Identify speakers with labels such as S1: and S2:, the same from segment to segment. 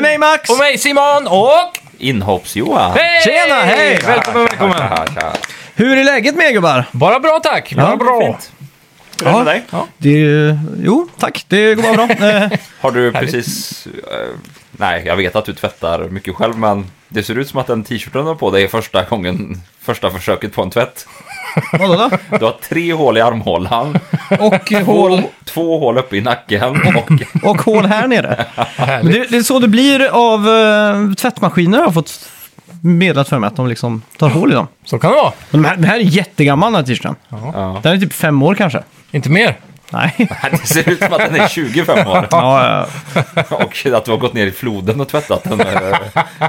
S1: mig Max!
S2: Och mig Simon och...
S3: Inhopps-Johan.
S2: Hej!
S1: Tjena, hej!
S2: Välkommen, välkommen!
S3: Tja, tja.
S1: Hur är läget med er gubbar?
S2: Bara bra tack, bara
S1: Ja,
S2: bra.
S3: fint. Hur är det med dig?
S1: Det är, jo, tack. Det går bara bra. Eh,
S3: Har du precis... eh, nej, jag vet att du tvättar mycket själv, men det ser ut som att den t-shirten du har på dig är första gången, första försöket på en tvätt.
S1: Vadå då?
S3: Du har tre hål i armhålan,
S1: Och eh, hål,
S3: två, två hål uppe i nacken och...
S1: och hål här nere. Men
S2: Härligt.
S1: det, det är så det blir av eh, tvättmaskiner har jag fått meddelat för mig att de liksom tar hål i dem.
S2: Så kan det vara.
S1: Men den här, den här är jättegammal den här t-shirten.
S3: Ja.
S1: Den är typ fem år kanske.
S2: Inte mer.
S1: Nej.
S3: Det ser ut som att den är 25 år
S1: Ja, ja.
S3: och att du har gått ner i floden och tvättat den eh,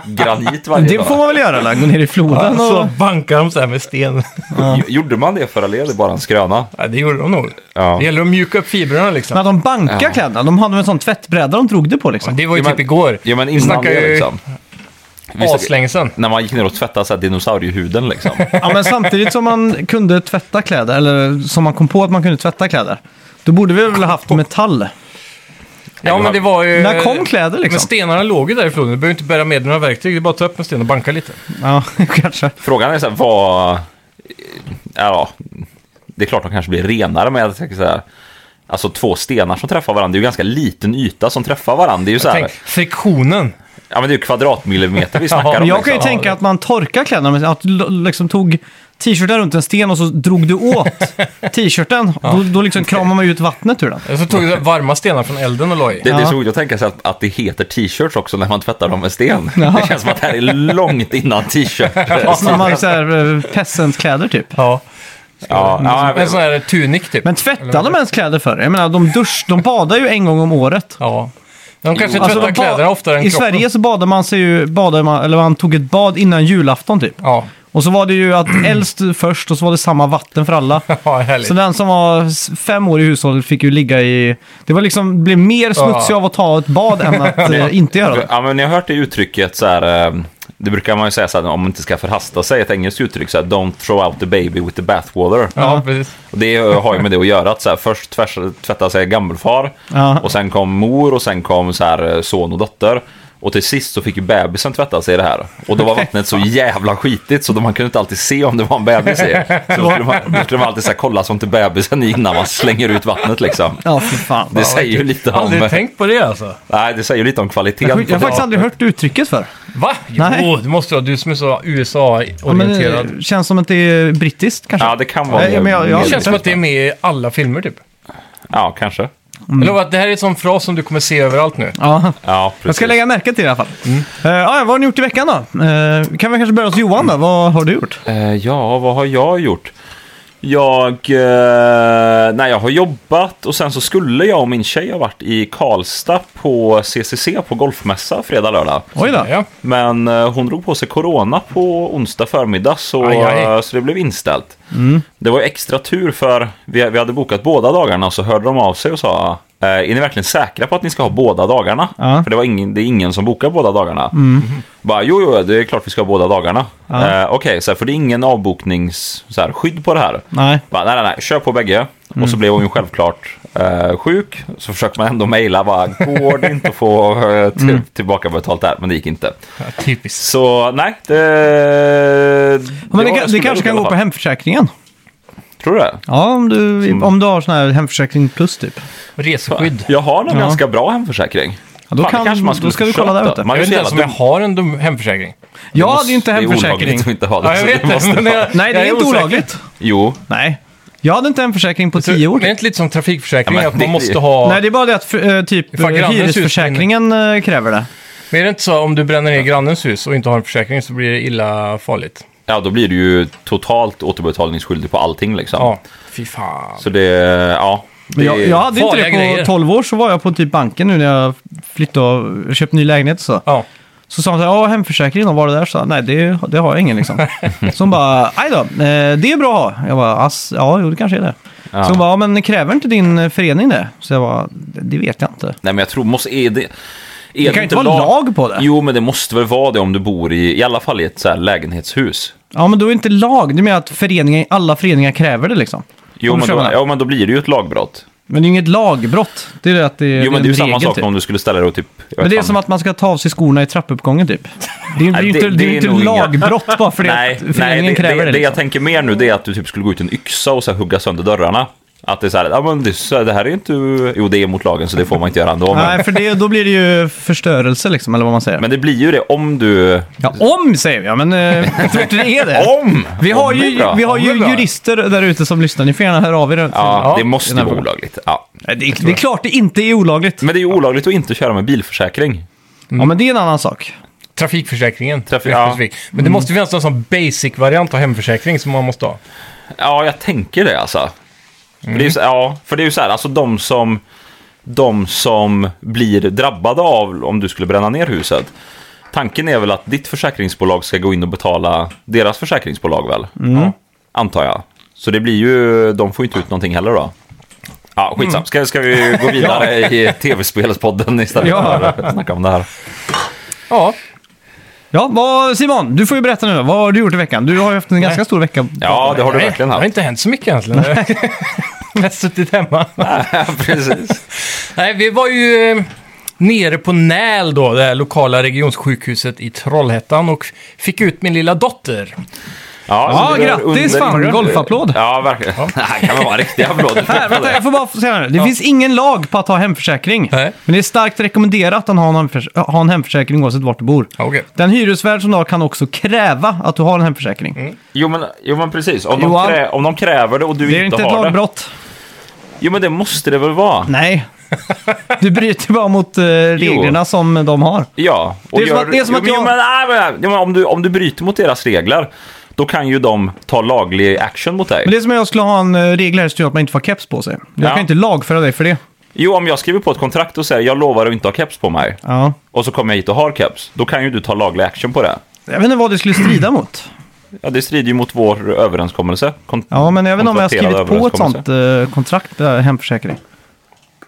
S3: granit varje
S1: Det
S3: dag.
S1: får man väl göra, eller? gå ner i floden
S2: Så
S1: och...
S2: bankar de så här med sten.
S3: Gj- Gjorde man det förr eller är det bara en skröna?
S2: Ja, det gjorde de nog.
S3: Ja.
S2: Det gäller att mjuka upp fibrerna liksom.
S1: Men att de bankar kläderna, de hade väl en sån tvättbräda de drog det på liksom.
S2: Det var ju
S3: Ja, men-
S2: typ igår.
S3: Ja, men
S2: Vi
S3: innan
S2: snackar
S3: det
S2: ju
S3: liksom. Vi snackar-
S2: aslänge sedan.
S3: När man gick ner och tvättade så här dinosauriehuden liksom.
S1: Ja, men samtidigt som man kunde tvätta kläder, eller som man kom på att man kunde tvätta kläder, då borde vi väl ha haft metall.
S2: Ja, men det var ju...
S1: När kom kläder liksom?
S2: Men stenarna låg ju där i floden. Du behöver inte bära med dig några verktyg. Det är bara att ta upp en sten och banka lite.
S1: Ja, kanske.
S3: Frågan är så här, vad... eh, Ja, det är klart de kanske blir renare, men jag tänker så här... Alltså två stenar som träffar varandra, det är ju ganska liten yta som träffar varandra. Det är ju så här,
S2: Tänk, friktionen.
S3: ja men det är ju kvadratmillimeter vi snackar
S2: Ja,
S3: om.
S1: Men jag kan ju
S3: liksom.
S1: tänka att man torkar kläderna, men att du l- liksom tog t-shirten runt en sten och så drog du åt t-shirten. Då, då liksom kramar man ju ut vattnet ur den.
S2: Så tog du varma stenar från elden och la i.
S3: Det, det är
S1: Ja.
S3: så roligt att tänka sig att, att det heter t-shirts också när man tvättar dem med sten. Det känns som att det här är långt innan t-shirt. ja,
S1: Som man så här, eh, peasant-kläder typ.
S2: Ja.
S3: ja, jag
S2: En
S3: vet.
S2: sån här tunik typ.
S1: Men tvättade de ens kläder förr? Jag menar, de, dusch, de badar ju en gång om året.
S2: Ja. De kanske tvättar
S3: Jo.
S1: Alltså, de ba-
S2: kläderna oftare än
S1: I
S2: kroppen.
S1: Sverige så badar man sig ju, badar man, eller man tog ett bad innan julafton typ.
S2: Ja,
S1: Och så var det ju att äldst först och så var det samma vatten för alla.
S2: ja härligt.
S1: Så den som var s- fem år i hushållet fick ju ligga i... Det var liksom, det blev mer smutsig av att ta ett bad än att eh, inte göra det.
S3: Ja, men jag har hört det uttrycket så här. eh, Det brukar man ju säga så här, om man inte ska förhasta sig, ett engelskt uttryck så här, don't throw out the baby with the bathwater.
S2: Ja, precis.
S3: Och det har ju med det att göra, att så här, först tvärs, tvättade sig gammelfar,
S1: Ja.
S3: och sen kom mor och sen kom så här, eh, son och dotter. Och till sist så fick ju bebisen tvätta sig i det här. Och då var vattnet så jävla skitigt så då man kunde inte alltid se om det var en bebis i. Så då skulle man, då skulle man alltid så här, kolla som till bebisen innan man slänger ut vattnet liksom.
S1: Ja, fy fan.
S3: Det säger ju lite om,
S2: Aldrig tänkt på det alltså.
S3: nej, det säger ju lite om kvaliteten.
S1: Jag har
S3: på
S1: jag har faktiskt aldrig hört uttrycket för.
S2: Va? Jo,
S1: Nej.
S2: det måste vara du som är så
S1: Ja, men, eh,
S2: USA-orienterad.
S1: känns som att det är brittiskt kanske.
S3: Ja, det kan vara
S1: Nej, men jag- jag-
S2: det känns som att det är med i alla filmer typ.
S3: Ja, kanske.
S1: Mm.
S2: Jag lovar att det här är en sån fras som du kommer se överallt nu.
S1: Ja.
S3: Ja, precis.
S1: Jag ska lägga märke till det i alla fall. Eh, ja, vad har ni gjort i veckan då? Eh, kan vi kanske börja hos Johan då? Vad har du gjort?
S3: Eh, ja, vad har jag gjort? Jag... Eh, nej, jag har jobbat och sen så skulle jag och min tjej ha varit i Karlstad på CCC på golfmässa fredag, lördag.
S1: Oj då.
S2: Ja.
S3: Men eh, hon drog på sig corona på onsdag förmiddag så,
S2: Aj, aj.
S3: eh, så det blev inställt. Det var ju extra tur för vi, vi hade bokat båda dagarna och så hörde de av sig och sa eh, Är ni verkligen säkra på att ni ska ha båda dagarna?
S1: Ja.
S3: För det, var ingen, det är ingen som bokar båda dagarna. Bara, jo, jo, det är klart vi ska ha båda dagarna. Eh, Okej, så här, för det är ingen avbokningsskydd på det här.
S1: Nej.
S3: Bara, nej, nej, nej, kör på bägge. Och så blev hon ju självklart eh, sjuk. Så försökte man ändå mejla, bara, går det inte att få eh, till, tillbaka betalt där? Men det gick inte.
S2: Ja, typiskt.
S3: Så nej, det...
S1: Men det,
S3: var-
S1: kan- det
S3: skulle
S1: kanske
S3: jag i
S1: kan
S3: alla
S1: gå på
S3: fall.
S1: hemförsäkringen?
S3: Tror du det?
S1: Ja, om du, om du har sån här hemförsäkring plus typ.
S2: Reseskydd.
S3: Jag har nog
S1: Ja.
S3: ganska bra hemförsäkring.
S1: Ja, då kan- då ska vi kolla där ute.
S3: Man
S2: Jag
S3: är ju
S2: vet
S3: så
S2: inte ens om jag
S3: jävla dum.
S2: har en dum hemförsäkring.
S1: Jag hade ju inte
S3: Det är
S1: hemförsäkring.
S3: olagligt att inte ha det.
S2: Ja, jag
S3: så
S2: vet
S3: det måste
S2: det. Men
S3: jag-
S2: jag,
S1: Nej, det är,
S2: jag
S1: inte
S2: osäker.
S1: olagligt.
S3: Jo,
S1: Nej. Jag hade inte hemförsäkring på tio år.
S2: Men Det är inte lite som trafikförsäkring,
S3: Ja, men
S2: att man
S3: det-
S2: måste ha...
S1: Nej, det är bara det att för, eh, typ
S2: Ifall
S1: eh,
S2: grannens hus
S1: hyresförsäkringen eh, kräver det.
S2: Men är det inte så om du bränner ner grannens hus och inte har en försäkring så blir det illa farligt?
S3: ja, då blir du ju totalt återbetalningsskyldig på allting liksom.
S2: Ja. Fy fan.
S3: Så det, ja. Det,
S1: Men jag, jag hade inte det på
S2: farliga grejer.
S1: 12 år, så var jag på typ banken nu när jag flyttade och köpte ny lägenhet och så.
S2: Ja.
S1: Så sa de så här, ja hemförsäkring, då, var det där? Så jag, nej det, det har jag ingen liksom. så hon bara, aj då, eh, det är bra att ha. Jag bara, ass, ja jo det kanske är det.
S3: Ja.
S1: Så hon bara, ja, men kräver inte din eh, förening det? Så jag bara, det det vet jag inte.
S3: Nej, men jag tror, måste... Är det, är
S1: Det kan ju inte vara lag på det.
S3: Jo, men det måste väl vara det om du bor i, i alla fall i ett så här lägenhetshus.
S1: Ja men då är det inte lag, det menar att föreningar, alla föreningar kräver det liksom.
S3: Jo
S1: Om du
S3: men, då,
S1: förstår vad jag
S3: ja, men då blir det ju ett lagbrott.
S1: Men det är ju inget lagbrott. Det är det att det är
S3: Jo, men
S1: en
S3: det är ju samma
S1: regel,
S3: sak
S1: typ.
S3: om du skulle ställa dig och typ... jag
S1: Men
S3: vet
S1: det är
S3: fan.
S1: som att man ska ta av sig skorna i trappuppgången typ. Det är ju
S3: Nej,
S1: inte,
S3: det-
S1: det, är
S3: det
S1: ju
S3: är
S1: inte
S3: nog inga-
S1: lagbrott bara för det
S3: Nej,
S1: att
S3: nej
S1: föreningen
S3: det,
S1: kräver
S3: det,
S1: det.
S3: det jag
S1: liksom.
S3: tänker mer nu det är att du typ skulle gå ut i en yxa och så här hugga sönder dörrarna. Att det är så här, ja, men det, så här, det här är ju inte... Jo, det är mot lagen så det får man inte göra ändå. Men,
S1: Nej, för det, då blir det ju förstörelse liksom, eller vad man säger.
S3: men det blir ju det om du...
S1: ja, om säger jag, men eh, jag tror inte det är det.
S3: Om!
S1: Vi har
S3: Om är
S1: ju,
S3: bra.
S1: vi har
S2: Om är
S1: ju
S2: bra.
S1: jurister där ute som lyssnar. Ni får gärna höra av er.
S3: Ja, det måste
S1: Den här
S3: vara
S1: frågan.
S3: olagligt. Ja.
S1: Nej, Det, är- det är klart det inte är olagligt.
S3: Men det är ju olagligt att inte köra med bilförsäkring.
S1: Ja, men det är en annan sak.
S2: Trafikförsäkringen.
S3: Trafik-
S2: mer
S3: ja.
S2: specifikt. Men det måste finnas någon sån basic-variant av hemförsäkring som man måste ha.
S3: Ja, jag tänker det alltså. För det är ju så, ja, för det är ju så här, alltså de som, de som blir drabbade av om du skulle bränna ner huset. Tanken är väl att ditt försäkringsbolag ska gå in och betala deras försäkringsbolag väl? Ja, antar jag. Så det blir ju, de får ju inte ut någonting heller då. Ja, skitsam. Ska, ska vi gå vidare i tv-spelspodden istället
S1: Ja.
S3: för att snacka om det här?
S2: Ja,
S1: Ja, vad, Simon, du får ju berätta nu. Vad har du gjort i veckan? Du har ju haft en ganska stor vecka.
S3: Ja, det har du verkligen
S2: Nej, Det har
S3: haft.
S2: inte hänt så mycket egentligen. Mest suttit hemma.
S3: Precis.
S2: Nej, vi var ju eh, nere på NÄL då, det här lokala regionsjukhuset i Trollhättan och fick ut min lilla dotter.
S1: Ja,
S3: så det är
S1: grattis,
S3: under-
S1: fan,
S3: under-
S1: golfapplåd.
S3: Ja, verkligen. Det här kan väl vara riktiga applåder.
S1: Här, Äh, vänta, jag får bara säga nu. Det finns ingen lag på att ha hemförsäkring.
S2: Nej.
S1: Men det är starkt rekommenderat att ha en, hemförs- ha en hemförsäkring oavsett vart du bor.
S2: Ja, okej.
S1: Den hyresvärd som du har kan också kräva att du har en hemförsäkring.
S3: Jo men, jo, men precis. Om de,
S1: Johan?
S3: krä, om de kräver det och du
S1: Det är
S3: inte
S1: inte ett
S3: har det.
S1: lagbrott.
S3: Jo men det måste det väl vara?
S1: Nej. Du bryter bara mot eh, reglerna som de har.
S3: Ja. Och
S1: Det är som att- det är som
S3: jo,
S1: att
S3: men-
S1: jag-
S3: jo, men, nej, men, jo, men om, du, om du bryter mot deras regler, då kan ju de ta laglig action mot dig.
S1: Men det är som om jag skulle ha en eh, regel här som gör att man inte får ha keps på sig. Jag
S3: Ja.
S1: kan inte lagföra dig för det.
S3: Jo, om jag skriver på ett kontrakt och säger jag lovar att inte ha keps på mig,
S1: Ja.
S3: och så kommer jag hit och har keps, då kan ju du ta laglig action på det.
S1: Jag vet inte vad det skulle strida mot.
S3: Ja, det strider ju mot vår överenskommelse. Kon-
S1: Ja, men jag vet inte om jag har
S3: kontrakterad
S1: skrivit på ett
S3: överenskommelse.
S1: sånt eh, kontrakt, eh, hemförsäkring.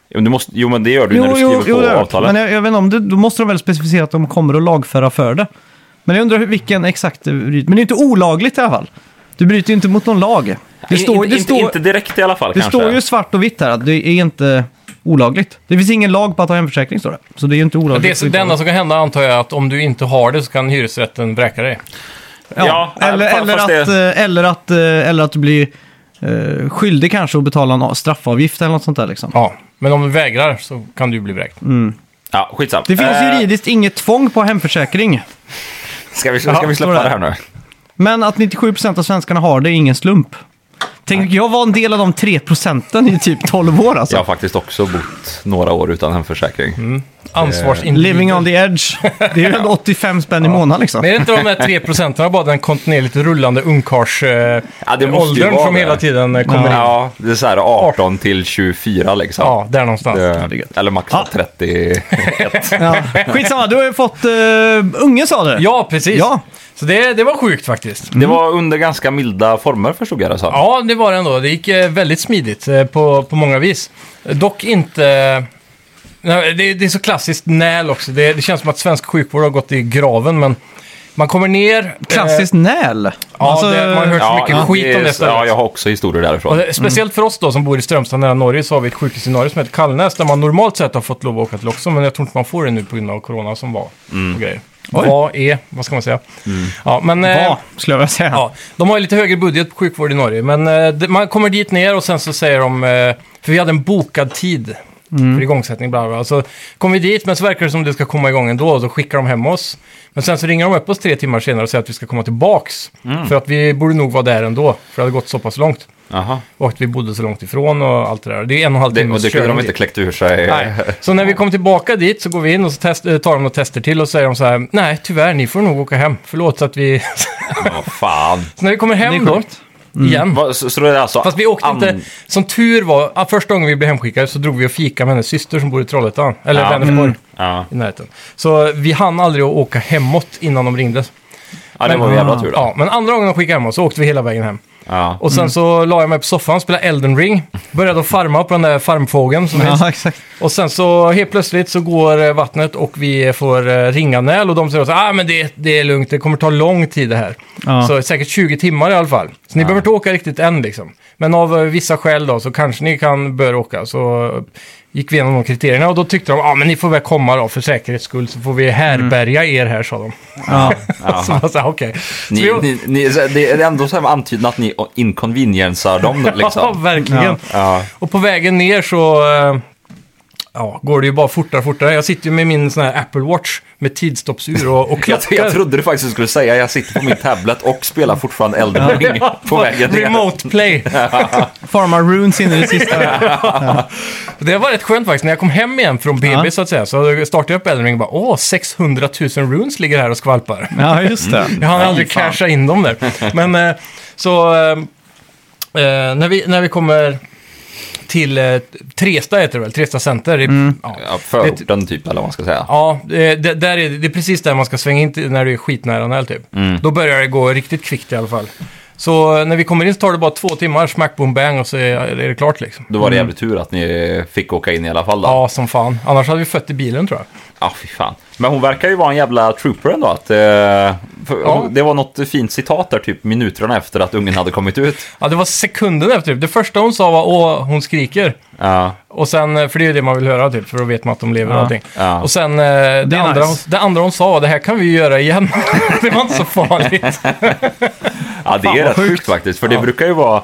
S3: Jo, men du måste, jo, men det gör du när du skriver
S1: jo, jo,
S3: på
S1: det har jag hört.
S3: avtalet.
S1: Men jag, jag vet inte om det, då måste de väl specificera att de kommer att lagföra för det. Men jag undrar hur- vilken exakt det bryter. Men det är inte olagligt i alla fall. Du bryter ju inte mot någon lag. Det
S3: In-
S1: står,
S3: inte,
S1: det
S3: inte-
S1: står,
S3: inte direkt i alla fall
S1: det
S3: kanske.
S1: står ju svart och vitt här att det är inte olagligt. Det finns ingen lag på att ha hemförsäkring står det. Så det är ju inte olagligt.
S2: Det, är så-
S1: att inte
S2: det
S1: ha
S2: enda som kan hända antar jag är att om du inte har det så kan hyresrätten vräka dig.
S1: Ja,
S3: Ja,
S1: eller,
S3: fa-
S1: eller,
S3: fast
S1: att, eh, eller, att, eh, eller att du blir eh, skyldig kanske att betala en a- straffavgift eller något sånt där. Liksom.
S2: Ja, Mm. men om du vägrar så kan du bli vräkt.
S3: Ja, skitsamt.
S1: Det finns
S3: Eh,
S1: juridiskt inget tvång på hemförsäkring.
S3: Ska vi, ska
S1: Ja,
S3: vi släppa
S1: står det.
S3: det här nu?
S1: Men att 97% av svenskarna har det är ingen slump. Tänk, jag var en del av de 3% i typ 12 år alltså.
S3: Jag har faktiskt också bott några år utan hemförsäkring.
S2: Ansvarsindivid.
S1: Living on the edge. Det är ju ändå 85 spänn i månaden liksom.
S2: Men är det inte de där 3 procenten bara den kontinuerligt rullande ungkarlsåldern
S3: Ja, det
S2: eh,
S3: måste ju
S2: åldern
S3: vara
S2: som
S3: det.
S2: hela tiden eh, kommer in?
S3: Ja, det är så här 18 till 24 liksom.
S2: Ja, där någonstans.
S3: Det- Eller max
S1: Ja.
S3: 31.
S1: Ja. Skitsamma, du har ju fått eh, unge sa du.
S2: Ja, precis.
S1: Ja.
S2: Så det, det var sjukt faktiskt.
S3: Det var under ganska milda former förstod jag det som.
S2: Ja, det var det ändå. Det gick eh, väldigt smidigt eh, på, på många vis. Eh, Dock inte... eh, Nej, Det, det är så klassiskt näl också. Det, det känns som att svensk sjukvård har gått i graven, men man kommer ner...
S1: Klassiskt näl.
S2: ja, det- man hör- så mycket skit om det stället.
S3: Ja, jag har också historier
S2: Eh, och
S3: därifrån.
S2: det, speciellt för oss då som bor i Strömstad nära Norge så har vi ett sjukhus i Norge som heter Kallnäs där man normalt sett har fått lov att åka till också, men jag tror inte man får det nu på grund av corona som var. Och grejer.
S1: Oj.
S2: Vad är, vad ska man säga? Ja, men, eh,
S1: Ja, skulle jag vilja säga.
S2: Ja, de har ju lite högre budget på sjukvård i Norge, men eh, det- man kommer dit ner och sen så säger de, eh, för vi hade en bokad tid för igångsättning, bla bla, bla. Så kommer vi dit, men så verkar det som att det ska komma igång ändå, och så skickar de hem oss. Men sen så ringer de upp oss tre timmar senare och säger att vi ska komma tillbaks, för att vi borde nog vara där ändå, för det hade gått så pass långt.
S3: Jaha.
S2: Och att vi bodde så långt ifrån och allt det där. Det är en och en halv
S3: Det,
S2: timme
S3: och det kunde de
S2: körning
S3: inte
S2: dit.
S3: kläckt ur sig.
S2: Nej. Så när vi kom tillbaka dit så går vi in och så test, eh, tar de några tester till och säger de så här, nej tyvärr, ni får nog åka hem. Förlåt att vi...
S3: Ja, fan.
S2: så när vi kommer hem
S1: Det är
S2: då,
S1: sjukt.
S2: igen,
S3: Mm. Va, Så, så det är alltså...
S2: Fast vi åkte
S3: an-
S2: inte, som tur var, ja, första gången vi blev hemskickade så drog vi och fika med hennes syster som bor i Trollhättan, eller
S3: Ja. Mm.
S2: Vänersborg,
S3: Ja,
S2: i närheten. Så vi hann aldrig att åka hemåt innan de ringde.
S3: ja det var ju jävla tur då. Mm.
S2: Ja, men andra gången de skickade hem oss så åkte vi hela vägen hem.
S3: Ja.
S2: Och sen så la jag mig på soffan och spelade Elden Ring. Började att farma på den där farmfågeln som finns.
S1: Ja, exakt.
S2: Och sen så helt plötsligt så går eh, vattnet och vi får eh, ringanäl och de säger så ah, men det, det är lugnt, det kommer ta lång tid det här.
S1: Ja.
S2: Så säkert 20 timmar i alla fall. Så ni behöver inte åka riktigt än liksom. Men av eh, vissa skäl då så kanske ni kan bör åka. Så eh, gick vi igenom de kriterierna och då tyckte de, ja ah, men ni får väl komma då för säkerhets skull så får vi härbärga er här sa de.
S1: Ja.
S3: Mm. Ja.
S2: Så jag sa okej. Så
S3: Ni,
S2: vi-
S3: ni, ni, så det är ändå så här antydan att ni inconveniensar dem
S2: Ja,
S3: liksom.
S2: verkligen.
S1: Ja.
S3: Ja.
S2: Och på vägen ner så eh, ja, går det ju bara fortare och fortare. Jag sitter ju med min sån här Apple Watch med tidstoppsur och, och
S3: Jag,
S2: klockor.
S3: jag trodde du faktiskt skulle säga jag sitter på min tablet och spelar fortfarande Elden Ring på vägen ner.
S2: Remote play.
S1: Farmar runes in i det sista.
S2: Det var rätt skönt faktiskt. När jag kom hem igen från BB
S1: Ja.
S2: så att säga så startade jag upp Elden Ring och bara åh, 600 000 runes ligger här och skvalpar.
S1: Ja, just det.
S2: Jag hann aldrig casha in dem där. Men eh, så eh, eh, när, vi, när vi kommer till eh, Tresta heter det väl, Tresta Center. i- Ja,
S3: Ja, förorten typ, eller vad man ska säga.
S2: Ja, det, det, där är, det är precis där man ska svänga in till, när du är skitnära en öl typ. Då börjar det gå riktigt kvickt i alla fall. Så eh, när vi kommer in så tar det bara två timmar, smack, boom, bang och så är, är det klart liksom.
S3: Då var det jävligt tur att ni fick åka in i alla fall då. Ja,
S2: Ja, som fan. Annars hade vi fött i bilen tror jag.
S3: ah, fy fan. Men hon verkar ju vara en jävla trooper ändå. Att, eh, för,
S2: Ja.
S3: Det var något fint citat där, typ minuterna efter att ungen hade kommit ut.
S2: Ja, det var sekunden efter. typ. Det första hon sa var åh, hon skriker.
S3: Ja,
S2: Och sen, eh, för det är ju det man vill höra typ, för då vet man att de lever
S1: Ja.
S2: och allting.
S3: Ja.
S2: Och sen eh, det,
S1: är
S2: andra,
S1: nice.
S2: hon, det andra hon sa, det här kan vi ju göra igen. det var inte så farligt.
S3: ja det
S1: Fan,
S3: är
S1: vad
S3: rätt sjukt.
S1: sjukt.
S3: faktiskt. För det brukar ju vara,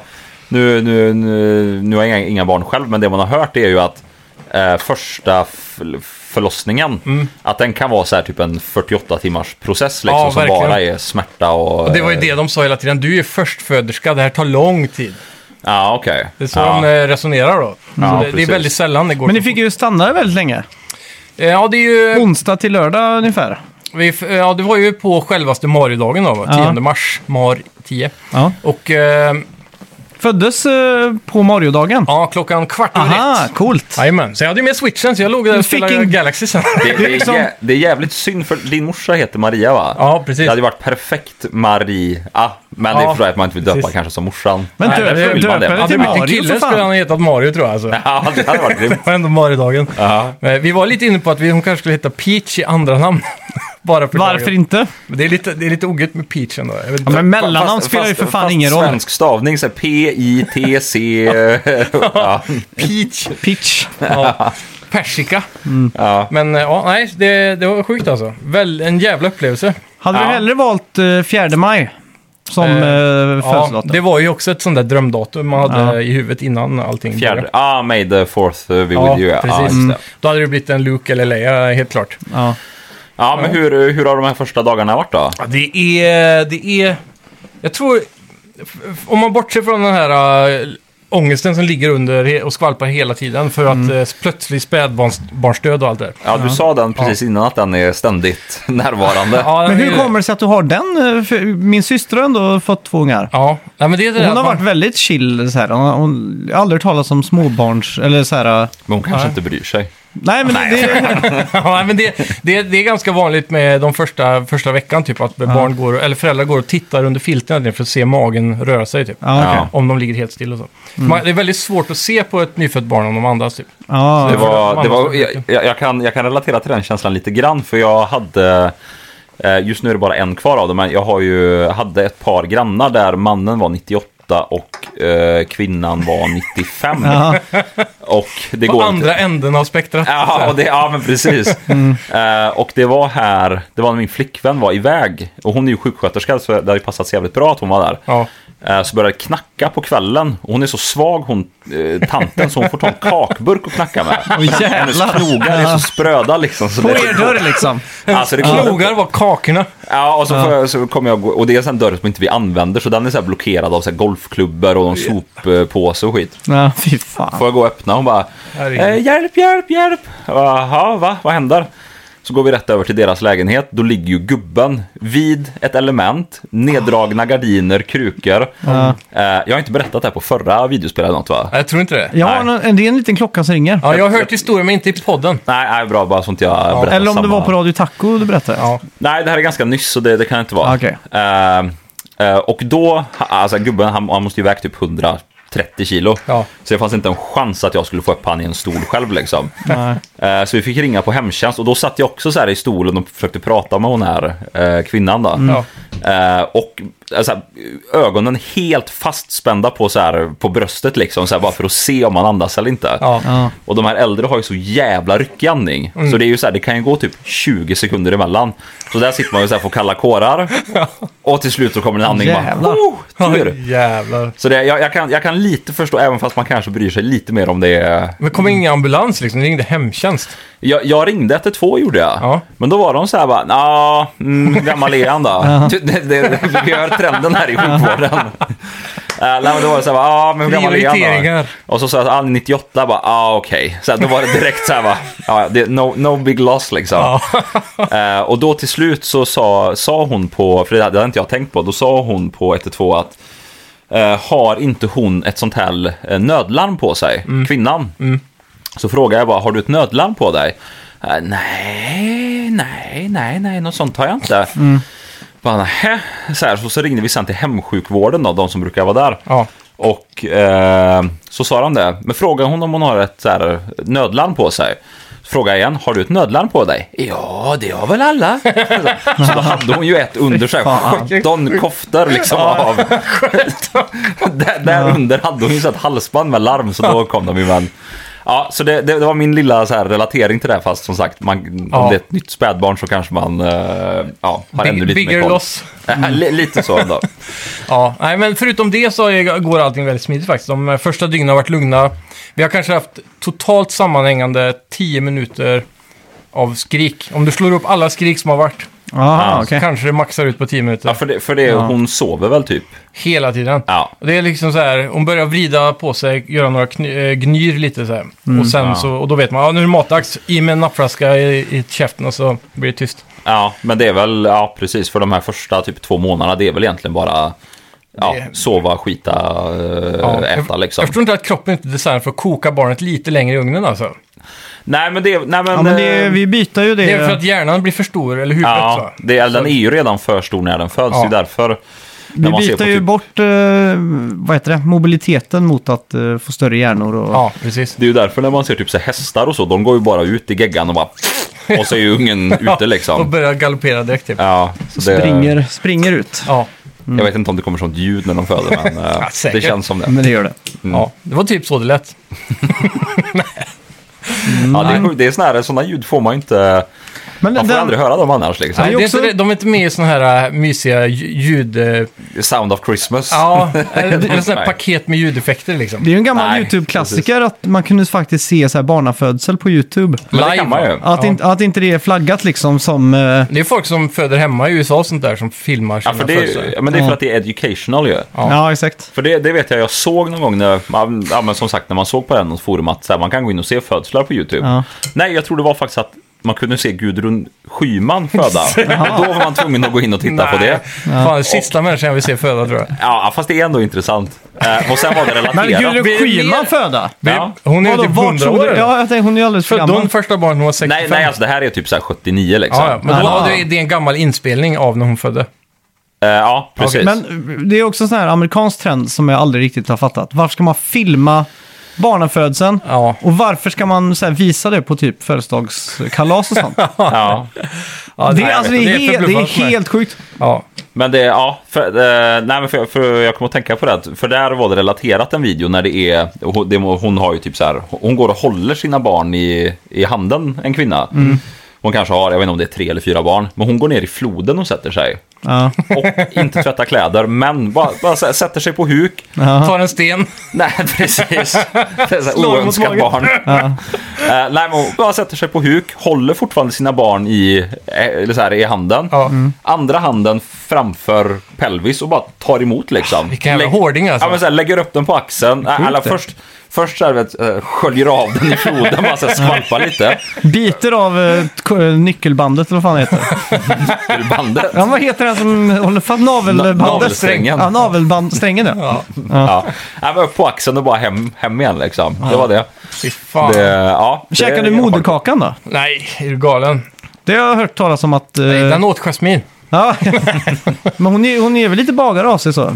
S3: nu, nu, nu, nu har jag inga, inga barn själv, men det man har hört är ju att eh, första f- förlossningen,
S2: Mm.
S3: att den kan vara så här typ en 48 timmars process liksom,
S2: Ja,
S3: som
S2: verkligen.
S3: bara är smärta och...
S2: det var ju
S3: eh,
S2: det de sa hela tiden, du är förstföderska, det här tar lång tid.
S3: Ja, okej.
S2: Det är så
S3: ja.
S2: de eh, resonerar då.
S3: Ja,
S2: så det, det är
S3: precis.
S2: väldigt sällan det går.
S1: Men ni
S2: så
S1: fick ju stanna där väldigt länge.
S2: fort. Eh, Ja, det är ju...
S1: Onsdag till lördag ungefär.
S2: Vi, f- eh, ja, det var ju på självaste Maridagen då, va? 10
S1: Ja.
S2: mars, Mar 10.
S1: Ja.
S2: Och eh,
S1: Föddes eh, på Mario-dagen.
S2: ja, klockan kvart över
S1: Aha,
S2: ett.
S1: coolt.
S2: Jajamän, så jag hade ju med switchen så jag låg där
S1: Du
S2: och
S1: fick
S2: spelade
S1: en-
S2: Galaxy sen.
S3: Det, det, är
S1: liksom-
S3: jä- det är jävligt synd för din morsa heter Maria va?
S2: Ja, precis.
S3: Det hade ju varit perfekt Maria, men det är
S2: Ja,
S3: för att man inte vill döpa
S2: precis.
S3: kanske som morsan.
S1: Men
S3: Nej,
S1: dö-
S3: därför vill man det.
S1: döpa det
S2: Hade
S1: till
S2: det varit en
S1: Mario, för
S2: kille
S1: fan.
S2: skulle han ha hetat Mario tror jag alltså.
S3: Ja, det hade varit grymt.
S2: Det var ändå Maridagen.
S3: Ja.
S2: Men Vi var lite inne på att vi, hon kanske skulle heta Peach i andra namn. Bara för
S1: Varför
S2: dagen.
S1: inte?
S2: Men Det är lite, det är lite ogött med Peach ändå. Jag vet inte.
S1: Ja, men mellannamn
S3: Fast-
S1: spelar ju
S3: fast-
S1: för fan
S3: fast
S1: ingen roll.
S3: Svensk stavning, så här P-I-T-C... eh, ja.
S2: Peach.
S1: Pitch.
S2: Ja. Persika.
S3: Ja.
S2: Men eh, ja, nej, det, det var sjukt alltså. Väl, en jävla upplevelse.
S1: Hade
S3: Ja.
S1: du hellre valt eh, 4 maj som
S2: Eh,
S1: eh,
S2: Ja,
S1: födelsedatum?
S2: det var ju också ett sånt där drömdatum man hade
S1: Ja.
S2: i huvudet innan allting
S3: Fjärde. Ah, May the fourth uh, be
S2: Ja,
S3: with you. ja. Ja,
S2: precis. Mm.
S3: just det.
S2: Då hade det blivit en Luke eller Leia, helt klart.
S1: Ja.
S3: ja, men hur, hur har de här första dagarna varit då?
S2: Ja, det är... Det är... Jag tror... f- f- Om man bortser från den här äh, ångesten som ligger under he- och skvalpar hela tiden för att äh, plötslig spädbarnsdöd och allt det där.
S3: Ja, du sa den precis innan att den är ständigt närvarande.
S2: Ja,
S1: Men
S2: det-
S1: hur kommer det sig att du har den? Eh, för Min syster har ändå fått två ungar.
S2: Ja, nej, men det är det där
S1: Hon har
S2: att man-
S1: varit väldigt chill så här. Hon, hon, jag har aldrig hört talas om småbarns... Eller så här... äh,
S3: Men hon kanske inte bryr sig.
S1: Nej, men det...
S2: ja, men det, det, det är ganska vanligt med de första, första veckan, typ att barn går, eller föräldrar går och tittar under filten där för att se magen röra sig, typ.
S1: Ja, okej.
S3: Ja.
S2: Om de ligger helt still och så. Man, det är väldigt svårt att se på ett nyfött barn om de andas, typ.
S1: Ja.
S3: Det var, det var,
S2: Annars-
S3: jag, jag, jag kan, jag kan relatera till den känslan lite grann för jag hade eh, Just nu är det bara en kvar av dem men jag har ju, hade ett par grannar där mannen var 98 och eh, kvinnan var 95.
S1: Ja.
S3: Och det
S2: På
S3: går inte.
S2: andra änden av spektrat.
S3: Ja, och det, ja, men precis. Eh, och det var här, det var när min flickvän var iväg. Och hon är ju sjuksköterska så det hade ju passat sig jävligt bra att hon var där.
S2: Ja.
S3: Eh, Så började det knacka på kvällen. Och hon är så svag hon, eh, tanten, så hon får ta en kakburk och knacka med. Hennes
S1: jävlar.
S3: knogar är så spröda liksom. Så
S1: På
S3: det-
S1: er dörr liksom.
S3: Alltså, det klogar.
S2: Knogar var kakorna.
S3: Ja, och så, får jag, så kommer jag gå, och det är en dörr som inte vi använder. Så den är så här blockerad av så här golfklubbor och någon soppåse och skit.
S1: Ja, fy fan.
S3: Får jag gå och öppna? Hon bara
S2: Herregud.
S3: eh, Hjälp, hjälp, hjälp! Jag bara, Jaha, va? Vad händer? Så går vi rätt över till deras lägenhet. Då ligger ju gubben vid ett element, neddragna gardiner, krukor. Eh, jag har inte berättat det här på förra videospelet eller något va?
S2: Nej, Jag tror inte det.
S1: Jag har en, det är en liten klocka som ringer.
S2: Ja, jag har hört historien men inte i podden.
S3: Nej, nej, bra, bara sånt jag berättar
S1: Eller om det
S3: samma-
S1: var på Radio Taco du berättade.
S2: Ja.
S3: Nej, det här är ganska nyss så det, det kan inte vara.
S1: Okej.
S3: Eh, Eh, Och då, alltså gubben han, han måste ju väga typ 130 kilo.
S2: Ja.
S3: Så det fanns inte en chans att jag skulle få upp han i en stol själv liksom.
S1: Nej.
S3: Eh, Så vi fick ringa på hemtjänst och då satt jag också så här i stolen och försökte prata med hon här eh, kvinnan då.
S2: Mm. Ja.
S3: Eh, och alltså, här, ögonen helt fastspända på, så här, på bröstet liksom, så här, bara för att se om man andas eller inte.
S2: Ja. Mm.
S1: Ja.
S3: Och de här äldre har ju så jävla ryckig andning. Så det är ju så här, det kan ju gå typ 20 sekunder emellan. Så där sitter man ju så här får kalla kårar. Och till slut så kommer en andning
S1: Jävlar.
S3: bara... Oh, tur.
S2: Oj, jävlar.
S3: Så det, jag, jag, kan, jag kan lite förstå, även fast man kanske bryr sig lite mer om det eh, är
S2: Men kom ingen ambulans liksom, ni ringde hemtjänst.
S3: Jag, jag ringde efter två gjorde jag.
S2: Ja.
S3: Men då var de så här bara, ja, mm, gammal är han då? Ty- det, det, det, vi hör trenden här i sjukvården. Eh, Nej, men då var det så här, bara, ja, men hur gammal är han
S2: Prioriteringar.
S3: då? Och så sa jag, ah, 98, bara, ah, okej. Så här, då var det direkt så här, bara, ja, det, no, no big loss liksom. Eh, och då till slut så sa, sa hon på, för det hade inte jag tänkt på, då sa hon på 112 att eh, har inte hon ett sånt här eh, nödlarm på sig,
S2: Mm.
S3: kvinnan? Så frågade jag bara, har du ett nödlarm på dig? Eh, nej, nej, nej, nej, något sånt har jag inte. Bara, nähä. så, här, så, så ringde vi sen till hemsjukvården då, de som brukar vara där.
S2: Ja.
S3: Och eh, så sa de det. Men frågade hon om hon har ett så här, nödlarm på sig. Fråga igen, har du ett nödlarm på dig? Ja, det har väl alla. Så då hade hon ju ett under sig,
S1: Fan.
S3: 17 koftor liksom av. där, där under hade hon ju så ett halsband med larm, så då kom de ju men. Ja, så det, det, det var min lilla så här, relatering till det här, fast som sagt, man, om
S2: Ja.
S3: det är ett nytt spädbarn så kanske man eh, ja, har
S2: Big-
S3: ännu lite mer
S2: bigger
S3: koll.
S2: loss.
S3: Li- lite så ändå.
S2: Ja, nej, men förutom det så är- går allting väldigt smidigt faktiskt. De eh, första dygnen har varit lugna. Vi har kanske haft totalt sammanhängande 10 minuter av skrik. Om du slår upp alla skrik som har varit
S1: Aha,
S3: Ja,
S1: okej.
S2: kanske det maxar ut på 10 minuter.
S3: Ja, för det, för det
S1: Ja.
S3: hon sover väl typ?
S2: Hela tiden.
S3: Ja.
S2: Och Det är liksom så här, hon börjar vrida på sig, göra några kny, eh, gnyr lite så här. och, sen
S3: Mm, Ja.
S2: så, och då vet man, ja nu är det matdags, i med en nappflaska i, i käften och så blir det tyst.
S3: Ja, men det är väl, ja precis, för de här första typ två månaderna, det är väl egentligen bara ja,
S2: Det-
S3: sova, skita, eh,
S2: Ja.
S3: äta liksom.
S2: Jag förstår inte att kroppen inte är designad för att koka barnet lite längre i ugnen alltså.
S3: Nej, men det, nej, men,
S1: Ja, men det,
S3: eh,
S1: vi byter ju det.
S2: Det är för att hjärnan blir för stor, eller huvudet
S3: ja,
S2: så.
S3: det, den är ju redan för stor när den föds,
S2: Ja.
S3: det är därför. när
S1: vi
S3: man ser på
S1: byter ju
S3: typ-
S1: bort eh, vad heter det? mobiliteten mot att eh, få större hjärnor. Och,
S2: Ja, precis.
S3: Det är ju därför när man ser typ så här hästar och så, de går ju bara ut i geggan och bara... Och så är ju ungen ute
S2: Och
S3: liksom.
S2: börjar galoppera direkt typ. Ja,
S3: Ja, så det,
S1: springer, springer ut.
S2: ja.
S3: Jag vet inte om det kommer sånt ljud när de föder, men eh, det
S2: säkert.
S3: känns som det.
S1: Men det gör det.
S3: Mm.
S2: det var typ så det lät.
S3: Ja, det är, sjukt. det är såna här, såna ljud får man ju inte...
S1: Mm. Men
S3: Man får
S1: den-
S3: aldrig höra dem annars liksom.
S1: är
S2: Nej, det är
S1: också-
S2: inte, det- de är inte med i sådana här äh, mysiga lj- ljud... eh,
S3: Sound of Christmas.
S2: Ja, eller sådana här
S3: Nej.
S2: paket med ljudeffekter liksom.
S1: Det är ju en gammal
S3: Nej,
S1: YouTube-klassiker att man kunde faktiskt se så här barnafödsel på YouTube.
S3: Men det kan man ju.
S1: Att,
S2: Ja.
S1: inte, att inte det är flaggat liksom som... eh,
S2: Det är folk som föder hemma i USA och sånt där som filmar
S3: Ja,
S2: sina
S3: för det är,
S2: födelser.
S3: ja, men
S1: Mm.
S3: det är för att det är educational ju.
S1: ja.
S2: Ja.
S1: exakt.
S3: För det, det vet jag, jag såg någon gång när, man- ja, men som sagt, när man såg på en forum att så här, man kan gå in och se födslar på YouTube.
S1: Ja.
S3: Nej, jag tror det var faktiskt att man kunde se Gudrun Schyman föda. Och då var man tvungen att gå in och titta på det.
S2: Fan, det sista människan jag vill se föda tror jag.
S3: Ja, fast det är ändå intressant. Eh, och sen var det
S1: Men
S3: relaterat.
S1: Gudrun
S2: blir det
S1: Schyman
S2: mer-
S1: föda?
S3: Ja.
S2: Hon är ju
S1: Vadå,
S2: typ
S1: vart
S2: 100
S1: tog
S2: år.
S1: du- Ja, jag tänkte hon är ju alldeles för
S2: Födde hon
S1: gammal.
S2: första barnet när hon var 65?
S3: nej, nej, alltså det här är typ så här 79 liksom.
S2: Ja, ja, men då,
S1: Ah.
S2: det, är- det är en gammal inspelning av när hon födde.
S3: Eh, ja precis.
S1: Men eh, det är också en sån här amerikansk trend som jag aldrig riktigt har fattat. Varför ska man filma barnafödseln?
S2: Ja.
S1: Och varför ska man så här, visa det på typ födelsedagskalas och sånt?
S3: Ja.
S2: Ja,
S1: det,
S2: nej,
S1: är,
S2: jag
S1: alltså, det,
S2: vet
S1: är
S2: inte.
S1: helt, det är
S2: förbluffande för mig.
S1: helt sjukt.
S2: Ja.
S3: Men det, ja, för, eh, nej men för, för jag kommer att tänka på det, här, för där var det relaterat en video när det är, hon, det, hon har ju typ så här, hon går och håller sina barn i, i handen, en kvinna. Hon kanske har, jag vet inte om det är tre eller fyra barn, men hon går ner i floden och sätter sig.
S1: Ja.
S3: Och inte tvättar kläder, men bara, bara så här, sätter sig på huk.
S1: Ja.
S2: Tar en sten.
S3: Nej, precis. Det är så här
S2: Slår mot
S3: Oönskat
S2: magen.
S3: barn. Eh, nej, men hon bara sätter sig på huk, håller fortfarande sina barn i, eh, eller så här, i handen.
S2: Ja. Mm.
S3: Andra handen framför pelvis och bara tar emot liksom.
S2: vilken jävla
S3: Lägg-
S2: hårding, alltså.
S3: Ja, men så här, lägger upp den på axeln. Eh, eller först, först så här, vet, eh, sköljer av den i floden, bara så här, skvalpar lite.
S1: Biter av eh, k- eh, nyckelbandet eller vad fan det heter.
S3: Ur bandet.
S1: Ja, vad heter den som håller fast navelbandet?
S3: Na- navelsträngen.
S1: Ja, navelbandsträngen ja.
S2: Ja.
S3: Ja. Nej, men upp på axeln och bara hem, hem igen liksom. Det var det.
S2: Fy fan.
S3: det ja, det-
S1: Käkar du moderkakan då?
S2: Nej, är du galen?
S1: Det har jag hört talas om att... eh,
S2: Nej, den åt Jasmin.
S1: Ja. Men hon är, hon är väl lite bagare av sig så.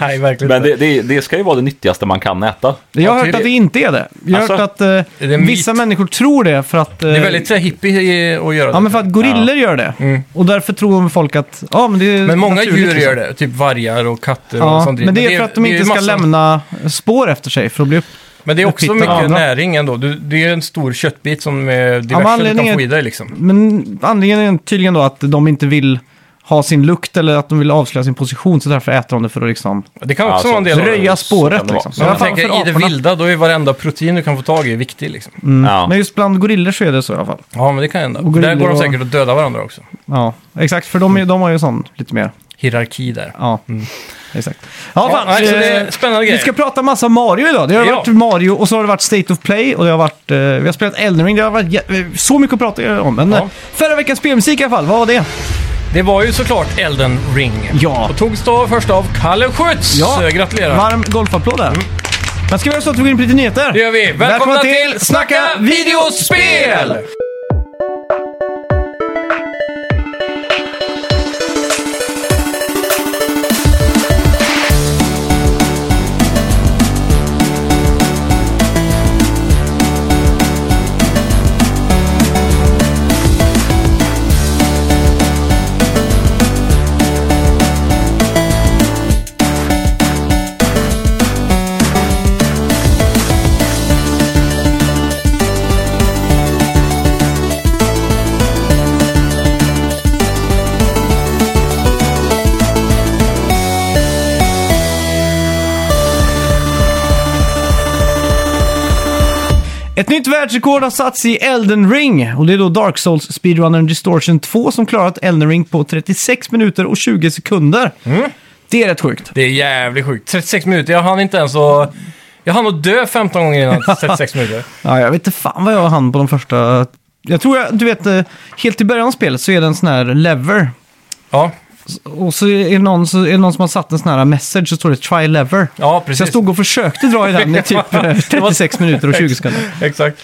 S2: Nej, verkligen
S3: Men
S2: inte.
S3: det, det, det ska ju vara det nyttigaste man kan äta.
S1: Jag har
S2: Ja,
S1: hört att det
S2: tydligen.
S1: inte är det. Jag har
S3: Alltså,
S1: hört att eh,
S2: det en myt?
S1: vissa människor tror det för att... eh,
S2: Det är väldigt så här, hippie eh, att göra
S1: Ja,
S2: det.
S1: men för att gorillor gör det.
S2: Mm.
S1: Och därför tror folk att... Ja, men det är
S2: Men många
S1: naturligt
S2: djur
S1: liksom.
S2: gör det, typ vargar och katter och
S1: Ja,
S2: sånt.
S1: men det är för att de
S2: det är
S1: inte ska
S2: massan-
S1: lämna spår efter sig för att bli upp...
S2: Men det är också
S1: Pitta.
S2: mycket
S1: Ja.
S2: näring ändå. Du, det är en stor köttbit som är diverse du
S1: anledningen-
S2: kan få i dig liksom.
S1: Men anledningen är tydligen då att de inte vill ha sin lukt eller att de vill avslöja sin position så därför äter de det för att liksom
S2: Det kan också
S3: Alltså,
S2: vara en del av det.
S1: röja
S3: så kan
S1: spåret.
S3: det
S1: Liksom. I
S2: Men jag
S3: vara.
S1: alla fall
S2: tänker i
S1: för
S2: det
S1: aporna. Mm.
S2: vilda, då är varenda protein du kan få tag i viktig liksom.
S3: Ja.
S1: Men just bland gorillor så är det så i alla fall.
S2: Ja, men det kan hända.
S1: Och
S2: Där går
S1: gorillor
S2: de
S1: och-
S2: säkert att döda varandra också.
S1: Ja, exakt. För de, är- de har ju sån lite mer.
S2: Hierarki där.
S1: Ja, exakt. Ja,
S2: Mm. Ja,
S1: fan.
S2: nej, så det är
S1: eh,
S2: spännande
S1: vi
S2: grejer.
S1: ska prata massa Mario idag. Det har
S2: Ja.
S1: varit Mario och så har det varit State of Play och det har varit, eh, vi har spelat Elden Ring. Det har varit jä- eh, så mycket att prata om. Men
S2: Ja.
S1: eh, förra veckans spelmusik i alla fall, vad var det?
S2: Det var ju såklart Elden Ring.
S1: Ja.
S2: Och togs då först av Kalle Schütz. Så jag gratulerar.
S1: Varm golfapplåd där. Men ska vi göra så att vi går in på lite nyheter?
S2: Mm. Det gör vi. Välkomna, till Snacka videospel!
S1: Ett nytt världsrekord har satts i Elden Ring. Och det är då Dark Souls Speedrunner Distortion 2 som klarat Elden Ring på 36 minuter och 20 sekunder.
S2: Mm.
S1: Det är rätt sjukt.
S2: Det är jävligt sjukt. 36 minuter, jag hann inte ens att... Jag hann att dö 15 gånger innan 36 minuter.
S1: Ja, jag vet inte fan vad jag hann på de första... Jag tror jag, du vet, eh, helt i början av spelet så är det en sån här lever.
S2: Ja,
S1: Och så är det någon, så är det någon som har satt en sån här message så står det try lever.
S2: ja
S1: Så jag
S2: precis.
S1: stod och försökte dra i den i typ eh, 36 minuter och 20 sekunder. Mm.
S2: Exakt.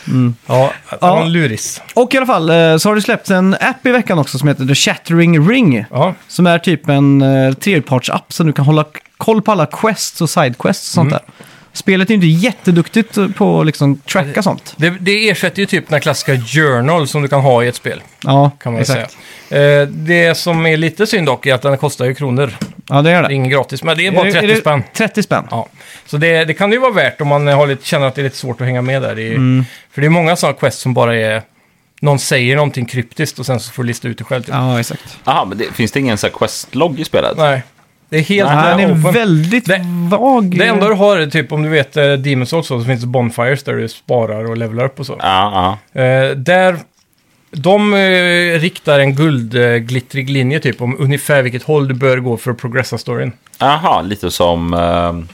S2: Ja, det
S1: Ja.
S2: var en luris.
S1: Och i alla fall eh, så har det släppts en app i veckan också som heter The Shattering Ring.
S2: Ja.
S1: Som är typ en eh, trepartsapp som du kan hålla k- koll på alla quests och sidequests och sånt
S2: Mm.
S1: där. Spelet är ju inte jätteduktigt eh, på att liksom tracka sånt.
S2: Det, det ersätter ju typ den här klassiska journal som du kan ha i ett spel.
S1: Ja,
S2: Kan man ju
S1: exakt.
S2: säga. Eh, det som är lite synd dock är att den kostar ju kronor.
S1: Ja, det gör det.
S2: Det är ingen gratis, men det är bara
S1: det-
S2: 30
S1: det
S2: spänn.
S1: 30 spänn.
S2: Ja. Så det, det kan ju vara värt om man har lite, känner att det är lite svårt att hänga med där. Det är,
S1: Mm.
S2: För det är många sådana quest som bara är... Någon säger någonting kryptiskt och sen så får du lista ut det själv. Typ.
S1: Ja, exakt.
S3: Aha, men det, finns det ingen så här questlogg i spelet?
S2: Nej, det är helt
S1: Nej,
S2: eh,
S1: den är
S2: open.
S1: väldigt
S2: Det-
S1: vag.
S2: Det enda du har är typ, om du vet eh, Demon's Souls så finns det Bonfires där du sparar och levelar upp och så.
S3: Ja, ja.
S2: Eh, där, de eh, riktar en guldglittrig linje typ om ungefär vilket håll du bör gå för att progressa storyn.
S3: Aha, lite som... ehm,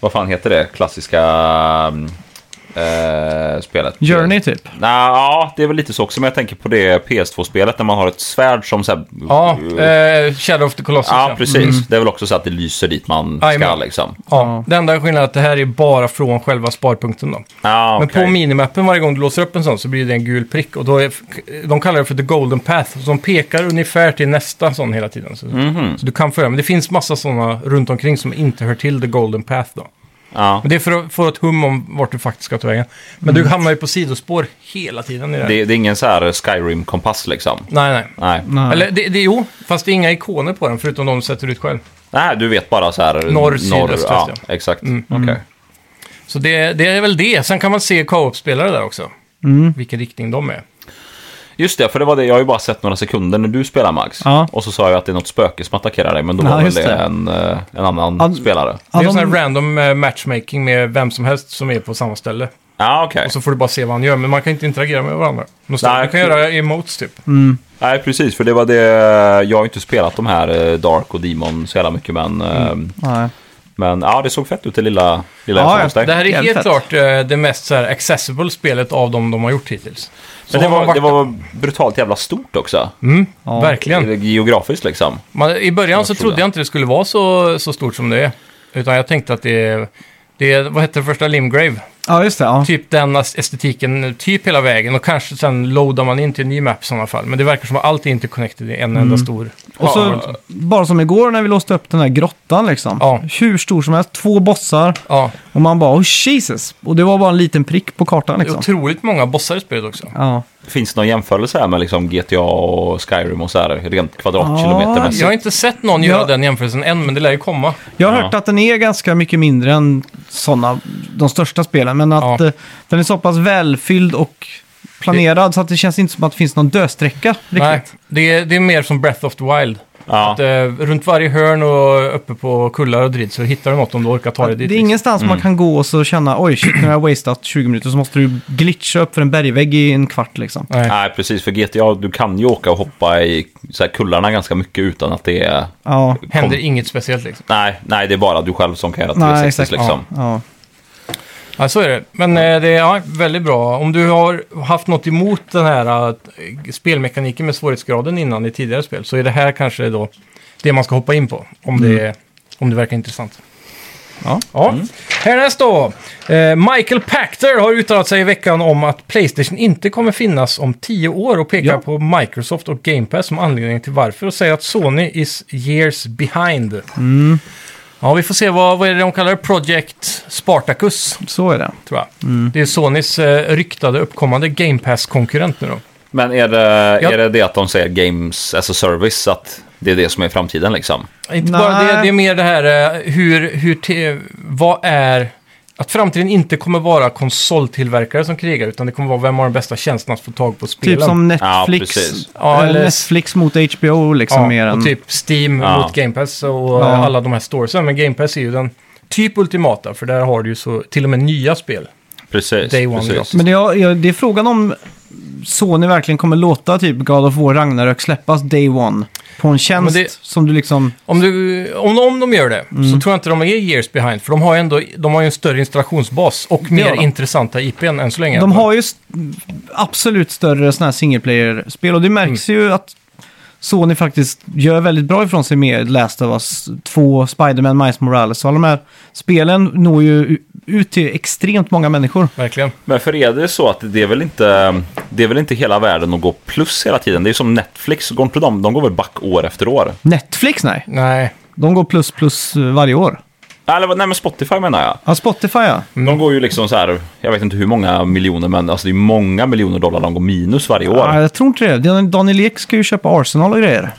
S3: vad fan heter det klassiska ehm, eh, spelet?
S1: Journey typ.
S3: Nej, ja, det är väl lite så också. Men jag tänker på det PS2-spelet när man har ett svärd som så här...
S2: Ja, Mm. eh, Shadow of the Colossus.
S3: ja, precis. Det är väl också så att det lyser dit man ska
S2: Jajamän.
S3: liksom.
S2: Ja, det enda skillnaden är att det här är bara från själva sparpunkten då.
S3: Ja,
S2: Men
S3: Ah, okej.
S2: på minimappen varje gång du låser upp en sån så blir det en gul prick. Och då är, de kallar det för the golden path. Så de pekar ungefär till nästa sån hela tiden. Så, så du kan följa. Men det finns massa såna runt omkring som inte hör till the golden path då.
S3: ja.
S2: Men det är för att få ett hum om vart du faktiskt ska ta vägen. Men du hamnar ju på sidospår hela tiden i det här.
S3: Det, det är ingen så här Skyrim-kompass liksom.
S2: Nej, nej.
S3: Nej.
S1: Nej.
S2: Eller det, det, jo, fast det är inga ikoner på den förutom de du sätter ut själv.
S3: Nej, du vet bara så här...
S2: Norr, syd, öst,
S3: ja,
S2: väst, Mm.
S3: Exakt.
S2: Okej. Så det, det är väl det. Sen kan man se co-op-spelare där också. Vilken riktning de är.
S3: Just det, för det var det. Jag har ju bara sett några sekunder när du spelar Max.
S1: Ja.
S3: Och så sa jag att det är något spöke som attackerar dig, men då
S1: Ja,
S3: var väl
S1: just
S3: det,
S1: det.
S3: En, eh, en annan
S1: An-
S3: spelare.
S1: Ja,
S2: det är
S1: de-
S2: sån här random eh, matchmaking med vem som helst som är på samma ställe.
S3: Ja, okej.
S2: Och så får du bara se vad han gör, men man kan inte interagera med varandra. Nej,
S3: Nej,
S2: du kan
S3: cool.
S2: göra emotes typ.
S1: Mm.
S3: Nej, precis, för det var det... Jag har ju inte spelat de här eh, Dark och Demon så jävla mycket, men... eh,
S1: Nej.
S3: Men ja, det såg fett ut det lilla, lilla
S1: Mm. Ja,
S3: jag såg
S1: ja,
S3: hos dig.
S2: Det här är
S1: Jävligt
S2: helt
S1: fett.
S2: klart eh, det mest så här, accessible spelet av dem de har gjort hittills. Så
S3: Men det
S2: har man
S3: var,
S2: varit-
S3: det var brutalt jävla stort också.
S2: Mm,
S1: Ja.
S2: Verkligen.
S3: Geografiskt liksom.
S2: Man, I början så
S3: tror
S2: trodde jag inte det skulle vara så, så stort som det är. Utan jag tänkte att det Det är, vad hette det första? Limgrave.
S1: Ja, just det. Ja.
S2: Typ den estetiken, typ hela vägen. Och kanske sen loadar man in till en ny map i sådana fall. Men det verkar som att allt är interconnected i en enda stor.
S1: Mm. Och så,
S2: Ja,
S1: bara som igår när vi låste upp den här grottan liksom.
S2: Ja.
S1: Hur stor som helst, två bossar.
S2: ja.
S1: Och man bara, oh Jesus! Och det var bara en liten prick på kartan
S2: Det är
S1: liksom.
S2: otroligt många bossar i spelet också.
S1: Ja.
S3: Finns det någon jämförelse här med liksom GTA och Skyrim och så här rent
S2: Jag
S3: kvadratkilometermässigt?
S2: har inte sett någon göra
S1: Alltså- Ja.
S2: den jämförelsen än, men det lär ju komma.
S1: Jag har
S3: Ja.
S1: hört att den är ganska mycket mindre än sådana, de största spelen. Men att
S2: Ja.
S1: eh, den är så pass välfylld och planerad så att det känns inte som att det finns någon dödsträcka riktigt.
S2: Nej, det är, det är mer som Breath of the Wild.
S3: Ja.
S2: Att, eh, runt varje hörn och uppe på kullar och dritt så hittar du något om du orkar ta
S1: det
S2: dig dit.
S1: är
S2: liksom.
S1: ingenstans
S3: Mm.
S1: man kan gå och så känna oj shit, nu har jag wasteat 20 minuter så måste du glitcha upp för en bergvägg i en kvart liksom.
S2: Nej.
S3: Nej, precis. För GTA, du kan ju åka och hoppa i så här kullarna ganska mycket utan att det är...
S1: Ja,
S2: Händer inget speciellt liksom.
S3: Nej, nej, det är bara du själv som kan göra
S1: nej
S3: 360
S1: exakt.
S3: liksom.
S1: Ja.
S2: Ja, så är det. Men eh, det är ja, väldigt bra. Om du har haft något emot den här eh, spelmekaniken med svårighetsgraden innan i tidigare spel så är det här kanske då det man ska hoppa in på. Om det, om det verkar intressant.
S1: Mm. Ja. Mm.
S2: ja. Härnäst då. Eh, Michael Pachter har uttalat sig i veckan om att Playstation inte kommer finnas om tio år och pekar
S1: Ja.
S2: på Microsoft och Game Pass som anledning till varför och säger att Sony is years behind.
S1: Mm.
S2: Ja, vi får se vad, vad är det de kallar det? Project Spartacus
S1: Så är det.
S2: tror jag. Det är Sonys eh, ryktade uppkommande Game Pass-konkurrent nu då.
S3: Men är det,
S2: Ja.
S3: är det det att de säger games as a service, att det är det som är framtiden liksom?
S2: Inte
S1: Nej.
S2: bara det, det är mer det här eh, hur, hur te, vad är, att framtiden inte kommer vara konsoltillverkare som krigar, utan det kommer vara vem har den bästa tjänsten att få tag på spelen.
S1: Typ som
S3: Ja,
S1: Netflix,
S3: precis.
S2: Ja,
S1: eller
S2: eller-
S1: Netflix mot HBO liksom.
S2: ja,
S1: mer än...
S2: och typ Steam
S3: Ja.
S2: mot Game Pass och eh,
S1: Ja.
S2: alla de här storiesen. Men Game Pass är ju den typ ultimata, för där har du ju så, till och med nya spel.
S3: Precis.
S2: Day one
S3: precis.
S2: gratis.
S1: Men det är, ja, det är frågan om Sony verkligen kommer låta typ God of War Ragnarök släppas day one på en tjänst
S2: Men det-
S1: som du liksom...
S2: Om, du, om, om de gör det
S1: Mm.
S2: så tror jag inte de är years behind. För de har ju, ändå, de har ju en större installationsbas och mer
S1: har de.
S2: intressanta IPn än så länge.
S1: De har ju st- absolut större sådana här single player-spel och det märks
S3: Mm.
S1: ju att Sony faktiskt gör väldigt bra ifrån sig med Last of Us 2, Spider-Man, Miles Morales och alla de här spelen når ju u- ut till extremt många människor.
S2: Verkligen.
S3: Men för er det är så att det är väl inte, det är väl inte hela världen att gå plus hela tiden? Det är ju som Netflix, går inte de, de går väl back år efter år?
S1: Netflix nej,
S2: Nej.
S1: de går plus plus eh, varje år.
S3: Eller vad- nej men Spotify menar jag.
S1: Ja, Spotify ja.
S3: De går ju liksom så här, jag vet inte hur många miljoner, men alltså det är många miljoner dollar de går minus varje år.
S1: ja. Jag tror inte det. Dan- Daniel Ek ska ju köpa Arsenal och grejer.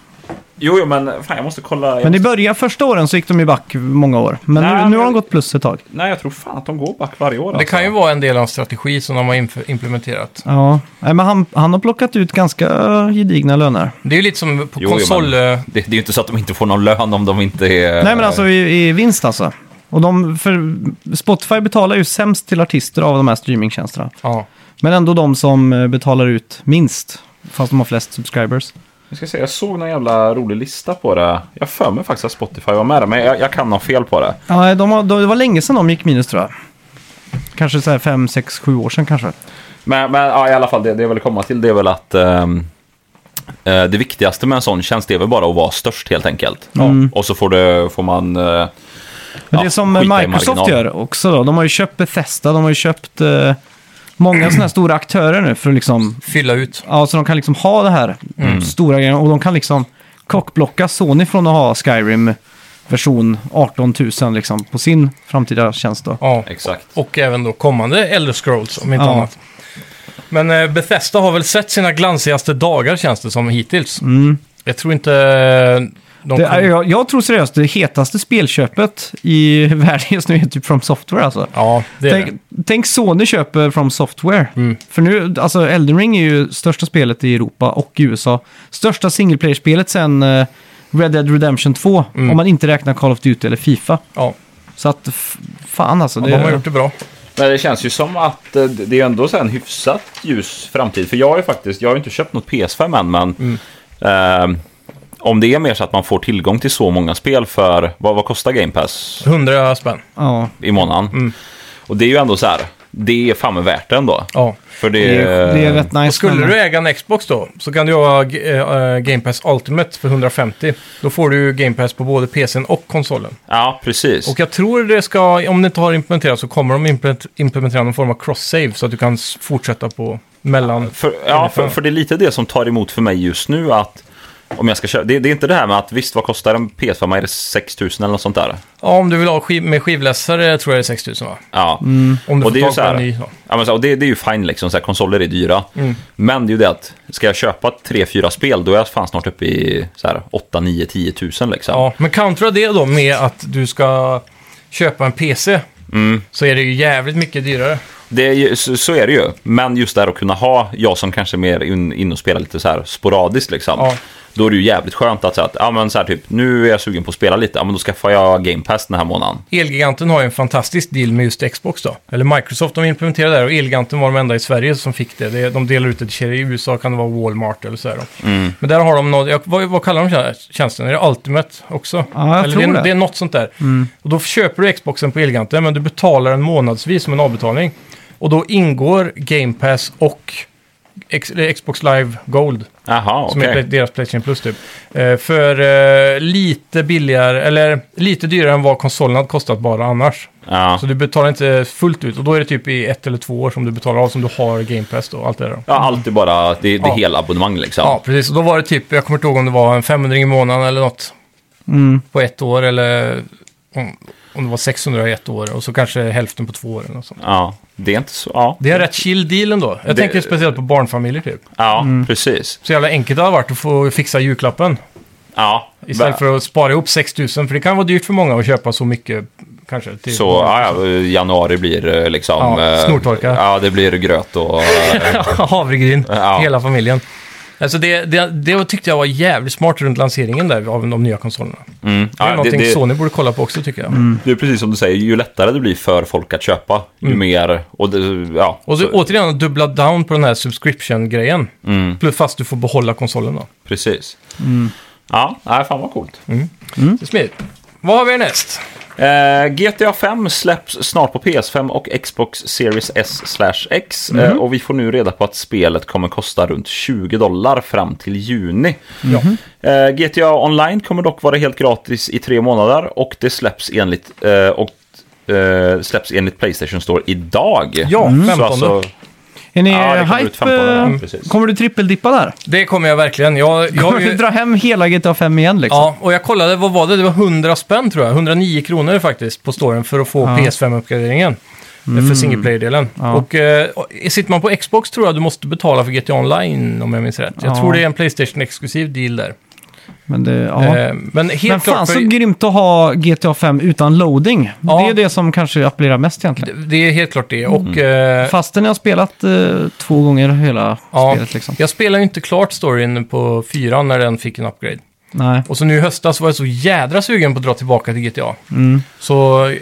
S3: Jo, jo, men fan jag måste kolla. Jag
S1: Men i
S3: måste,
S1: början, första åren så gick de ju back många år. Men
S3: Nej,
S1: nu, nu har de
S3: men-
S1: gått plus ett tag.
S3: Nej, jag tror fan att de går back varje år. alltså.
S2: Det kan ju vara en del av en strategi som de har inf- implementerat.
S1: Ja, Nej, men han, han har plockat ut ganska gedigna löner.
S2: Det är ju lite som på
S3: Jo, jo,
S2: konsol...
S3: men-
S2: eh,
S3: Det, det är ju inte så att de inte får någon lön om de inte är...
S1: Nej, men alltså i, i vinst alltså. Och de, för Spotify betalar ju sämst till artister av de här streamingtjänsterna.
S2: ja.
S1: Men ändå de som eh, betalar ut minst, fast de har flest subscribers.
S3: Jag ska säga, jag såg någon jävla rolig lista på det. Jag för mig faktiskt att Spotify var med där, men jag, jag kan ha fel på det.
S1: Ja, de har, de, det var länge sedan de gick minus tror jag. Kanske så här 5, 6, 7 år sedan kanske.
S3: Men, men ja, i alla fall, det, det jag vill komma till det är väl att ehm, eh, det viktigaste med en sån tjänst är väl bara att vara störst helt enkelt. Och så får, du, får man... Eh,
S1: Mm. Men
S3: ja,
S1: det som
S3: skita i
S1: Microsoft
S3: marginalen.
S1: gör också då, de har ju köpt Bethesda, de har ju köpt eh, många sådana här stora aktörer nu för att liksom
S2: Fylla ut.
S1: Ja, så de kan liksom ha det här
S2: Mm.
S1: stora grejen och de kan liksom kockblocka Sony från att ha Skyrim version 18 000 liksom på sin framtida tjänst då.
S2: Ja.
S3: Exakt.
S2: Och även då kommande Elder Scrolls, om inte
S1: Ja.
S2: annat. Men eh, Bethesda har väl sett sina glansigaste dagar, känns det som, hittills. Jag tror inte... eh, De
S1: Mm. Det
S2: kommer-
S1: är, jag, jag tror seriöst det hetaste spelköpet i världen just nu är typ From Software alltså.
S2: Ja, det är det. Mm.
S1: Tänk, tänk Sony köper From Software. För nu, alltså Elden Ring är ju största spelet i Europa och i USA. Största single player-spelet sen eh, Red Dead Redemption 2.
S2: Mm.
S1: Om man inte räknar Call of Duty eller Fifa.
S2: Ja.
S1: Så att, f- fan alltså.
S2: De har gjort det bra.
S3: Men det känns ju som att eh, det är ändå så här en hyfsat ljus framtid. För jag har ju faktiskt, jag har ju inte köpt något PS5 än, men ehm, om det är mer så att man får tillgång till så många spel för, vad, vad kostar Game Pass
S2: 100 spänn.
S1: ja.
S3: i månaden? Och det är ju ändå så här, det är fan med värt det ändå.
S2: Ja.
S3: För det,
S1: Det är, det är rätt nice.
S2: Och skulle
S1: men-
S2: du äga en Xbox då, så kan du ha eh, Game Pass Ultimate för 150. Då får du ju Game Pass på både PCn och konsolen.
S3: Ja, precis.
S2: Och jag tror det ska, om det inte har implementerats, så kommer de implement- implementera någon form av cross-save så att du kan s- fortsätta på mellan...
S3: För, ja, för, för det är lite det som tar emot för mig just nu att om jag ska köpa, det, det är inte det här med att visst vad kostar en PS5, är det 6000 eller något sånt där?
S2: Ja, om du vill ha skiv med skivläsare tror jag det är 6000 va?
S3: Ja.
S2: Om du
S3: Och det
S2: får
S3: är ju
S2: tag
S3: så
S2: på en
S3: här,
S2: ny. Mm. Ja.
S3: ja, men så, och det, det är ju fine liksom, så här, konsoler är dyra. Men det är ju det att ska jag köpa tre fyra spel då är jag fan snart uppe i så här, 8, 9, 10 tusen liksom.
S2: ja, men kontra det då med att du ska köpa en PC.
S3: Mm.
S2: Så är det ju jävligt mycket dyrare.
S3: Det är ju, så, så är det ju. Men just det här att kunna ha, jag som kanske är mer in, in och spelar lite så här sporadiskt liksom.
S2: Ja.
S3: Då är det ju jävligt skönt att säga att ja, men så här, typ, nu är jag sugen på att spela lite, ja, men då skaffar jag Game Pass den här månaden.
S2: Elgiganten har ju en fantastisk deal med just Xbox då. Eller Microsoft, de implementerade det här och Elgiganten var de enda i Sverige som fick det. Det- De delar ut det till kedjor. I USA kan det vara Walmart eller så här. då. Men där har de något, jag- vad, vad kallar de tjä- tjänsten? Är det Ultimate också?
S1: Ja, jag
S2: eller
S1: tror
S2: det, är-
S1: det. Mm.
S2: det är något sånt där. Och då köper du Xboxen på Elgiganten, men du betalar den månadsvis som en avbetalning. Och då ingår Game Pass och X, eller Xbox Live Gold.
S3: Jaha,
S2: Som
S3: okej.
S2: är Play- deras Playstation Plus typ. Eh, för eh, lite billigare, eller lite dyrare än vad konsolen hade kostat bara annars.
S3: Ja.
S2: Så du betalar inte fullt ut och då är det typ i ett eller två år som du betalar av som du har Game Pass och allt det där. då.
S3: ja, alltid bara det, det
S2: Ja.
S3: är hela abonnemang liksom.
S2: Ja, precis. Och då var det typ, jag kommer inte ihåg om det var en 500 i månaden eller något
S1: Mm.
S2: på ett år eller om, om det var 600 i ett år och så kanske hälften på två år eller något sånt.
S3: Ja, det är inte så. Ja,
S2: Det är en rätt chill deal ändå. Jag
S3: Det-
S2: tänker speciellt på barnfamiljer typ.
S3: ja precis.
S2: Så jävla enkelt det hade varit att få fixa julklappen.
S3: Ja,
S2: Istället
S3: Bä-
S2: för att spara ihop 6 000, för det kan vara dyrt för många att köpa så mycket kanske. Till
S3: så ja, ja, januari blir eh, liksom...
S2: Ja,
S3: eh,
S2: snortorka.
S3: Ja, det blir gröt och... eh,
S2: Havregryn,
S3: Ja.
S2: hela familjen. Alltså det, det, det tyckte jag var jävligt smart runt lanseringen där av de nya konsolerna.
S3: Mm.
S2: det är
S3: Ja,
S2: någonting Sony borde kolla på också tycker jag.
S1: Mm.
S3: Det är precis som du säger, ju lättare det blir för folk att köpa, ju mer... Och det, ja,
S2: Mm. Och så,
S3: så,
S2: återigen, dubbla down på den här subscription-grejen.
S3: Mm.
S2: Plus fast du får behålla konsolen då.
S3: precis.
S2: Mm.
S3: Ja, nej, fan vad coolt.
S1: Mm.
S2: Det är smidigt. Vad har vi näst?
S3: Eh, GTA 5 släpps snart på PS5 och Xbox Series S slash X. Eh, och vi får nu reda på att spelet kommer kosta runt 20 dollar fram till juni. Eh, GTA Online kommer dock vara helt gratis i tre månader och det släpps enligt, eh, och, eh, släpps enligt Playstation Store idag.
S2: Ja,
S1: Mm.
S3: Så
S2: 15.
S3: alltså-
S1: Är ni
S3: Ja, det kommer ut
S1: hype?
S3: 15 där,
S1: eh,
S3: ja, precis.
S1: kommer du trippeldippa där?
S2: Det kommer jag verkligen. Jag, jag,
S1: Kommer du dra hem hela GTA 5 igen liksom?
S2: Ja, och jag kollade, vad var det? Det var 100 spänn tror jag. 109 kronor faktiskt på storen för att få PS5-uppgraderingen. Eh, För
S1: Mm.
S2: single player-delen. Och eh, och sitter man på Xbox tror jag du måste betala för GTA Online om jag minns rätt. Jag
S1: Ja.
S2: tror det är en Playstation-exklusiv deal där.
S1: Men det, ja.
S2: Eh, men helt
S1: Men fan
S2: klart, för
S1: så grymt att ha GTA 5 utan loading.
S2: Ja.
S1: Det är det som kanske appellerar mest egentligen.
S2: det- det är helt klart det.
S1: Mm.
S2: Och, eh,
S1: Fastän jag har spelat eh, två gånger hela
S2: ja,
S1: spelet liksom.
S2: Jag spelade ju inte klart storyn på fyran när den fick en upgrade.
S1: Nej.
S2: Och så nu i höstas var jag så jädra sugen på att dra tillbaka till GTA.
S1: Mm.
S2: Så, eh,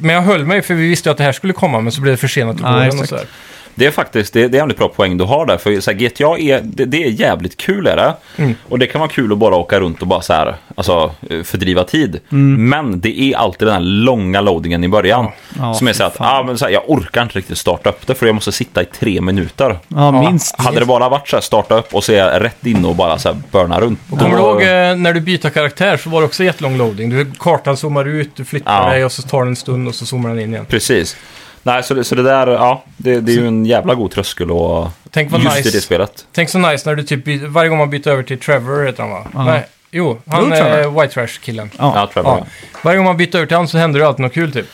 S2: men jag höll mig för vi visste ju att det här skulle komma men så blev det försenat i
S1: Ja,
S2: våren och
S1: exakt.
S2: sådär. det
S3: Det är faktiskt det, det är jävligt bra poäng du har där. För så här, GTA är, det, det är jävligt kul är det.
S2: Mm.
S3: Och det kan vara kul att bara åka runt och bara så här, alltså, eh, fördriva tid.
S2: Mm.
S3: Men det är alltid den här långa loadingen i början.
S1: Ja,
S3: som är så
S1: fy
S3: här att ah, men så här, jag orkar inte riktigt starta upp det för jag måste sitta i tre minuter.
S1: Ja, minst.
S3: Hade det bara varit så här starta upp och så är jag rätt inne och bara så här burna runt.
S2: Kommer du
S3: då-
S2: ihåg eh, när du byter karaktär så var det också jättelång loading. Du, kartan zoomar ut, du flyttar
S3: Ja.
S2: dig och så tar den en stund och så zoomar den in igen.
S3: Precis. Nej, så det, så det där, ja, det, det är ju en jävla god tröskel och
S2: Tänk vad
S3: just
S2: nice.
S3: i det spelet.
S2: Tänk så nice när du typ byter, varje gång man byter över till Trevor heter han va? Nej, jo, han
S1: Jo,
S2: är
S1: Trevor.
S2: White Trash-killen.
S1: Ja.
S3: Ja, Trevor.
S2: Ja. Varje gång man byter över till han så händer det alltid något kul typ.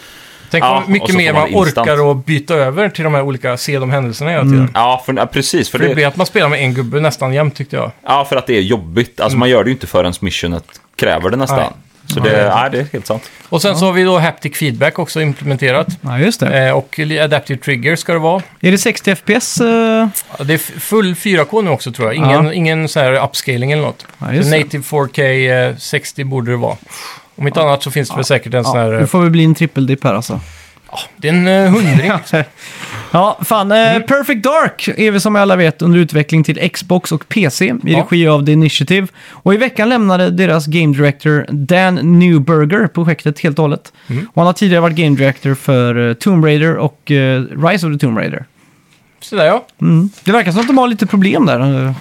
S2: Tänk
S3: Ja,
S2: vad mycket
S3: och så
S2: mer
S3: får
S2: man
S3: man instant. Mm.
S2: orkar att byta över till de här olika, se de händelserna hela tiden.
S3: Ja, för, ja precis. För
S2: För det blir att man spelar med en gubbe nästan jämt tyckte jag.
S3: Ja, för att det är jobbigt. Alltså man gör det ju inte förrän missionet kräver det nästan.
S2: Nej.
S3: Så det,
S2: Mm. Nej.
S3: nej. det är helt sant.
S2: Och sen så har vi då haptic feedback också implementerat.
S1: Ja, just det.
S2: Eh, och li- adaptive trigger ska det vara.
S1: Är det 60 FPS? eh?
S2: Ja, Det är f- full 4K nu också tror jag. Ingen,
S1: Ja.
S2: ingen så här upscaling eller något.
S1: Ja, just det.
S2: Native 4K eh, 60 borde det vara. Om inte annat så finns det väl säkert en sån
S1: Ja,
S2: här...
S1: nu
S2: eh,
S1: får vi bli en trippeldipp här alltså.
S2: Det är en eh, hundring.
S1: Ja, fan. eh,
S2: Mm.
S1: Perfect Dark är väl som alla vet under utveckling till Xbox och PC i
S2: Ja.
S1: regi av The Initiative. Och i veckan lämnade deras Game Director Dan Newberger projektet helt och hållet.
S2: Mm.
S1: Och han har tidigare varit Game Director för eh, Tomb Raider och eh, Rise of the Tomb Raider.
S2: Så där ja.
S1: Mm. Det verkar som att de har lite problem där eh,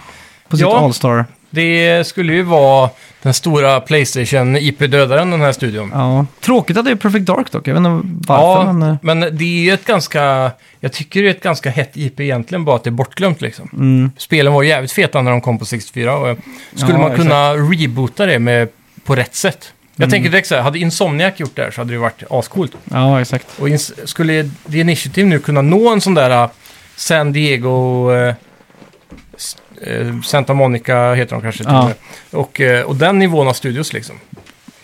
S1: på sitt
S2: Ja.
S1: All-Star.
S2: Det skulle ju vara den stora Playstation-IP-dödaren, den här studion.
S1: Ja. Tråkigt att det är Perfect Dark dock. Jag vet inte varför.
S2: ja,
S1: men, eh,
S2: men det är ju ett ganska... Jag tycker det är ett ganska hett IP egentligen, bara att det är bortglömt liksom.
S1: Mm.
S2: Spelen var jävligt feta när de kom på 64 och eh, skulle
S1: Ja,
S2: man kunna reboota det med, på rätt sätt? Jag
S1: Mm.
S2: tänker direkt så här, hade Insomniac gjort det här så hade det ju varit ascoolt.
S1: ja, exakt.
S2: Och ins- skulle The Initiative nu kunna nå en sån där eh, San Diego... Eh, s- eh, Santa Monica heter de kanske till
S1: Ja.
S2: och med. och, eh, och den nivån av studios liksom.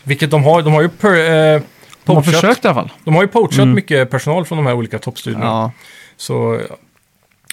S2: Vilket de har, de har ju... Per, eh,
S1: De har
S2: poachat-
S1: försökt i alla fall.
S2: de har ju poachat
S1: Mm.
S2: mycket personal från de här olika toppstudiorna.
S1: Ja,
S2: Så ja,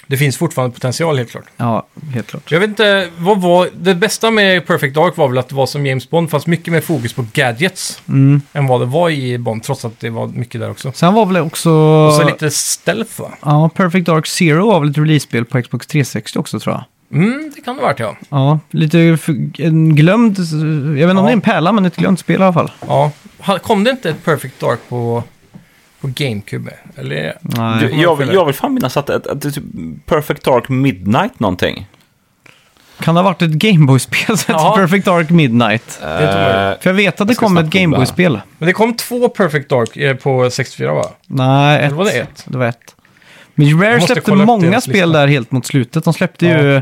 S2: det finns fortfarande potential helt klart.
S1: ja helt klart.
S2: Jag vet inte, vad var... Det bästa med Perfect Dark var väl att det var som James Bond, fast mycket mer fokus på gadgets
S1: Mm.
S2: än vad det var i Bond, trots att det var mycket där också.
S1: Sen var väl också...
S2: Och så lite stealth va?
S1: Ja, Perfect Dark Zero var väl ett release-spel på Xbox 360 också tror jag.
S2: Mm, det kan det ha varit ja.
S1: Ja, lite för, en glömd, jag vet inte om
S2: Ja.
S1: det är en pärla, men ett glömt spel i alla fall.
S2: ja. Ha- Kom det inte ett Perfect Dark på, på GameCube? Eller?
S1: Nej.
S3: Jag, jag, vill, jag vill fan minnas att, att, att, det är typ Perfect Dark Midnight någonting.
S1: Kan det ha varit ett Gameboy-spel som
S2: Ja.
S1: heter Perfect Dark Midnight?
S2: är inte omöjligt.
S3: Eh,
S1: För jag vet att det
S3: ska
S1: kom ett
S3: snabbt googla.
S1: Gameboy-spel.
S2: Men det kom två Perfect Dark eh, på 64 va?
S1: Nej, ett.
S2: Eller var det ett?
S1: Det var ett. Men Rare
S2: måste
S1: släppte
S2: kolla upp
S1: många
S2: deras
S1: spel
S2: lista.
S1: där helt mot slutet. De släppte
S2: Ja.
S1: ju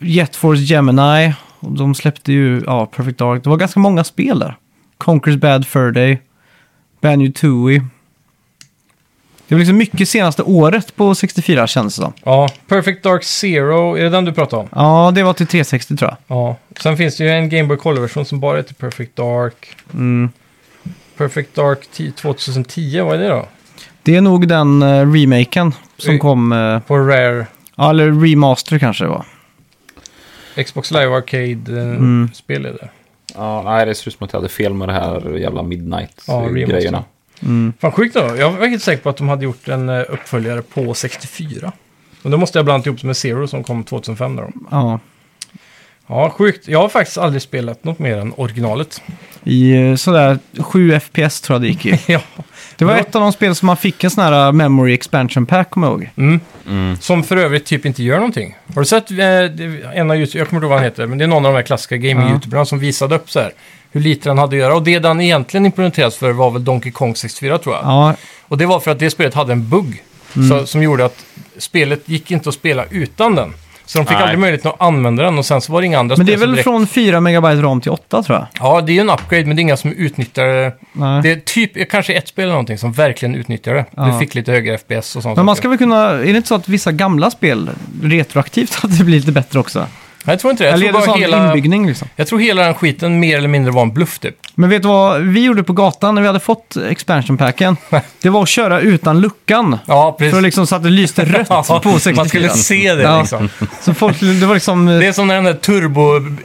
S1: Jet Force Gemini, och de släppte ju ja, Perfect Dark. Det var ganska många spel där. Conquer's Bad Fur Day, Banjo Tooie. Det var liksom mycket senaste året på 64 känns det som.
S2: Ja, Perfect Dark Zero, är det den du pratar om?
S1: Ja, det var till 360 tror jag.
S2: Ja, sen finns det ju en Game Boy Color-version som bara heter Perfect Dark.
S1: Mm.
S2: Perfect Dark 10 2010, vad är det då?
S1: Det är nog den uh, remaken som
S2: Oj.
S1: kom, eh,
S2: På Rare,
S1: ja eller remaster kanske det var.
S2: Xbox Live
S1: Mm.
S2: Arcade-spel är det.
S3: ja, nej, det ser ut som att jag hade fel med det här jävla
S2: Ja,
S3: Midnight-grejerna.
S2: remaster. Fan sjukt då. Jag var helt säker på att de hade gjort en eh, uppföljare på 64. Men då måste jag blandat ihop det med Zero som kom 2005 där då.
S1: Ja.
S2: Ja, sjukt. Jag har faktiskt aldrig spelat något mer än originalet.
S1: I eh, sådär 7 FPS tror jag det gick i.
S2: ja.
S1: Det var
S2: Ja.
S1: ett av de spel som man fick en sån här uh, memory expansion pack, kommer jag ihåg.
S2: Mm. Som för övrigt typ inte gör någonting. Har du sett eh, det- en av YouTube, jag kommer inte ihåg vad han heter, men det är någon av de här klassiska gaming-youtuberna som visade upp så här hur lite den hade att göra. Och det den egentligen implementerades för var väl Donkey Kong 64 tror jag.
S1: Ja,
S2: Och det var för att det spelet hade en bugg
S1: Mm.
S2: så, som gjorde att spelet gick inte att spela utan den. Så de fick
S3: Nej.
S2: aldrig möjligheten att använda den och sen så var det inga andra
S1: men det
S2: spel
S1: är
S2: som
S1: väl
S2: direkt...
S1: från 4 megabyte ram till 8 tror jag.
S2: Ja, det är ju en upgrade, men det är inga som utnyttjar
S1: Nej.
S2: det. är typ, kanske ett spel eller någonting som verkligen utnyttjar det.
S1: Ja.
S2: Du fick lite högre FPS och sånt.
S1: Men man ska väl kunna, är det inte så att vissa gamla spel retroaktivt att det blir lite bättre också?
S2: Jag tror inte det. Jag
S1: Eller är
S2: tror
S1: det
S2: bara
S1: sån
S2: hela...
S1: inbyggning liksom?
S2: Jag tror hela den skiten mer eller mindre var en bluff typ.
S1: Men vet du vad vi gjorde på gatan när vi hade fått expansion packen? Det var att köra utan luckan.
S2: Ja, precis.
S1: För liksom så att det lyste rött
S2: Ja,
S1: på 64.
S2: Man skulle se det
S1: Ja.
S2: liksom.
S1: Så folk, det var liksom...
S2: Det är som när den där turbo,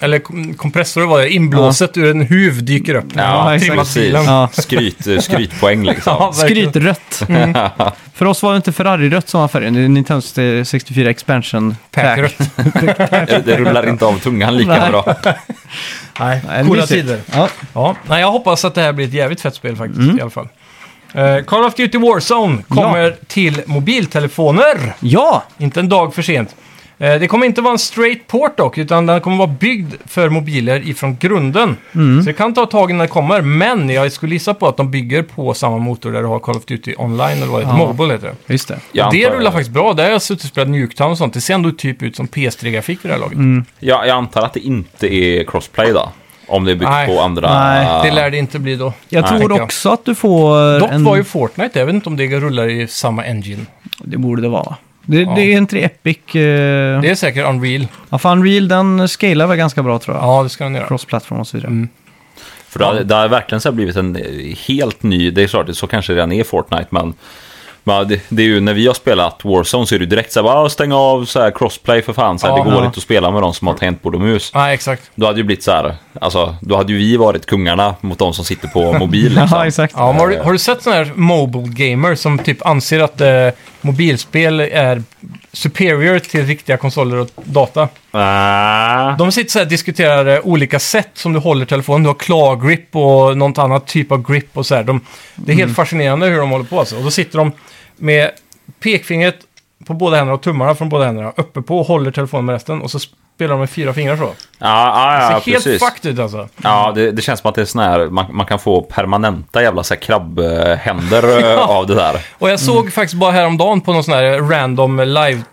S2: eller kom- kompressor var det, inblåset ur en huv dyker upp.
S1: Ja,
S3: Ja,
S1: exakt.
S3: precis.
S2: Bilen.
S1: Ja.
S3: Skryt, eh, skrytpoäng liksom.
S2: Ja, verkligen.
S1: Skrytrött. Mm. För oss var det inte Ferrari-rött som var färgen, det är Nintendo 64 Expansion Pack.
S2: Packrött.
S3: Det det rullar inte av tungan lika
S1: Nej.
S3: bra.
S2: Nej,
S1: Nej,
S2: coola
S1: mysigt.
S2: tider.
S1: Ja.
S2: Ja. Nej, jag hoppas att det här blir ett jävligt fett spel faktiskt
S1: Mm.
S2: i alla fall. Eh, Call of Duty Warzone kommer till mobiltelefoner.
S1: ja,
S2: Inte en dag för sent. Eh, Det kommer inte vara en straight port dock, utan den kommer vara byggd för mobiler ifrån grunden.
S1: Mm.
S2: Så det kan ta ett tag innan det kommer, men jag skulle gissa på att de bygger på samma motor där du har Call of Duty Online, eller vad det heter,
S1: Ja.
S2: Mobile heter det.
S1: just det.
S3: Jag
S2: det
S3: antar-
S2: rullar faktiskt bra. Där har jag suttit och spelat Nuketown och sånt. Det ser ändå typ ut som PS3-grafik vid det här laget.
S1: Mm.
S3: Ja, jag antar att det inte är crossplay då. Om det är byggt
S2: Nej.
S3: på andra...
S1: Nej,
S2: Det lär det inte bli då.
S1: Jag
S3: Nej,
S1: tror
S2: tänker jag.
S1: också att du får eh,
S2: Dock
S1: en...
S2: var ju Fortnite, jag vet inte om det rullar i samma engine.
S1: Det borde det vara. Det, det är inte det Epic... Eh...
S2: Det är säkert Unreal.
S1: Ja, fan, Real den scalar väl ganska bra tror jag.
S2: Ja, Mm, det ska den göra.
S1: Cross-platform och så vidare.
S3: För det har, det har verkligen så här blivit en eh, helt ny... Det är klart, så kanske det redan är Fortnite, men Men det, det är ju, när vi har spelat Warzone så är det ju direkt så här, bara, "Ah, stäng av så här, crossplay för fan. Så här,
S2: Ja.
S3: det går
S1: Ja.
S3: inte att spela med de som har tangentbord och mus.
S2: Nej, exakt.
S3: Då hade ju blivit så här, alltså, då hade ju vi varit kungarna mot de som sitter på mobil.
S1: Ja,
S3: Liksom.
S1: exakt.
S2: Ja, men har, du, har du sett sådana här mobile gamer som typ anser att eh, mobilspel är superior till riktiga konsoler och data?
S3: Ah.
S2: De sitter så här och diskuterar eh, olika sätt som du håller telefonen. Du har claw grip och något annat typ av grip och så här. De, det är helt fascinerande hur de håller på alltså. Och då sitter de med pekfingret på båda händerna och tummarna från båda händerna uppe på och håller telefonen med resten och så spelar de med fyra fingrar så.
S3: Ja, ja,
S2: Det
S3: ja,
S2: ser Alltså, helt
S3: precis.
S2: fucked ut alltså.
S3: Ja, det, det känns som att det är sån här, man, man kan få permanenta jävla så här krabbhänder eh, av det där.
S2: Och jag
S3: Mm.
S2: såg faktiskt bara häromdagen på någon sån här random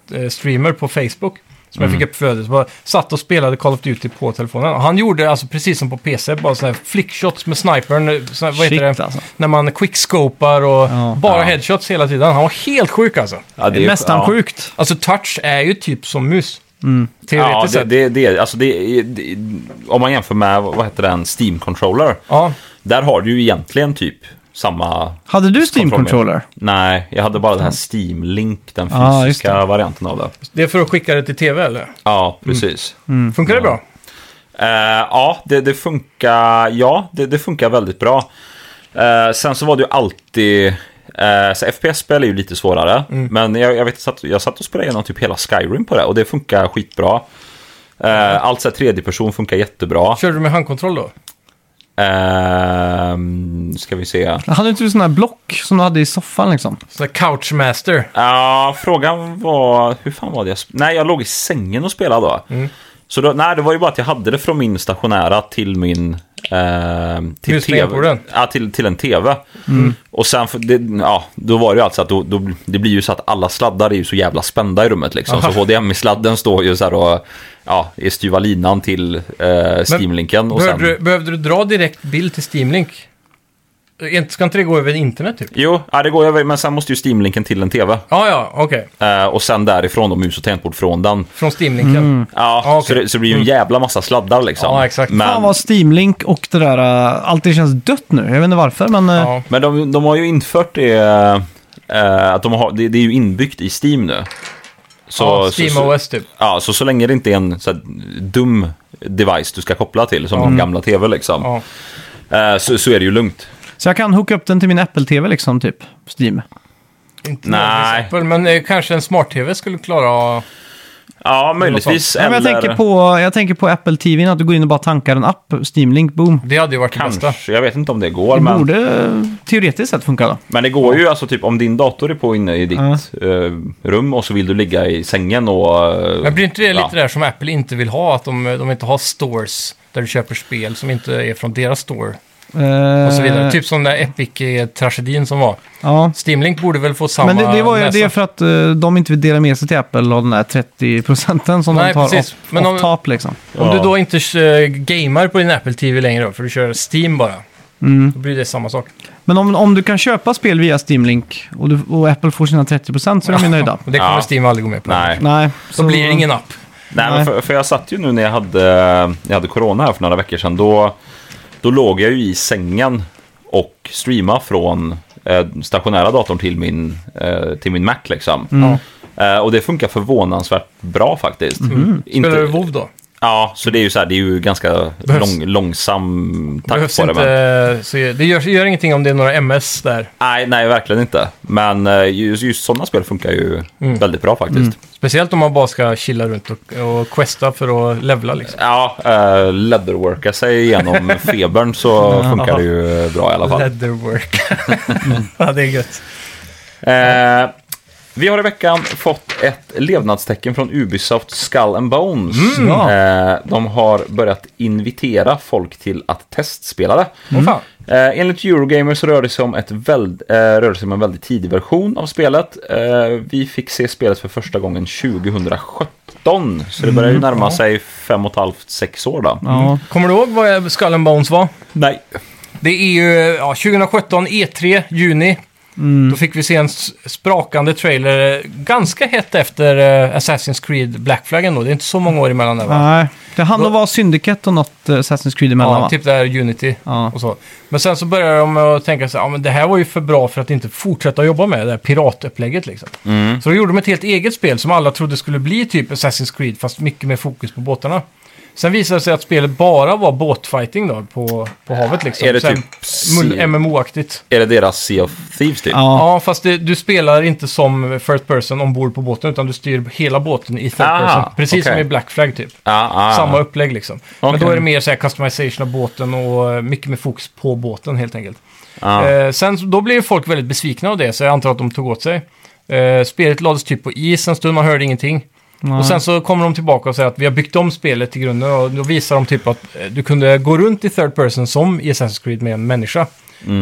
S2: live-streamer på Facebook. Som
S3: Mm.
S2: jag fick upp flödet. Bara Satt och spelade Call of Duty på telefonen. Och han gjorde alltså precis som på PC, bara sådana här flickshots med snipern. Såna, här- vad heter
S1: Shit
S2: det?
S1: alltså.
S2: När man quickscopar och
S1: Ja.
S2: bara
S3: Ja.
S2: headshots hela tiden. Han var helt sjuk alltså.
S3: Ja,
S1: Det är nästan
S3: ja.
S1: sjukt.
S2: Alltså touch är ju typ som mus.
S3: Mm. Ja,
S2: Teoretiskt
S3: det,
S2: sett.
S3: det, det, alltså det, det, om man jämför med, vad heter den, Steam-controller.
S2: Ja.
S3: Där har du ju egentligen typ samma...
S1: Hade du Steam-controller?
S3: Nej, jag hade bara den här Steam Link, den
S1: Ja, just Mm.
S3: fysiska varianten av det.
S2: det är för att skicka det till tv eller?
S3: Ja, precis.
S2: Funkar det bra?
S3: Eh, ja, det, det funkar Ja, det, det funkar väldigt bra. Eh, sen så var det ju alltid... eh, så FPS-spel är ju lite svårare.
S1: Mm.
S3: Men jag, jag, vet, jag, satt, jag satt och spelade igenom typ hela Skyrim på det och det funkar skitbra. Uh, allt så här tredjeperson funkar jättebra.
S2: Körde du med handkontroll då?
S3: Uh, ska vi se.
S1: Hade inte du sådana här block som du hade i soffan liksom?
S2: Sån här couchmaster.
S3: Ja, frågan var... Hur fan var det jag... sp- Nej, jag låg i sängen och spelade då.
S2: Mm.
S3: Så då, nej, det var ju bara att jag hade det från min stationära till min... Eh, till,
S2: Huslängdborden.
S3: TV, ja, till, till en TV.
S2: Mm.
S3: Och sen, för det, ja, då var det ju alltså att då, då, det blir ju så att alla sladdar är ju så jävla spända i rummet liksom. Så HDMI-sladden står ju så här och ja, är styva linan till eh, Steam-linken. Och sen,
S2: Behövde, du, behövde du dra direkt bild till Steam Link? Eh, inte- Ska inte det gå över internet typ?
S3: Jo, ja, det går över, men sen måste ju Steam-linken till en TV.
S2: Ja, ja, okej.
S3: Eh, och sen därifrån då, mus och tangentbord från den.
S2: Från Steam Linken.
S1: Mm.
S3: Ja,
S2: Ah, okej.
S3: så, det, så det blir ju en jävla massa sladdar liksom.
S2: Ja, exakt.
S1: Fan
S3: Men,
S1: vad Steam-link och det där, eh, allt det känns dött nu. Jag vet inte varför, men... eh,
S2: Ja.
S3: men de, de har ju infört det, eh, att de har, det, det är ju inbyggt i Steam nu. Så,
S2: ja,
S3: så, så,
S2: Steam OS typ.
S3: ja, så, så länge det inte är en så här, dum device du ska koppla till, som de gamla TV liksom,
S2: Ja.
S3: eh, så, så är det ju lugnt.
S1: Så jag kan hooka upp den till min Apple-TV liksom, typ. Steam.
S2: Inte
S3: Nej.
S2: nödvändigtvis Apple, Men eh, kanske en smart-tv skulle klara...
S3: Ja, möjligtvis.
S1: Ja,
S3: Eller,
S1: men jag, tänker på, jag tänker på Apple TV, att du går in och bara tankar en app, Steam Link, boom.
S2: Det hade ju varit det bästa.
S3: kanske, jag vet inte om det går,
S1: Det
S3: men,
S1: borde eh, teoretiskt sett funka då.
S3: men det går ju alltså typ om din dator är på inne i ditt eh, rum och så vill du ligga i sängen och... eh,
S2: Men blir inte det
S3: ja.
S2: lite där som Apple inte vill ha? Att de, de inte har stores där du köper spel som inte är från deras store. Och så vidare.
S1: Eh,
S2: Typ som den där Epic-tragedin som var.
S1: Ja.
S2: Steam Link borde väl få samma
S1: Men det, det var ju
S2: näsa.
S1: det är för att eh, de inte vill dela med sig till Apple av den där 30 procenten som
S2: Nej,
S1: de tar
S2: precis.
S1: off,
S2: Men
S1: off
S2: om-
S1: top liksom.
S2: Om du
S3: Ja.
S2: då inte eh, gamer på din Apple TV längre då, för du kör Steam bara.
S3: Mm.
S2: Då blir det samma sak.
S1: Men om, om du kan köpa spel via Steam Link och, du, och Apple får sina 30 procent så är de ju nöjda.
S2: Och det kommer
S3: Ja.
S2: Steam aldrig gå med på.
S3: Nej.
S1: Nej,
S2: Så blir det ingen app.
S3: Nej,
S1: Nej.
S3: Men för, för jag satt ju nu när jag hade, jag hade corona här för några veckor sedan. Då, då låg jag ju i sängen och streama från eh, stationära datorn till min, eh, till min Mac liksom. Eh, och det funkar förvånansvärt bra faktiskt. Inte,
S2: Mm. Spelar du WoW då?
S3: Ja, så det är ju så här, det är ju ganska
S2: Behövs-
S3: lång, långsam takt
S2: Behövs
S3: på det. Men,
S2: inte, så det gör, gör ingenting om det är några MS där.
S3: nej, nej, verkligen inte. Men eh, just, just sådana spel funkar ju
S2: Mm.
S3: väldigt bra faktiskt.
S2: Speciellt om man bara ska chilla runt och, och questa för att levla liksom.
S3: Ja, eh, leatherworka sig igenom febern så funkar det ju bra i alla fall.
S2: Leatherwork. ja, det är gött.
S3: Eh, vi har i veckan fått ett levnadstecken från Ubisoft Skull and Bones.
S1: Mm. Ja.
S3: Eh, de har börjat invitera folk till att testspela det.
S2: Åh fan.
S3: Eh, enligt Eurogamer så rör det, sig om ett väld, eh, rör det sig om en väldigt tidig version av spelet. Eh, vi fick se spelet för första gången 2017, så det börjar ju närma sig fem och ett halvt, sex år då.
S1: Mm. Ja.
S2: Kommer du ihåg vad Skull and Bones var?
S3: Nej.
S2: Det är ju ja, 2017, E3, E juni.
S1: Mm.
S2: Då fick vi se en s- sprakande trailer eh, ganska hett efter eh, Assassin's Creed Black Flag ändå. Det är inte så många år emellan där va?
S1: Nej, det hann
S2: Då-
S1: nog vara Syndicate och något eh, Assassin's Creed emellan
S2: Ja,
S1: va?
S2: typ där Unity
S1: Ja.
S2: och så. Men sen så började de med att tänka så här, ja men det här var ju för bra för att inte fortsätta jobba med det här piratupplägget liksom.
S3: Mm.
S2: Så då gjorde de ett helt eget spel som alla trodde skulle bli typ Assassin's Creed, fast mycket mer fokus på båtarna. Sen visade det sig att spelet bara var båtfighting då, på, på havet liksom.
S3: Är det
S2: Så här
S3: typ
S2: mul-
S3: Sea-
S2: MMO-aktigt.
S3: Är det deras Sea of Thieves typ?
S1: Ja.
S2: Ja, fast det, du spelar inte som first person ombord på båten, utan du styr hela båten i third
S3: Ah,
S2: person. Precis som
S3: okej.
S2: i Black Flag typ.
S3: Ah, ah.
S2: Samma upplägg liksom. Men
S3: Okej.
S2: då är det mer så här customization av båten och eh, mycket mer fokus på båten helt enkelt.
S3: Ah.
S2: Eh, sen så- då blev folk väldigt besvikna av det, så jag antar att de tog åt sig. Eh, spelet lades typ på is en stund, man hörde ingenting. Och sen så kommer de tillbaka och säger att vi har byggt om spelet till grunden och då visar de typ att eh, du kunde gå runt i third person som i Assassin's Creed med en människa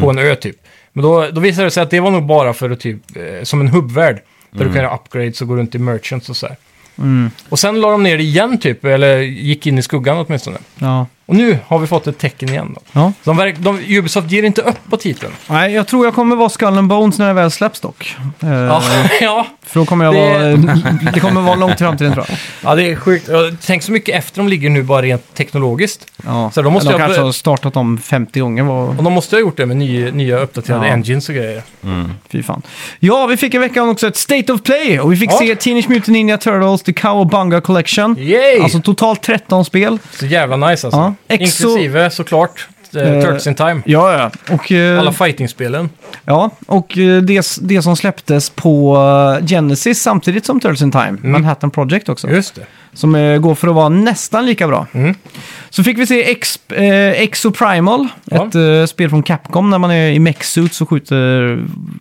S2: på en ö typ. Men då, då visade det sig att det var nog bara för att typ, eh, som en hubbvärld. Där du kan göra upgrades och gå runt i merchants och så här.
S1: Mm.
S2: Och sen la de ner det igen typ, eller gick in i skuggan åtminstone.
S1: Ja.
S2: Och nu har vi fått ett tecken igen då.
S1: Ja.
S2: De verk, de, Ubisoft ger inte upp på titeln.
S1: Nej, jag tror jag kommer vara Skull and Bones när jag väl släpps dock. Eh,
S2: Ja, ja.
S1: För då kommer jag
S2: Det-
S1: vara... det kommer vara långt i framtiden tror jag.
S2: ja, det är sjukt. Jag- Tänk så mycket efter de ligger nu bara rent teknologiskt.
S1: Ja.
S2: Så då måste
S1: de
S2: jag-
S1: kanske har startat om 50 gånger. Var...
S2: Och de måste ha gjort det med nya, nya uppdaterade
S1: Ja.
S2: engines och grejer.
S1: Fy fan. Ja, vi fick i veckan också ett State of Play och vi fick
S2: Ja.
S1: se Teenage Mutant Ninja Turtles, The Cowabunga Collection.
S2: Yay!
S1: Alltså totalt 13 spel.
S2: så jävla nice alltså.
S1: Ja. Exo-
S2: Inklusive såklart eh,
S1: Eh,
S2: Turtles in Time.
S1: Ja, ja. Och, eh,
S2: Alla fighting-spelen.
S1: ja, och eh, det, det som släpptes på eh, Genesis samtidigt som Turtles in Time,
S2: Mm.
S1: Manhattan Project också.
S2: Just det.
S1: Som eh, går för att vara nästan lika bra.
S2: Mm.
S1: Så fick vi se Ex, eh, Exo Primal,
S2: Ja.
S1: ett eh, spel från Capcom när man är i mech-suits och skjuter...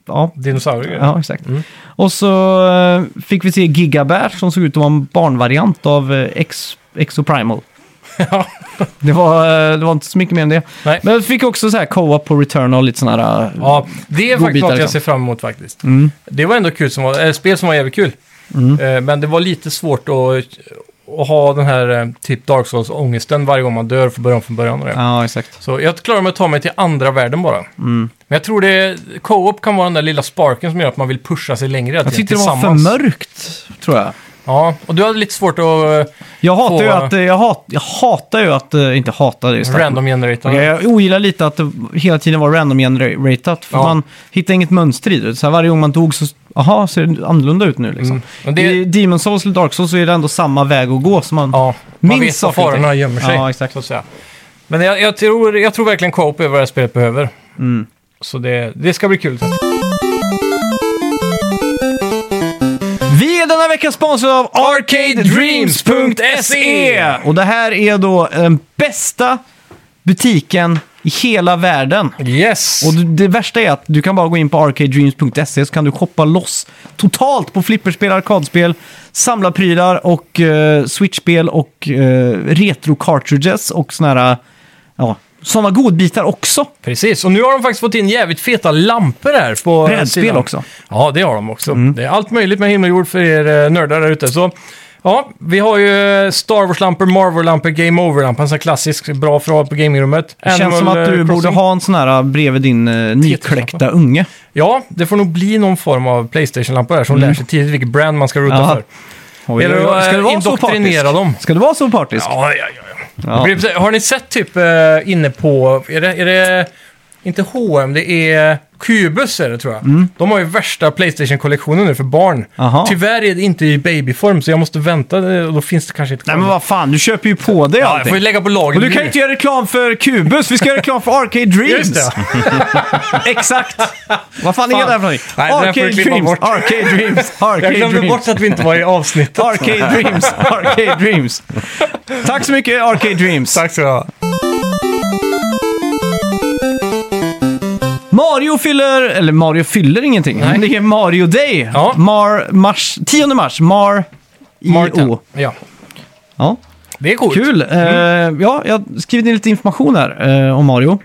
S1: Ja,
S2: Dinosaurier.
S1: ja exakt.
S2: Mm.
S1: Och så eh, fick vi se Gigabear som såg ut att vara en barnvariant av eh, Ex, Exo Primal.
S2: Ja.
S1: Det var, eh, det var inte så mycket mer än det.
S2: Nej.
S1: Men vi fick också så här co-op på Return och lite sådana här... eh,
S2: Ja, det är faktiskt
S1: Godbitar,
S2: något jag
S1: liksom.
S2: ser fram emot faktiskt.
S1: Mm.
S2: Det var ändå kul som var, äh, spel som var jävligt kul. Eh, men det var lite svårt att, att ha den här eh, typ Dark Souls-ångesten varje gång man dör från början från början. Och det.
S1: Ja, exakt.
S2: Så jag klarar mig att ta mig till andra världen bara.
S1: Mm.
S2: Men jag tror det, co-op kan vara den där lilla sparken som gör att man vill pusha sig längre.
S1: Jag tyckte det var för mörkt, tror jag.
S2: Ja, och du hade lite svårt att eh,
S1: Jag hatar
S2: Få-
S1: ju att... eh, Jag, hat, jag hatar ju att... eh, Inte hatar, det är
S2: eh,
S1: starkt.
S2: random generata.
S1: Okej, jag ogillar lite att det hela tiden var random generatat. För
S2: Ja.
S1: man hittar inget mönster i det. Så här, varje gång man dog så, aha, ser det annorlunda ut nu liksom.
S2: Mm. Men det-
S1: I Demon Souls eller Dark Souls så är det ändå samma väg att gå. Så man,
S2: Ja, man
S1: Minns
S2: vet var
S1: saker och ting.
S2: farorna gömmer sig.
S1: Ja, exakt.
S2: Så att säga. Men jag, jag, tror, jag tror verkligen co-op är vad det här spelet behöver.
S1: Mm.
S2: Så det, det ska bli kul.
S1: Vi är denna vecka sponsrade av
S2: E.
S1: ArcadeDreams.se! E. Och det här är då den bästa butiken i hela världen.
S2: Yes!
S1: Och det värsta är att du kan bara gå in på arcadedreams.se så kan du shoppa loss totalt på flipperspel, arkadspel, samlarprylar och eh, switchspel och eh, retro-cartridges och såna här, ja, sådana godbitar också.
S2: Precis, och nu har de faktiskt fått in jävligt feta lampor här på
S1: Brädspel
S2: sidan.
S1: också.
S2: Ja, det har de också.
S1: Mm.
S2: Det är allt möjligt med himmel och jord för er eh, nördar där ute. Så, ja, vi har ju eh, Star Wars-lampor, Marvel-lampor, Game Over-lampor. En sån här klassisk, bra för att ha på gamingrummet.
S1: Det känns som
S2: Animal,
S1: att
S2: eh,
S1: du
S2: Crossing.
S1: borde ha en sån här bredvid din eh, nykläckta unge.
S2: Ja, det får nog bli någon form av Playstation-lampor här som lär sig tidigt vilket brand man ska ruta
S1: Mm. Ja.
S2: för.
S1: Oj,
S2: Eller,
S1: oj, oj.
S2: eh, indoktrinera dem.
S1: Ska du vara så partisk?
S2: Ja, ja, ja.
S1: Ja.
S2: Det blir- Har ni sett typ eh, inne på, är det, är det inte H&M, det är Cubus är det tror jag. De har ju värsta Playstation-kollektionen nu för barn.
S1: Mm. Aha.
S2: Tyvärr är det inte i babyform så jag måste vänta eh, och då finns det kanske inte
S1: Nej men vad fan, du köper ju på dig
S2: Ja, jag får ju
S1: allting.
S2: lägga på
S1: Och
S2: lager
S1: du kan ju inte göra reklam för Kubus, vi ska göra reklam för Arcade Dreams!
S2: Just det.
S1: Exakt! Vad fan, är
S2: Fan.
S1: det här för någonting?
S2: Nej, den här får
S1: Arcade
S2: du klippa
S1: Dreams,
S2: bort.
S1: Arcade Dreams,
S2: Jag
S1: Arcade
S2: glömde bort
S1: Dreams.
S2: att vi inte var i avsnittet.
S1: Arcade Dreams, Arcade Dreams. Tack så mycket Arcade Dreams.
S2: Tack så jag.
S1: Mario fyller, eller Mario fyller ingenting, men det är Mario Day.
S2: Ja.
S1: Mar, mars, 10 mars, Mar, I-O.
S2: Ja,
S1: Ja,
S2: det är coolt.
S1: kul. Eh, ja, jag har skrivit in lite information här eh, om Mario.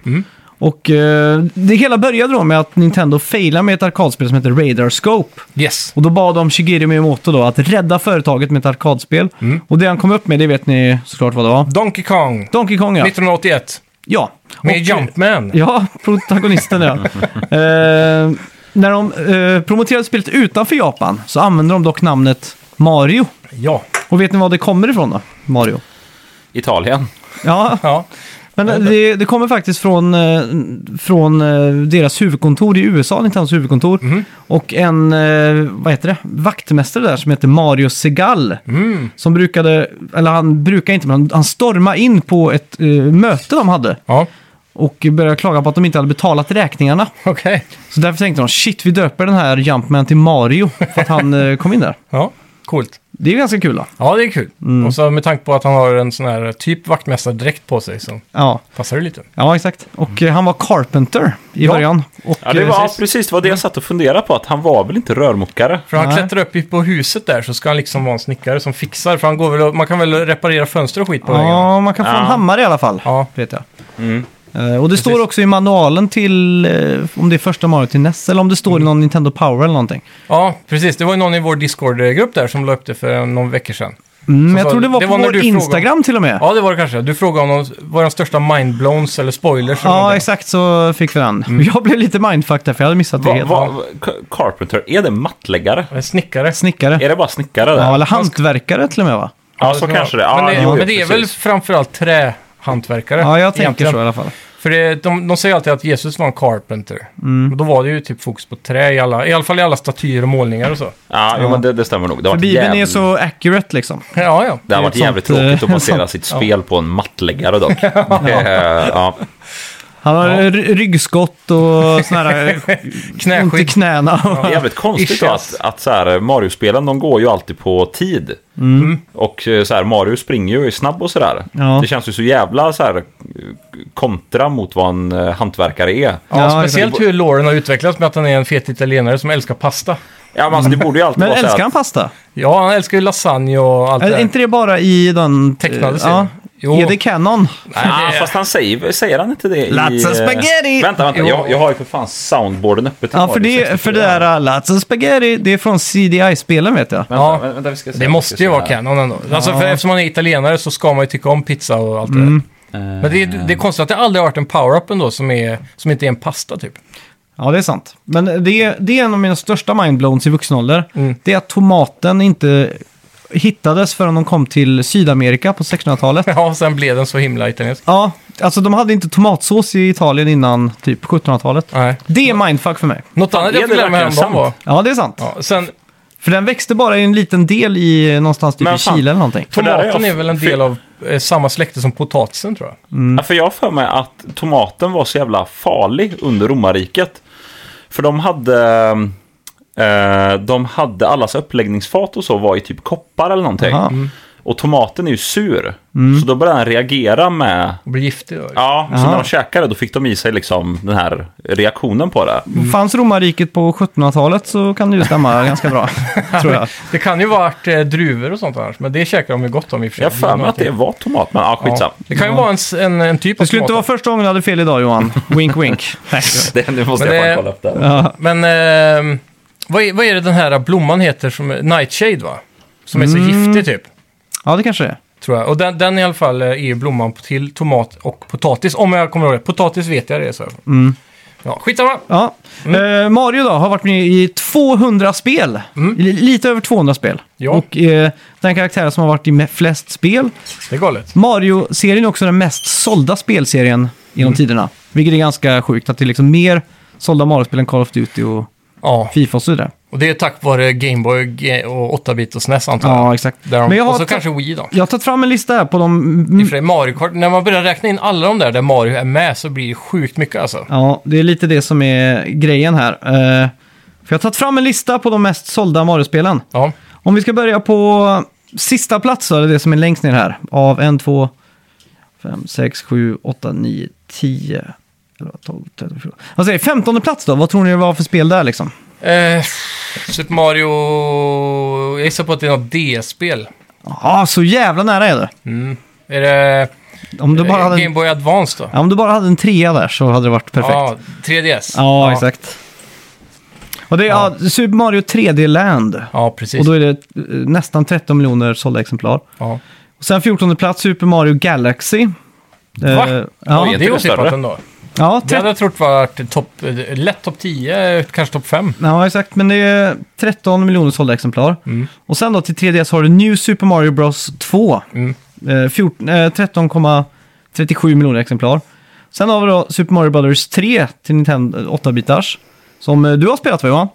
S1: Och eh, det hela började då med att Nintendo failade med ett arkadspel som heter Radar Scope.
S2: Yes.
S1: Och då bad de Shigeru Miyamoto då att rädda företaget med ett arkadspel. Och det han kom upp med, det vet ni såklart vad det var.
S2: Donkey Kong,
S1: Donkey Kong ja.
S2: 1981.
S1: Ja.
S2: Med
S1: Och-
S2: Jumpman.
S1: Ja, protagonisten ja. Eh, När de eh, promoterade spelet utanför Japan så använde de dock namnet Mario.
S2: Ja.
S1: Och vet ni var det kommer ifrån då? Mario.
S3: Italien.
S1: Ja,
S2: ja.
S1: men det, det kommer faktiskt från, eh, från eh, deras huvudkontor i USA, Nintendos huvudkontor. Och en, eh, vad heter det, vaktmästare där som heter Mario Segal. Som brukade, eller han brukade inte, men han, han stormade in på ett eh, möte de hade.
S2: Ja,
S1: Och började klaga på att de inte hade betalat räkningarna.
S2: okej.
S1: Så därför tänkte de, shit vi döper den här Jumpman till Mario. För att han eh, kom in där.
S2: Ja, coolt.
S1: Det är ganska kul då.
S2: Ja, det är kul. Och så med tanke på att han har en sån här typ vaktmästardräkt på sig så
S1: Ja,
S2: passar det lite.
S1: ja exakt. Och eh, han var Carpenter i
S2: Ja.
S1: början. Och,
S3: Ja, det
S1: eh,
S3: var precis. precis det var det jag satt och funderade på. Att han var väl inte rörmokare?
S2: För han
S1: Nej.
S2: klättrar upp i- på huset där så ska han liksom vara en snickare som fixar. För han går väl och, man kan väl reparera fönster och skit på vägen.
S1: Ja, man kan få en
S3: Ja.
S1: hammare i alla fall.
S2: Ja. Mm.
S1: Vet jag. Eh, och det står också i manualen till, eh, om det är första Mario till NES, eller om det står
S2: Mm.
S1: i någon Nintendo Power eller någonting. Mm,
S2: Ja, precis. Det var ju någon i vår Discord-grupp där som la upp det för någon vecka sedan.
S1: Mm,
S2: Så
S1: jag
S2: sa-
S1: tror det var
S2: det
S1: på
S2: var när
S1: vår
S2: du frågade-
S1: Instagram till och med. Ja,
S2: Ja, det var det kanske. Du frågade om någon, våra största mindblowns eller spoilers. eller någonting.
S1: exakt så fick vi den.
S2: Mm.
S1: Jag blev lite mindfucked där, för jag hade missat det
S3: Va,
S1: helt.
S3: va, Ca- Carpenter, är det mattläggare?
S2: En Snickare.
S1: Snickare.
S3: Är det bara snickare där?
S1: Ja, eller hantverkare till och med va?
S3: Ja,
S2: det
S3: så
S2: kan
S3: kanske det.
S2: vara.
S3: Ja,
S2: men det,
S3: jo,
S2: men det är väl
S3: precis.
S2: framförallt trähantverkare.
S1: Ja, jag tänker
S2: egentligen.
S1: så i alla fall.
S2: För det, de, de säger alltid att Jesus var en carpenter.
S1: Mm.
S2: Och då var det ju typ fokus på trä i alla, i alla fall i alla statyer och målningar och så.
S3: Ja, jo, men det, det stämmer nog. Det har
S1: För
S3: varit
S1: Bibeln är
S3: jävligt-
S1: så accurate liksom.
S2: Ja, ja.
S3: Det har varit
S1: ett sånt,
S3: jävligt
S1: eh,
S3: tråkigt att basera
S1: sånt-
S3: sitt spel på en mattläggare dock. Eh, ja.
S1: Han har ry- ryggskott och sådana här... eh, ont i
S2: Knäskydd.
S1: knäna.
S3: Det är jävligt konstigt då att,
S1: alltså.
S2: Ischias.
S3: att så här, eh, Mario-spelen de går ju alltid på tid. Och eh, så här, Mario springer ju och är snabb och sådär.
S1: Mm. Ja.
S3: Det känns ju så jävla så här, eh, kontra mot vad en eh, hantverkare är.
S2: Ja,
S1: Ja,
S2: speciellt hur Lauren har utvecklats med att han är en fet italienare som älskar pasta.
S3: Ja, men alltså, det borde ju alltid
S1: Men
S3: vara så
S1: älskar
S3: här.
S1: han pasta?
S2: Ja, han älskar ju lasagne och allt det
S1: Är
S2: där.
S1: inte det bara i den...
S2: Tecknade
S1: ja.
S2: serien. Jo.
S1: Är det Canon?
S2: Nej,
S3: Ah,
S2: det är-
S3: fast han säger, säger han inte det
S1: Lots
S3: i...
S1: of
S3: eh,
S1: spaghetti!
S3: Vänta, vänta.
S2: Jo.
S3: Jag, jag har ju för fan soundboarden uppe till
S1: Ja, för
S3: Mario
S1: det,
S3: 64.
S1: för det där uh, Lots of Spaghetti, det är från CDI-spelen vet jag.
S3: Vänta,
S2: Ja.
S3: vänta, vänta, vi ska se.
S2: Det
S3: vi
S2: måste
S3: ska
S2: ju
S3: se
S2: vara
S3: här.
S2: Canon ändå. Alltså, för eftersom man är italienare så ska man ju tycka om pizza och allt det där.
S3: Mm.
S2: Men det är, det är konstigt att det aldrig har varit en power-up ändå som, är, som inte är en pasta typ.
S1: Ja, det är sant. Men det, är- det är en av mina största mindblowns i vuxen ålder.
S2: Mm.
S1: Det är att tomaten inte hittades förrän de kom till Sydamerika på 1600-talet.
S2: Ja, och sen blev den så himla italiensk.
S1: Ja, alltså de hade inte tomatsås i Italien innan typ 1700-talet.
S2: Nej.
S1: Det är mindfuck för mig.
S2: Något annat
S3: är
S2: jag fick
S3: det
S2: lära mig
S3: verkligen
S2: häromdagen var...
S3: sant?
S1: Ja, det är sant.
S2: Ja, sen,
S1: För den växte bara i en liten del i eh, någonstans typ
S3: Men
S1: i
S3: fan.
S1: Chile eller någonting.
S3: För där är jag-
S2: tomaten är väl en del av eh, samma släkte som potatisen tror jag.
S1: Mm.
S3: Ja, för jag har för mig att tomaten var så jävla farlig under romarriket. För de hade... Eh, de hade allas uppläggningsfat och så var i typ koppar eller någonting.
S1: Aha.
S2: Mm.
S1: Mm.
S3: Och tomaten är ju sur. Så då började den reagera med...
S2: Och blir giftig då.
S3: Ja, så
S1: Aha.
S3: när de käkade då fick de i sig liksom den här reaktionen på det.
S2: Mm.
S1: Fanns romarriket på 1700-talet så kan det ju stämma ganska bra, tror jag.
S2: Det kan ju vara eh, druvor och sånt annars, men det käkar de ju gott om i och för sig.
S3: Jag har för mig att det var tomat, men ja, skitsamma. Mm.
S2: Ja. Det kan ju vara en, s- en, en typ av
S1: Det skulle inte vara
S2: tomat.
S1: första gången du hade fel idag Johan. Wink wink.
S3: Det, nu måste
S2: Men
S3: jag
S2: det-
S3: fan kolla upp det. här.
S1: ja.
S2: Men ehm, vad, är, vad är det den här blomman heter? Som, nightshade va? Som är så
S1: Mm.
S2: giftig typ.
S1: ja, det kanske det är.
S2: Tror jag. Och den, den i alla fall eh, är ju blomman på- till tomat och potatis. Om jag kommer ihåg det. Potatis vet jag det är så.
S1: Mm.
S2: Ja, skitsamma.
S1: Ja.
S2: Mm.
S1: Eh, Mario då har varit med i 200 spel. I li- Lite över 200 spel.
S2: Ja.
S1: Och eh, den karaktären som har varit i me- flest spel.
S2: Det är galet.
S1: Mario-serien är också den mest sålda spelserien genom
S2: Mm.
S1: tiderna. Vilket är ganska sjukt att det är liksom mer sålda Mario-spel än Call of Duty och
S2: Ja,
S1: Fifa och så vidare.
S2: och det är tack vare Gameboy Ge- och 8-bit och SNES antar jag.
S1: Ja, exakt.
S2: Där de,
S1: Men jag har
S2: och så
S1: ta-
S2: kanske Wii då.
S1: Jag har tagit fram en lista här på
S2: I och
S1: de...
S2: för sig, Mario Kart, när man börjar räkna in alla de där där Mario är med så blir det sjukt mycket alltså.
S1: Ja, det är lite det som är grejen här. Eh, för jag har tagit fram en lista på de mest sålda Mario-spelen.
S2: Ja,
S1: Om vi ska börja på sista plats så är det det som är längst ner här. Av 1, 2, 5, 6, 7, 8, 9, 10, 11, 12, 13, 14. Vad säger 15 plats då? Vad tror ni det var för spel där liksom?
S2: Eh, Super Mario... Jag gissar på att det är något DS-spel.
S1: Ja, så jävla nära är det.
S2: Är det
S1: Om du, bara
S2: eh,
S1: hade
S2: Game
S1: en,
S2: Boy Advance då?
S1: ja, om du bara hade en trea där så hade det varit perfekt. Ja,
S2: Ja, 3DS.
S1: exakt. Och det är ja.
S2: Ja.
S1: Super Mario 3D Land.
S2: Ja, precis.
S1: Och då är det eh, nästan 13 miljoner sålda exemplar.
S2: ja.
S1: Och sen 14 plats Super Mario Galaxy.
S2: Va?
S1: Eh, ja.
S3: Oj,
S2: det är
S3: inte det
S2: otippat
S3: större?
S2: ändå.
S1: Ja,
S2: Det
S1: 13,
S2: hade jag trott varit topp, eh, lätt topp 10, eh, kanske topp 5.
S1: ja, exakt. Men det är 13 miljoner sålda exemplar. Och sen då till 3DS har du New Super Mario Bros 2.
S2: Mm.
S1: Eh, 14, eh, 13,37 miljoner exemplar. Sen har vi då Super Mario Brothers 3 till Nintendo 8-bitars. Som eh, du har spelat va Johan?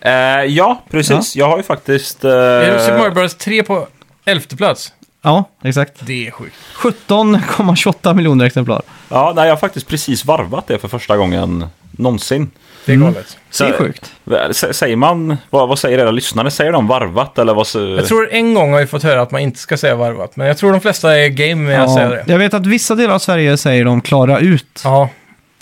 S3: Eh, ja, precis. Jag har ju faktiskt... eh,
S2: Är det Super Mario Bros 3 på 11 plats?
S1: Ja, exakt.
S2: Det är sjukt.
S1: 17,28 miljoner exemplar.
S3: ja, nej, jag har faktiskt precis varvat det för första gången någonsin.
S2: Det är
S1: Mm.
S2: galet.
S1: Det är
S3: Så-
S1: sjukt.
S3: Vä- sä- Säger man, vad, vad säger era lyssnare? Säger de varvat eller vad? sä-
S2: Jag tror en gång har vi fått höra att man inte ska säga varvat, men jag tror de flesta är game med att säga det.
S1: jag vet att vissa delar av Sverige säger de klara ut.
S2: Ja,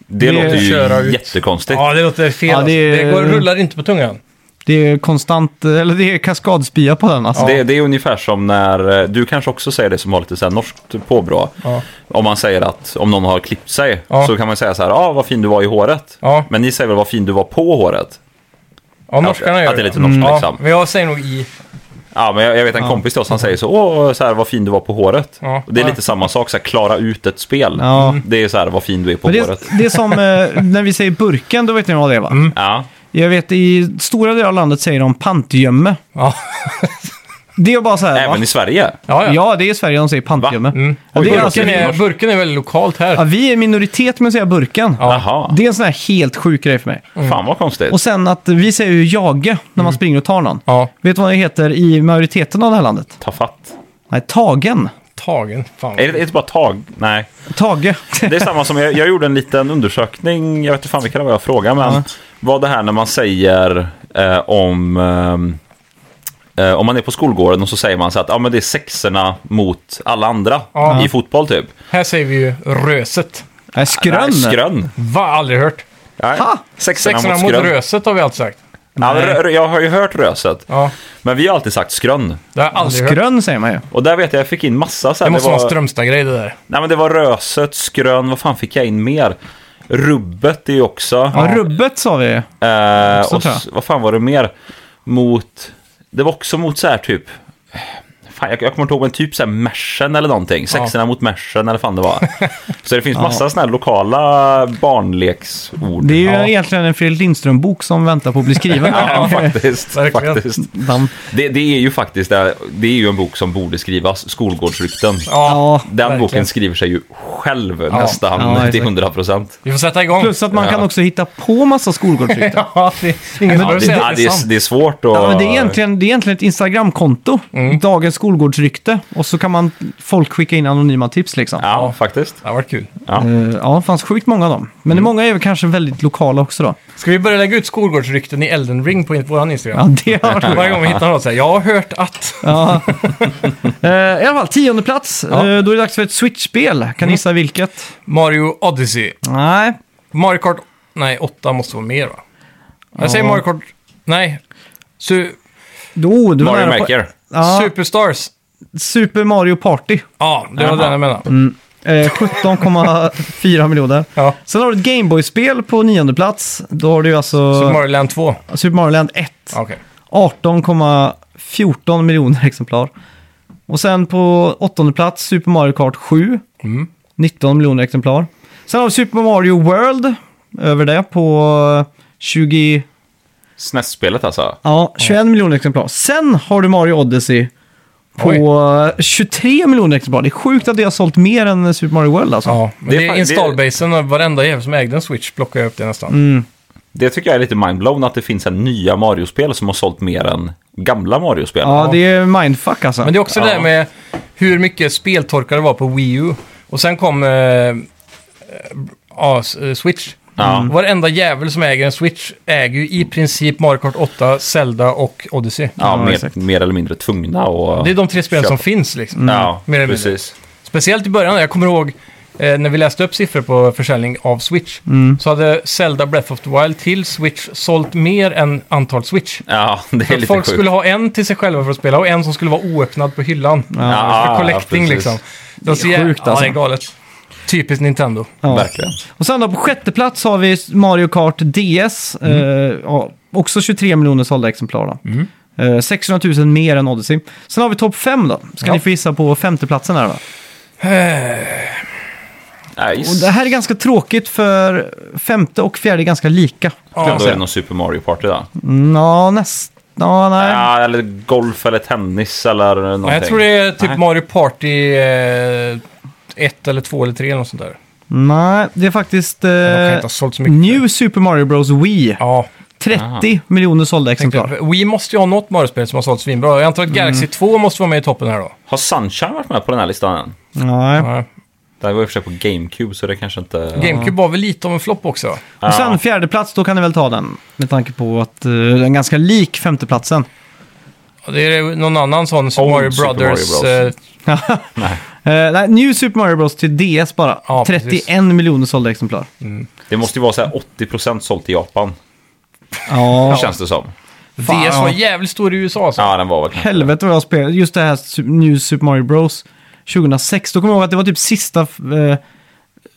S3: det,
S1: det
S3: låter
S2: köra ut.
S3: ju jättekonstigt.
S2: ja det låter fel.
S1: Ja,
S2: alltså.
S1: det
S2: det,
S1: är-
S2: går, rullar inte på tungan.
S1: Det är konstant, eller det är kaskadspia på den alltså.
S3: Det, det är ungefär som när, eh, du kanske också säger det som har lite så här norskt påbrå.
S2: Ja.
S3: Om man säger att om någon har klippt sig
S2: Ja.
S3: så kan man säga så här, ah, vad fin du var i håret.
S2: Ja.
S3: Men ni säger väl vad fin du var på håret?
S2: Ja, norskarna
S3: att,
S2: gör Mm.
S3: att det är lite norskt
S2: Ja,
S3: liksom.
S2: men jag säger nog i.
S3: Ja, men jag, jag vet en kompis till oss som säger så, åh, så här, vad fin du var på håret.
S2: Ja.
S3: Och det är
S2: Ja. Mm.
S3: lite samma sak, så här, klara ut ett spel.
S1: Ja.
S3: Det är så här, vad fin du är på
S1: Men det,
S3: håret.
S1: det är som eh, när vi säger burken, då vet ni vad det är va?
S3: Ja.
S1: Jag vet i stora delar av landet säger de pantgömme.
S2: Ja,
S1: Det är bara så här
S3: Även
S1: va?
S3: i Sverige.
S2: ja. ja.
S1: Ja, det är i Sverige de säger pantgömme.
S3: Va?
S2: Mm.
S1: Ja, det är
S2: burken,
S1: alltså,
S2: är, burken är väldigt lokalt här.
S1: ja, vi är i minoritet med att säga burken.
S2: Ja.
S3: Jaha,
S1: Det är en sån här helt sjuk grej för mig.
S3: fan vad konstigt.
S1: Och sen att vi säger ju jage när man springer och tar någon.
S2: Ja,
S1: Vet du vad det heter i majoriteten av det här landet?
S3: Ta fatt.
S1: Nej, tagen.
S2: tagen. Fan.
S3: Är det, är det bara tag? Nej.
S1: Tage.
S3: Det är samma som jag, jag gjorde en liten undersökning, jag vet inte fan vilka det var jag frågade, men vad det här när man säger eh, om ehm, eh, om man är på skolgården och så säger man så att ah, men det är sexorna mot alla andra
S2: Ja.
S3: i fotboll typ.
S2: Här säger vi ju röset.
S1: Nej, skrön.
S3: Nej, skrön.
S2: Va, aldrig hört.
S3: Nej.
S1: Ha!
S3: Sexorna,
S2: Sexorna
S3: mot
S2: mot
S3: skrön.
S2: röset har vi alltid sagt.
S3: Ja, men rö- jag har ju hört röset,
S2: Ja,
S3: men vi har alltid sagt skrön.
S2: det har jag aldrig hört.
S1: Skrön säger man ju.
S3: Och där vet jag, jag fick in massa så här,
S2: Det måste
S3: det
S2: vara en
S3: var-
S2: Strömstad-grej det där.
S3: Nej men det var röset, skrön, vad fan fick jag in mer? Rubbet det är ju också.
S1: Ja, rubbet sa vi.
S3: Eh,
S1: Också,
S3: och
S1: tror jag.
S3: s- vad fan var det mer? Mot... Det var också mot så här typ... Fan, jag, jag kommer inte ihåg, men typ så här Mersen eller någonting. Sexorna mot Mersen eller fan det var. så det finns massa såna här lokala barnleksord.
S1: Det är ju
S2: Ja.
S1: egentligen en Fredrik Lindström-bok som väntar på att bli skriven.
S3: Ja, faktiskt.
S2: Verkligen.
S3: faktiskt.
S1: Damn.
S3: Det, det är ju faktiskt det, det är ju en bok som borde skrivas, Skolgårdsrykten.
S1: Ja.
S3: Den
S2: verkligen.
S3: boken skriver sig ju själv nästan
S1: Ja, exakt.
S3: till 100 procent.
S2: Vi får sätta igång.
S1: Plus att man
S3: Ja.
S1: kan också hitta på massa skolgårdsrykten.
S2: Ja, det är ingen som
S3: Ja,
S2: behöver
S3: det,
S2: säga
S3: ja,
S2: att
S3: det,
S2: det är sant.
S3: är, det är svårt att...
S1: Ja, men det, är egentligen, det är egentligen ett Instagramkonto. Dagens skolgårdsrykte. Och så kan man folk skicka in anonyma tips liksom. Ja,
S3: Ja, faktiskt.
S2: Det har varit kul.
S1: ja det fanns sjukt många av dem. Men många är väl kanske väldigt lokala också då.
S2: Ska vi börja lägga ut skolgårdsrykten i Elden Ring på vår Instagram?
S1: Ja, det har varit
S2: Varje gång vi hittar något säger jag har hört att.
S1: ja. Eh, I alla fall, tionde plats.
S2: Ja.
S1: Eh, då är det dags för ett Switch-spel. Kan ni gissa vilket?
S2: Mario Odyssey.
S1: Nej.
S2: Mario Kart... Nej, 8 måste vara mer va? Jag säger
S1: Ja.
S2: Mario Kart... Nej. Su...
S1: Jo, du var
S3: Mario
S1: nära på-
S3: Maker.
S1: Ja,
S2: Superstars.
S1: Super Mario Party.
S2: Ja, det var
S3: Jaha.
S2: den jag menade.
S1: Eh, 17,4 miljoner.
S2: Ja.
S1: Sen har du ett Gameboy-spel på nionde plats. Då har du alltså
S2: Super Mario Land 2.
S1: Super Mario Land 1.
S2: Okej.
S1: 18,14 miljoner exemplar. Och sen på åttonde plats Super Mario Kart 7.
S2: Mm.
S1: 19 miljoner exemplar. Sen har vi Super Mario World över det på 20,
S3: SNES-spelet alltså.
S1: ja, 21 miljoner exemplar. Sen har du Mario Odyssey på eh, 23 miljoner exemplar. Det är sjukt att det har sålt mer än Super Mario World alltså.
S2: Ja, men
S3: Det
S2: det,
S3: är
S2: är
S3: fan-
S2: installbasen och varenda jävel som ägde en Switch plockade jag upp det nästan.
S3: Det tycker jag är lite mindblown att det finns en nya Mario-spel som har sålt mer än gamla Mario-spel.
S1: Ja, det är mindfuck alltså.
S2: Men det är också det där
S3: Ja.
S2: med hur mycket speltorka det var på Wii U. Och sen kom eh, eh, ja, s- eh, Switch.
S3: Ja.
S2: Varenda jävel som äger en Switch äger ju i princip Mario Kart 8, Zelda och Odyssey.
S3: Ja,
S1: Ja, exakt.
S3: mer, mer eller mindre tvungna och...
S2: Det är de tre spelen
S3: Köp.
S2: som finns liksom.
S3: Ja,
S2: Mer eller mindre.
S3: precis.
S2: Speciellt i början, jag kommer ihåg eh, när vi läste upp siffror på försäljning av Switch. Så hade Zelda Breath of the Wild till Switch sålt mer än antal Switch.
S3: Ja, det är
S2: Att
S3: lite
S2: folk
S3: sjukt.
S2: skulle ha en till sig själva för att spela och en som skulle vara oöppnad på hyllan.
S3: Ja,
S2: för collecting
S3: precis.
S2: liksom. Det
S1: är sjukt,
S2: Ja,
S1: alltså.
S2: det är galet. Typiskt Nintendo.
S1: Ja.
S3: Verkligen.
S1: Och sen då på sjätte plats har vi Mario Kart DS.
S2: Mm.
S1: Eh, ja, också 23 miljoner sålda exemplar då. Eh, 600 000 mer än Odyssey. Sen har vi topp 5 då. Ska
S2: Ja.
S1: ni få gissa på femteplatsen här då? Och det här är ganska tråkigt för femte och fjärde är ganska lika.
S2: Ja,
S3: Då är det någon Super Mario Party där.
S1: Mm, Ja, nästan. Ja, nej.
S3: Ja, eller golf eller tennis eller någonting.
S2: Nej, jag tror det är typ
S3: Nej.
S2: Mario Party 1 eller 2 eller 3 eller något sånt där.
S1: nej, det är faktiskt
S2: De kan inte
S1: eh,
S2: ha sålt så mycket.
S1: New Super Mario Bros Wii.
S2: Ja,
S1: 30 miljoner sålda exemplar.
S2: tänkte, Wii måste ju ha något Mario-spel som har sålt svinbra. Jag antar att Galaxy 2 måste vara med i toppen här då.
S3: Har Sunshine varit med på den här listan än?
S1: Nej.
S2: Ja.
S3: Det här var i och för sig på GameCube så det kanske inte...
S2: GameCube var väl lite av en flopp också.
S1: Och sen fjärde plats, då kan ni väl ta den. Med tanke på att eh, den är ganska lik femteplatsen.
S2: Och Det är någon annan sån Super
S3: Old
S2: Mario
S3: Super Mario
S2: Brothers.
S3: Bros.
S2: eh,
S1: Eh, nej, New Super Mario Bros till DS bara.
S2: Ja,
S1: 31
S2: precis.
S1: miljoner sålda exemplar.
S3: Det måste ju vara så här 80% sålt i Japan,
S1: Ja,
S3: känns det som.
S1: Fan,
S2: DS var
S1: ja.
S2: jävligt stor i USA alltså. så.
S3: Ja, den var väl kanske-
S1: helvete vad jag spelade. Just det här Su- New Super Mario Bros 2006. Då kommer jag ihåg att det var typ sista eh,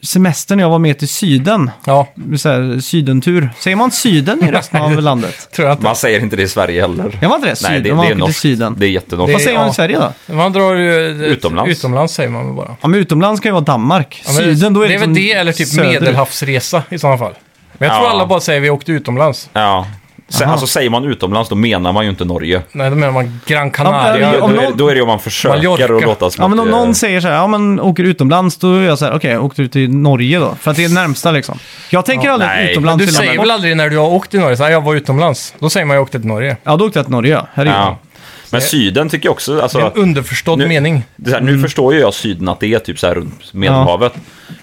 S1: semestern jag var med till Syden.
S2: Ja,
S1: Så här, sydentur. Säger man Syden i resten av landet?
S2: tror jag inte.
S3: Man säger inte det i Sverige heller.
S1: Jag var inte det? Syden,
S3: Nej, det,
S1: man
S3: det är
S1: åker till
S3: norskt.
S1: Syden.
S3: Det är jättenorskt.
S1: Vad säger man i
S2: ja.
S1: Sverige då?
S2: Man drar ju... eh,
S3: Utomlands.
S2: Utomlands säger man väl bara.
S1: Ja, men utomlands kan ju vara Danmark.
S2: Ja, men
S1: Syden, då är
S2: det är väl
S1: liksom
S2: det eller typ
S1: söderut.
S2: medelhavsresa i sådana fall. Men jag tror
S3: Ja.
S2: alla bara säger vi åkte utomlands.
S3: Ja. Sä-
S1: Aha.
S3: Alltså säger man utomlands då menar man ju inte Norge.
S2: Nej, då menar man Gran
S1: Ja,
S2: Canaria.
S1: men-
S3: Då
S1: om
S3: är,
S1: någon-
S3: då är det ju om man försöker
S2: Mallorca.
S3: att låta som
S1: Ja, men
S3: att
S1: om
S3: det-
S1: någon säger så här, ja men åker utomlands, då är jag så här, okej, åkte du till Norge då? För att det är närmsta liksom. Jag tänker aldrig
S3: nej.
S1: utomlands
S2: Du
S1: till
S2: säger
S1: Danmark.
S2: väl aldrig när du har åkt till Norge så här, jag var utomlands. Då säger man jag åkte till Norge.
S1: Ja, då åkte jag till Norge, ja. Herregud.
S3: Ja. Men Syden tycker jag också,
S2: Det är en
S3: alltså,
S2: underförstådd
S3: Nu-
S2: mening.
S3: det är så här,
S1: Mm.
S3: nu förstår ju jag Syden att det är typ så här runt Medelhavet.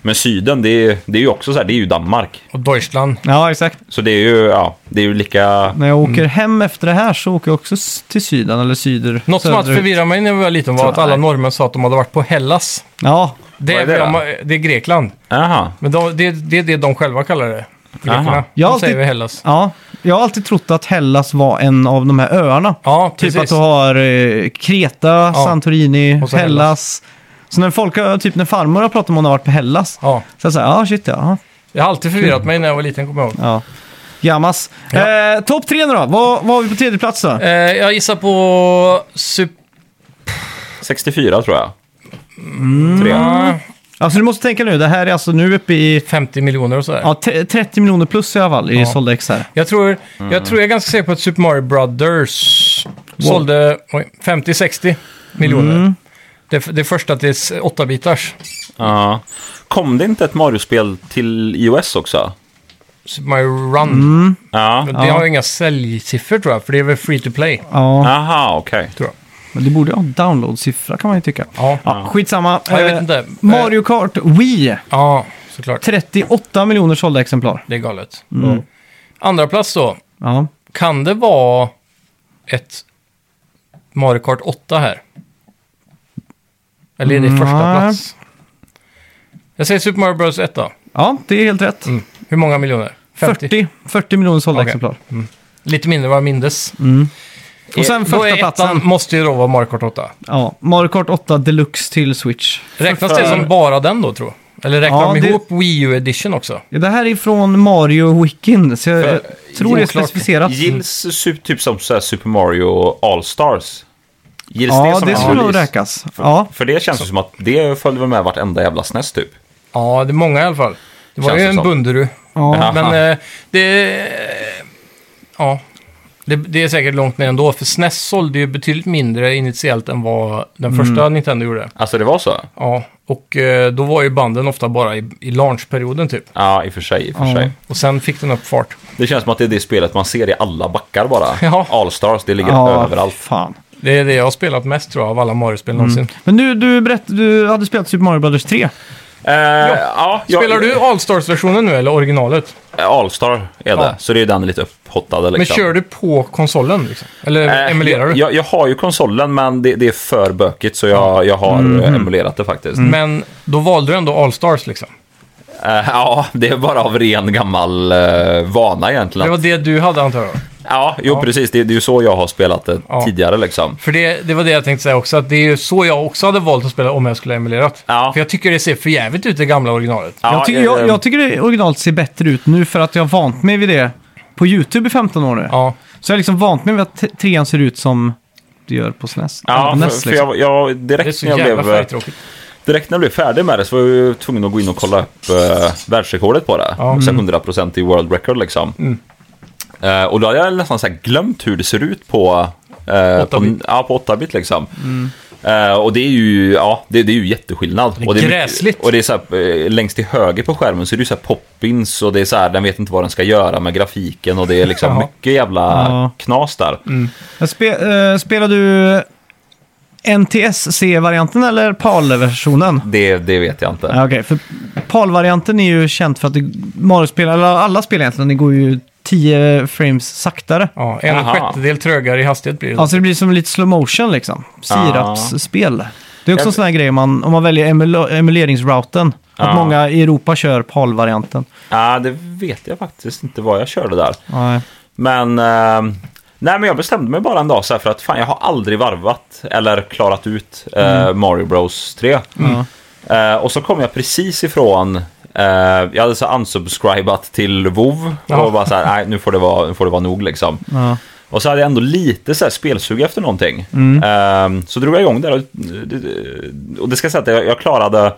S3: Men Syden, det är, det är ju också så här, det är ju Danmark.
S2: Och Deutschland.
S1: Ja, exakt.
S3: Så det är ju, ja, det är ju lika...
S1: När jag åker hem efter det här så åker jag också s- till syden eller syder.
S2: Mm. Något som alltid
S1: söderut.
S2: förvirrade mig när jag var liten var
S1: Tror
S2: att
S1: jag,
S2: alla
S1: nej.
S2: norrmän sa att de hade varit på Hellas.
S1: Ja,
S2: Det
S3: Vad
S2: är,
S3: är det då?
S2: det, det är Grekland.
S3: Aha.
S2: Men de, det, det är det de själva kallar det. Grekerna.
S3: Aha.
S2: De
S1: Jag har
S2: säger
S1: alltid-
S2: vi Hellas.
S1: ja. Jag har alltid trott att Hellas var en av de här öarna.
S2: Ja,
S1: Typ
S2: precis.
S1: att du har eh, Kreta, Santorini,
S2: Och
S1: Hellas.
S2: så
S1: Så när folk, har- typ när farmor har pratat om hon har varit på Hellas,
S2: Ja.
S1: så jag säger ja ah, shit ja. ja.
S2: Jag har alltid förvirrat mig när jag var liten, kommer jag ihåg.
S1: Ja. Jammas.
S2: Ja.
S1: Eh, Topp tre nu då. Vad, vad har vi på tredje plats då?
S2: Eh, jag gissar på... Sup...
S3: 64 tror jag. Tre.
S1: Alltså du måste tänka nu. Det här är alltså nu uppe i
S2: 50 miljoner och sådär.
S1: ja, t- 30 miljoner plus i alla fall i
S2: Ja.
S1: sålda ex här.
S2: Jag tror, jag tror jag är ganska säker på att Super Mario Brothers sålde oj, 50-60 miljoner. Det, det första till 8-bitars.
S3: Ja. Kom det inte ett Mario-spel till iOS också?
S2: Super Mario Run.
S3: Ja.
S2: Men Det har ju inga säljsiffror tror jag, för det är väl free to play.
S1: Ja,
S3: Aha, okej.
S2: Tror jag.
S1: men det borde ha en download-siffra kan man ju tycka.
S2: Ja.
S1: Ja, skitsamma.
S2: Ja, jag vet
S1: Eh,
S2: inte.
S1: Mario Kart Wii.
S2: Ja, såklart.
S1: 38 miljoner sålda exemplar.
S2: Det är galet. Mm. Andra plats då.
S1: Ja.
S2: Kan det vara ett Mario Kart 8 här? Eller är det första
S1: Nej.
S2: plats? Jag säger Super Mario Bros 1 då.
S1: ja, det är helt rätt.
S2: Mm. Hur många miljoner? 50?
S1: 40, 40 miljoner sålda
S2: Okej.
S1: exemplar.
S2: Lite mindre än vad jag mindes.
S3: Mm.
S1: Och sen
S2: Eh, då
S1: första
S2: är ettan
S1: platsen.
S2: måste ju då vara Mario Kart 8.
S1: Ja, Mario Kart 8 Deluxe till Switch.
S2: Räknas
S3: För-
S2: det som bara den då, tror Eller räknar
S1: Ja,
S2: de
S1: det-
S2: ihop Wii U Edition också?
S1: Ja, Det här är från Mario Wikin, så jag
S3: För-
S1: jag tror det är
S2: oklart.
S1: specificerat.
S3: Gills su- typ som så här Super Mario All-Stars. Gills
S1: Ja,
S3: som
S1: det
S3: en
S1: skulle nog
S3: release?
S1: räknas. Ja.
S3: För det känns ju som att det följde väl med vartenda jävla SNES typ.
S2: Ja, det är många i alla fall. Det var
S3: Känns
S2: ju
S3: det
S2: en
S3: som.
S2: Bunderu.
S1: Ja.
S3: Ja.
S2: Men eh, det... Ja. Det, det är säkert långt ner ändå, för SNES sålde ju betydligt mindre initiellt än vad den
S3: Mm.
S2: första Nintendo gjorde.
S3: Alltså det var så?
S2: Ja, och eh, då var ju banden ofta bara i, i launchperioden typ.
S3: Ja, i och för sig. I och för
S1: Ja.
S3: sig.
S2: Och sen fick den upp fart.
S3: Det känns som att det är det spelet man ser i alla backar bara.
S2: Ja.
S3: All-Stars, det ligger överallt.
S1: Fan.
S2: Det är det jag har spelat mest tror jag av alla Mario-spel någonsin.
S1: Men du, du berättade, du hade spelat Super Mario Brothers 3.
S3: Eh, ja, jag-
S2: Spelar du All-Stars-versionen nu eller originalet?
S3: All-Star är det,
S2: Ja.
S3: så det är den lite upphottade.
S2: Men
S3: Liksom.
S2: kör du på konsolen liksom? Eller
S3: Eh,
S2: emulerar du?
S3: jag, jag, jag har ju konsolen, men det, det är för bökigt så jag, jag har eh, emulerat det faktiskt.
S2: Men då valde du ändå All-Stars liksom.
S3: Eh, ja, det är bara av ren gammal eh, vana egentligen.
S2: Det var det du hade antar jag.
S3: Ja, jo precis. Det, det är ju så jag har spelat det
S2: Ja.
S3: tidigare liksom.
S2: För det, det var det jag tänkte säga också, att det är ju så jag också hade valt att spela om jag skulle ha emulerat.
S3: Ja.
S2: För jag tycker det ser för jävligt ut det gamla originalet.
S3: Ja, ehm. eh,
S1: jag, tycker, jag, jag tycker det originalt ser bättre ut nu för att jag har vant mig vid det på YouTube i 15 år nu.
S2: Ja.
S1: Så jag har liksom vant mig vid att t- trean ser ut som det gör på SNES.
S3: Ja,
S1: På
S3: för,
S1: NES,
S3: för
S1: liksom.
S3: jag, jag,
S2: Det är
S3: direkt
S2: så
S3: när jag
S2: jävla
S3: blev, eh,
S2: färgtråkigt.
S3: Direkt när jag blev färdig med det så var jag ju tvungen att gå in och kolla upp eh, världsrekordet på det.
S2: Ja. Mm.
S3: Och så 100% i world record liksom. Eh, och då hade jag nästan så här glömt hur det ser ut på... Eh,
S2: Åtta
S3: på,
S2: bit. Mm.
S3: ja, på 8-bit liksom. Eh, och det är ju, ja, det, det är ju jätteskillnad.
S2: är
S3: och det mycket-
S2: gräsligt.
S3: Och det är så här, eh, längst till höger på skärmen så är det ju så här poppins och det är så här, den vet inte vad den ska göra med grafiken och det är liksom
S2: Jaha. Mm.
S3: mycket jävla
S1: Ja.
S3: knas där.
S1: Men Spe, eh, spelar du NTSC-varianten eller PAL-versionen?
S3: Det, det vet jag inte.
S1: Ja, Okej, för PAL-varianten är ju känt för att det- Mario-spel, eller alla spel egentligen, det går ju 10 frames saktare.
S2: Ja, en
S3: Aha.
S2: sjättedel trögare i hastighet blir det.
S1: Alltså det blir som lite slow motion liksom. Sirapsspel. Det är också
S3: Jag-
S1: en sån här grej man, om man väljer emula- emuleringsrouten. Att
S3: Ja.
S1: många i Europa kör PAL-varianten.
S3: Ja, Ah, det vet jag faktiskt inte vad jag körde där.
S1: Nej.
S3: Men, eh, nej, men jag bestämde mig bara en dag så här för att fan, jag har aldrig varvat eller klarat ut eh, Mario Bros 3.
S1: Ja.
S3: Eh, och så kom jag precis ifrån, eh, jag hade så unsubscribat till WoW
S2: Ja.
S3: och bara så här, nej nu får det vara, nu får det vara nog liksom.
S1: Ja.
S3: Och så hade jag ändå lite så här spelsug efter någonting.
S2: Mm.
S3: Eh, så drog jag igång där och, och det ska säga att jag, jag klarade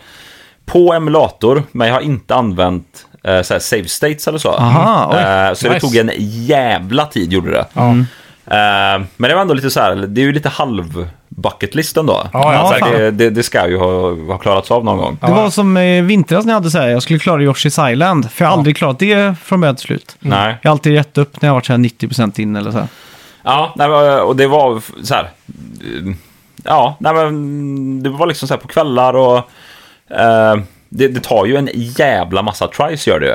S3: på emulator, men jag har inte använt eh, så här save states eller så.
S1: Aha, oj.
S3: Eh, så det
S2: Nice.
S3: tog en jävla tid gjorde det.
S2: Ja.
S1: mm.
S3: Eh, men det var ändå lite så här, det är ju lite halv bucket list ändå.
S2: ja,
S3: Alltså,
S1: fan.
S3: det, det, det ska ju ha, ha klarats av någon gång.
S1: Det var som i vintras när jag hade så här, jag skulle klara Yoshi's Island. För jag har aldrig klarat det från början till slut.
S3: Mm. Nej.
S1: Jag har alltid gett upp när jag har varit så här 90% in eller så här.
S3: Ja, nej, men, och det var f- så här. eh, Ja, nej, men det var liksom så här på kvällar och eh, det, det tar ju en jävla massa tries gör det ju.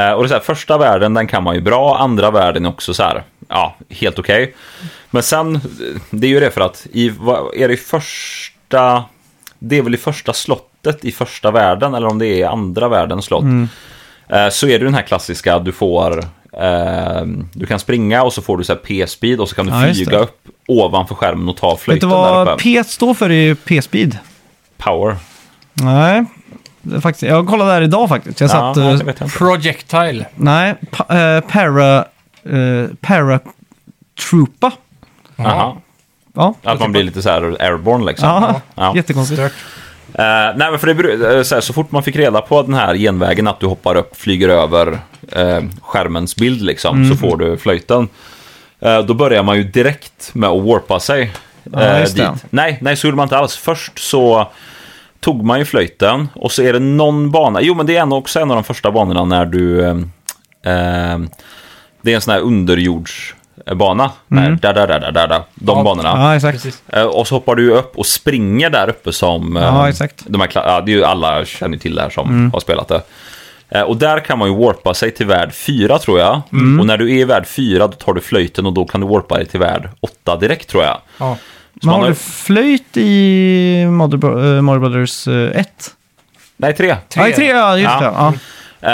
S3: Eh, och det är så här, första världen den kan man ju bra, andra världen är också så här, ja, helt okej. Men sen, eh, det är ju det för att i, vad, är det i första, det är väl i första slottet i första världen eller om det är i andra världens slott. Eh, så är det den här klassiska, du får, eh, du kan springa och så får du så här P-speed och så kan du
S1: Ja, just
S3: flyga
S1: det.
S3: upp ovanför skärmen och ta
S1: Vet du
S3: flöjten där
S1: vad
S3: uppe.
S1: P står för i P-speed?
S3: Power.
S1: Nej. Det är faktiskt, jag kollade där idag faktiskt. Jag satt...
S3: ja,
S1: eh,
S3: det vet jag inte.
S2: Projectile.
S1: nej, pa, eh, para... eh, para... Troopa.
S3: Jaha.
S1: Ja.
S3: Att man blir lite så här airborne liksom.
S1: Ja,
S3: Ja.
S1: jättekonstigt.
S2: Stört.
S3: Eh, nej, men för det, beror- eh, så, här, så fort man fick reda på den här genvägen att du hoppar upp, flyger över eh, skärmens bild liksom,
S1: Mm.
S3: så får du flöjten. Eh, då börjar man ju direkt med att warpa sig.
S1: Ja,
S3: eh,
S1: just det.
S3: dit. Nej, nej, så gjorde man inte alls. Först så tog man ju flöjten och så är det någon bana. Jo, men det är en, också en av de första banorna när du... Eh, eh, det är en sån här underjordsbana. Mm. Där, där, där, där, där, där. De
S2: Ja.
S3: banorna.
S1: Ja, exakt.
S2: Precis.
S3: Eh, Och så hoppar du ju upp och springer där uppe som... eh,
S1: Ja, exakt. Mm.
S3: De här, kla- ja, det är ju alla känner ju till det här som har spelat det. Eh, Och där kan man ju warpa sig till värld 4 tror jag.
S1: Mm.
S3: Och när du är i värld 4 då tar du flöjten och då kan du warpa dig till värld 8 direkt tror jag.
S2: Ja.
S3: Så
S1: Man
S3: man
S1: har
S3: har-
S1: du flöjt i Mother Bro- eh, Mario Brothers 1?
S3: Nej, Ehm, 3.
S1: Ja, i tre, ja, just
S3: Ja.
S1: det. Ja.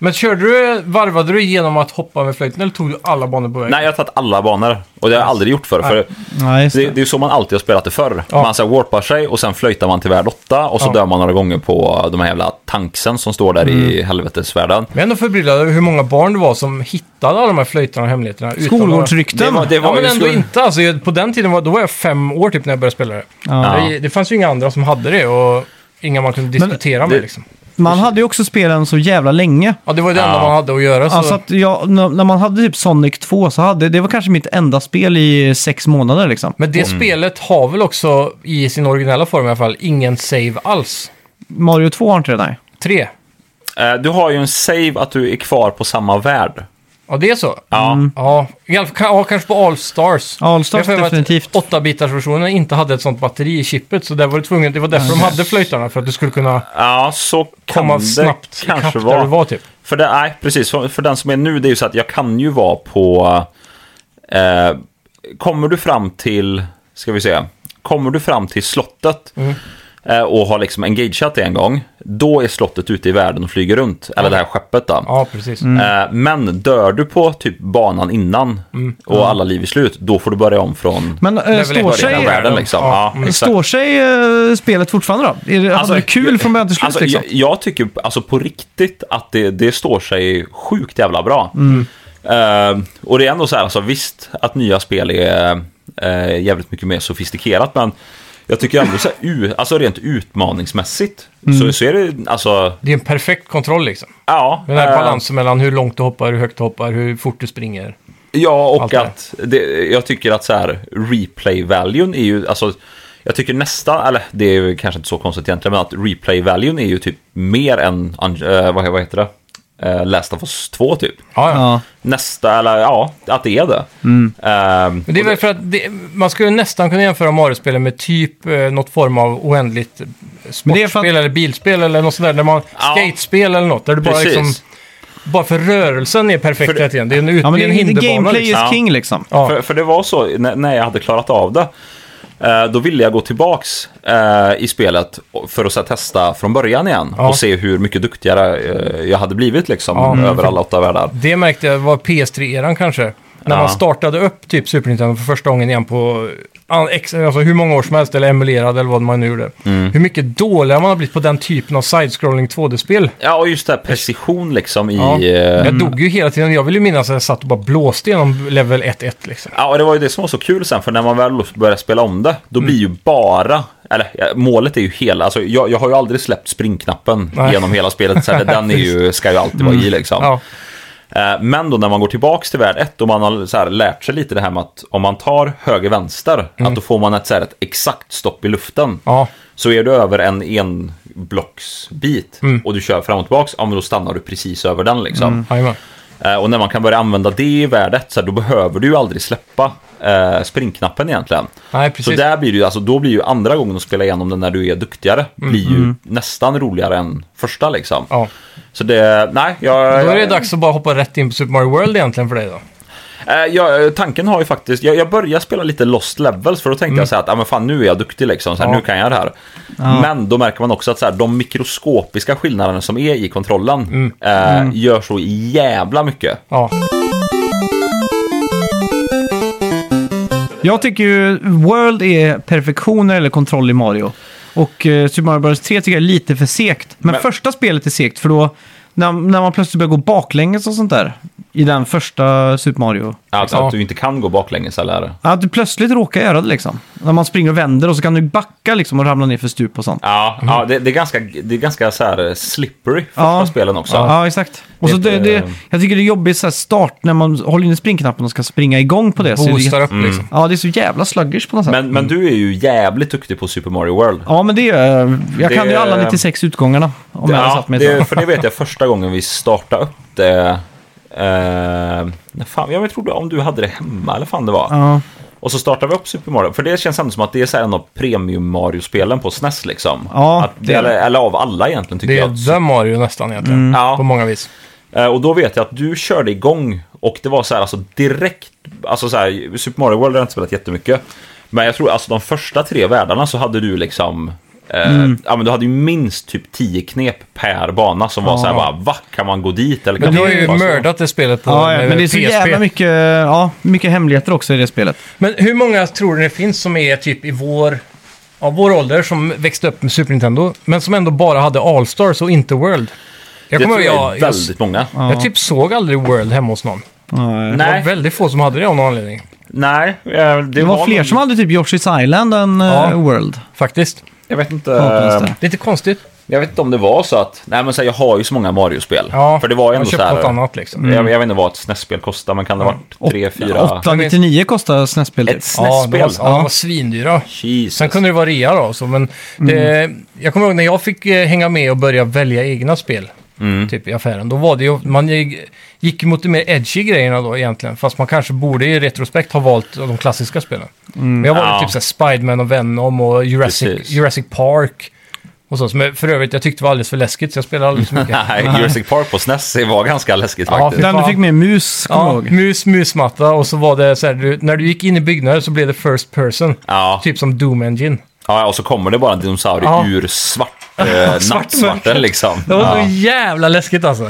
S2: Men körde du, varvade du genom att hoppa med flöjten eller tog du alla banor på vägen?
S3: nej, jag har tagit alla banor. Och det har jag aldrig gjort förr. För
S1: Ja, just
S3: det,
S1: det.
S3: det är ju så man alltid har spelat det förr.
S2: Ja.
S3: Man så här warpar sig och sen flöjtar man till värld 8 och så
S2: Ja.
S3: dör man några gånger på de här jävla tanksen som står där
S1: Mm.
S3: i helvetesvärlden.
S2: Men jag är ändå förbryllad över hur många barn det var som hittade alla de här flöjterna och hemligheterna. utan att-
S1: Skolgårdsrykten.
S3: Det var, det var
S2: Ja, men
S3: ju
S2: ändå
S3: skoj.
S2: inte. Alltså, jag- på den tiden var, då var jag fem år typ när jag började spela det.
S1: Ja.
S2: Det, det fanns ju inga andra som hade det och inga man kunde diskutera med.
S3: det-
S2: Liksom.
S1: Man hade ju också spelen så jävla länge.
S2: Ja, det var ju det
S3: Ja.
S2: enda man hade att göra. Så.
S1: Alltså att jag, när när man hade typ Sonic 2 så hade det var kanske mitt enda spel i sex månader liksom.
S2: men det
S3: Mm.
S2: spelet har väl också, i sin originella form i alla fall, ingen save alls.
S1: Mario 2 har inte det, nej.
S2: Tre.
S3: Eh, Du har ju en save att du är kvar på samma värld.
S2: Ja, det är så. Mm.
S3: Ja.
S2: Ja, i alla fall, kan- ja, kanske på All Stars.
S1: All Stars,
S2: Jag får för mig att
S1: definitivt.
S2: 8-bitarsversionen inte hade ett sånt batteri i chippet, så där var det, tvungen, det var därför de hade flöjtarna, för att du skulle kunna
S3: Ja, så kan
S2: komma
S3: det
S2: snabbt ikapp
S3: kanske
S2: där du
S3: vara.
S2: var typ.
S3: För, det, nej, precis, för, för den som är nu, det är ju så att jag kan ju vara på... Eh, kommer du fram till, ska vi se, kommer du fram till slottet
S2: Mm.
S3: eh, och har liksom engageat det en gång, då är slottet ute i världen och flyger runt. Eller det här skeppet då.
S2: Ja, precis.
S3: Eh, Men dör du på typ banan innan
S2: Mm.
S3: och alla liv är slut, då får du börja om från
S1: Men äh,
S2: väl
S1: står,
S2: ett-
S3: början av
S1: sig,
S3: världen. Liksom.
S2: Ja,
S3: Ja,
S2: mm.
S3: exakt.
S1: står
S3: Alltså,
S1: sig eh, spelet fortfarande då? Är det, hade du kul
S3: jag-
S1: från början till slut
S3: alltså,
S1: liksom?
S3: jag, jag tycker alltså, på riktigt att det, det står sig sjukt jävla bra.
S1: Mm.
S3: Eh, och det är ändå så här, alltså, visst att nya spel är eh, jävligt mycket mer sofistikerat, men Jag tycker ändå så här, u- alltså rent utmaningsmässigt
S1: Mm.
S3: så, så är det alltså,
S2: Det är en perfekt kontroll liksom.
S3: ja.
S2: Den här
S3: eh,
S2: balansen mellan hur långt du hoppar, hur högt du hoppar, hur fort du springer.
S3: Ja, och
S2: Allt det.
S3: att det, jag tycker att så här, replay-valuen är ju, alltså, jag tycker nästa, eller det är ju kanske inte så konstigt egentligen, men att replay-valuen är ju typ mer än, eh, vad, vad heter det, Eh, Last of Us 2 typ.
S2: Ja, ja.
S1: Ja.
S3: Nästa, eller ja, att det är det.
S2: Mm.
S3: Ehm,
S2: Men det är väl för att det, man skulle nästan kunna jämföra Mario-spelen med typ eh, något form av oändligt eh,
S1: Men det är
S2: sportspel
S1: för att-
S2: eller bilspel eller något sådär. Där man,
S3: Ja.
S2: Skatespel eller något, där du bara
S3: Precis.
S2: liksom... Bara för rörelsen är perfekt rätt igen. Det är en, ut,
S1: ja, men
S2: det är en
S1: det, det,
S2: hinderbana.
S1: gameplay
S2: Liksom.
S1: is
S3: liksom.
S1: king liksom.
S2: Ja.
S3: För, för det var så, när, när jag hade klarat av det, eh, då ville jag gå tillbaks eh, i spelet för att så här, testa från början igen
S2: Ja.
S3: och se hur mycket duktigare eh, jag hade blivit liksom
S2: Ja, mm.
S3: över alla åtta världar.
S2: Det märkte jag var PS3-eran kanske. När
S3: Ja.
S2: man startade upp typ Super Nintendo för första gången igen på an- ex- alltså hur många år som helst, eller emulerad eller vad man nu gjorde.
S1: Mm.
S2: Hur mycket dåligare man har blivit på den typen av side-scrolling 2D-spel.
S3: Ja, och just det här precision liksom i...
S2: Ja.
S3: eh,
S2: Jag dog ju hela tiden. Jag vill ju minnas att jag satt och bara blåste igenom level 1-1 liksom.
S3: Ja, och det var ju det som var så kul sen, för när man väl börjar spela om det, då blir
S2: Mm.
S3: ju bara... Eller ja, målet är ju hela, alltså jag, jag har ju aldrig släppt springknappen
S2: Nej. Mm.
S3: genom hela spelet. Så här, den är ju, ska ju alltid vara i liksom.
S2: Ja,
S3: Eh, Men då när man går tillbaks till värld 1 och man har så här lärt sig lite det här med att om man tar höger vänster, att då får man ett, så här, ett exakt stopp i luften.
S2: Mm. ja.
S3: Så är du över en enblocksbit
S2: Mm.
S3: och du kör fram och tillbaks, ja men då stannar du precis över den liksom.
S2: jajamän.
S3: Eh, Och när man kan börja använda det i värld 1, så här, då behöver du ju aldrig släppa eh, springknappen egentligen.
S2: Nej,
S3: Så
S2: precis.
S3: där blir det ju, alltså, då blir ju andra gången att spela igenom den när du är duktigare, blir ju nästan roligare än första liksom.
S2: Mm. Ja.
S3: Så det, nej, jag...
S2: Då är det dags att bara hoppa rätt in på Super Mario World egentligen för dig då.
S3: Eh, jag- eh, tanken har ju faktiskt, jag, jag började spela lite lost levels för då tänkte jag så här att ah, men fan, nu är jag duktig liksom, så här,
S2: Mm. Ja.
S3: nu kan jag det här. Men då märker man också att så här, de mikroskopiska skillnaderna som är i kontrollen
S2: Mm.
S3: eh, gör så jävla mycket.
S2: Ja.
S1: Jag tycker ju World är perfektion eller kontroll i Mario. Och eh, Super Mario Bros 3 tycker jag är lite för segt. Men,
S3: Men-
S1: första spelet är segt för då, när, när man plötsligt börjar gå baklänges och sånt där. I den första Super Mario.
S3: Alltså
S2: Ja.
S3: att du inte kan gå baklänges eller?
S1: Att du plötsligt råkar göra det liksom. När man springer och vänder och så kan du backa liksom och ramla ner för stup och sånt.
S3: Ja, ja det, det är ganska, det är ganska så här eh, slippery första
S1: Mhm. Ja.
S3: spelen också.
S1: Ja, exakt. Och så
S3: Det-
S1: det, det, jag tycker det är jobbigt så här start när man håller inne springknappen och ska springa igång på det. Så det
S2: Boostar
S1: är,
S2: upp
S3: Mm.
S2: liksom.
S1: ja, det är så jävla sluggish på något sätt.
S3: Men, men du är ju jävligt duktig på Super Mario World.
S1: ja, men det gör jag. Jag
S3: Det-
S1: kan ju alla 96 utgångarna om jag hade satt mig
S3: det,
S1: det,
S3: för det vet jag första gången vi startade upp det. Eh, när fan, jag tror det- om du hade det hemma eller fan det var.
S1: Ja,
S3: Och så startar vi upp Super Mario. För det känns ändå som att det är så här en av premium Mario-spelen på SNES liksom.
S1: Ja,
S3: att det,
S1: det är det.
S3: eller, eller av alla egentligen tycker
S2: Det
S3: jag.
S2: är The Mario nästan egentligen.
S1: Mm.
S3: Ja.
S2: På många vis.
S3: Eh, Och då vet jag att du körde igång och det var så här alltså direkt, alltså så här, Super Mario World har jag inte spelat jättemycket. Men jag tror alltså de första tre världarna så hade du liksom, eh,
S2: Mm.
S3: ja men du hade ju minst typ 10 knep per bana som var så här bara, va? Kan man gå dit eller
S2: Men
S3: kan
S2: du har
S3: man
S2: ju
S3: bara så?"
S2: mördat det spelet på
S1: ja, ja,
S2: med
S1: men det är så
S2: PSP.
S1: jävla mycket, ja, mycket hemligheter också i det spelet.
S2: Men hur många tror du det finns som är typ i vår, ja, vår ålder som växte upp med Super Nintendo, men som ändå bara hade All-Stars och inte World? Jag
S3: Det
S2: kommer
S3: tror
S2: ihåg,
S3: jag
S2: jag,
S3: är
S2: jag,
S3: väldigt många.
S2: jag typ såg aldrig World hemma hos någon.
S1: Ja,
S2: Det var
S3: Nej,
S2: väldigt få som hade det av någon anledning,
S3: nej. eh, Det,
S1: Det var fler som hade typ Yoshi's Island än eh,
S2: Ja.
S1: World.
S2: faktiskt.
S3: Jag vet inte.
S1: Ja,
S3: eh,
S2: Lite konstigt.
S3: Jag vet inte om det var så att, nej men så här, jag har ju så många Mario-spel.
S2: Ja,
S3: För det var ju
S2: jag har
S3: ändå
S2: köpt
S3: så här. Mm.
S2: något annat liksom.
S3: jag, jag vet inte vad ett SNES-spel kostar, men kan det ha varit 3, 4?
S1: 899 kostar SNES-spel typ.
S3: Ett
S2: Ja, de var,
S3: SNES-spel?
S2: ja, de var svindyra.
S3: Jesus.
S2: Sen kunde det vara rea då, så, men det,
S3: Mm.
S2: jag kommer ihåg när jag fick eh, hänga med och börja välja egna spel.
S3: Mm.
S2: Typ i affären. Då var det ju, man gick- gick mot de mer edgy grejerna då egentligen. Fast man kanske borde i retrospekt ha valt de klassiska spelen. Men jag valde
S3: Mm. Ja.
S2: typ såhär Spiderman och Venom och Jurassic,
S3: Precis.
S2: Jurassic Park. Och så, som jag, för övrigt jag tyckte var alldeles för läskigt så jag spelade alldeles för mycket.
S3: Nej, Jurassic Park på SNES var ganska läskigt
S2: Ja,
S3: faktiskt.
S1: Den du
S2: fan.
S1: fick med mus, kommer jag
S2: Ja,
S1: ihåg.
S2: mus, musmatta och så var det så här, du, när du gick in i byggnader så blev det first person.
S3: Ja.
S2: Typ som Doom Engine.
S3: Ja, och så kommer det bara en dinosaurie
S2: Ja.
S3: ur svart, eh, nattsvarten liksom.
S2: Det var så
S3: Ja,
S2: jävla läskigt alltså.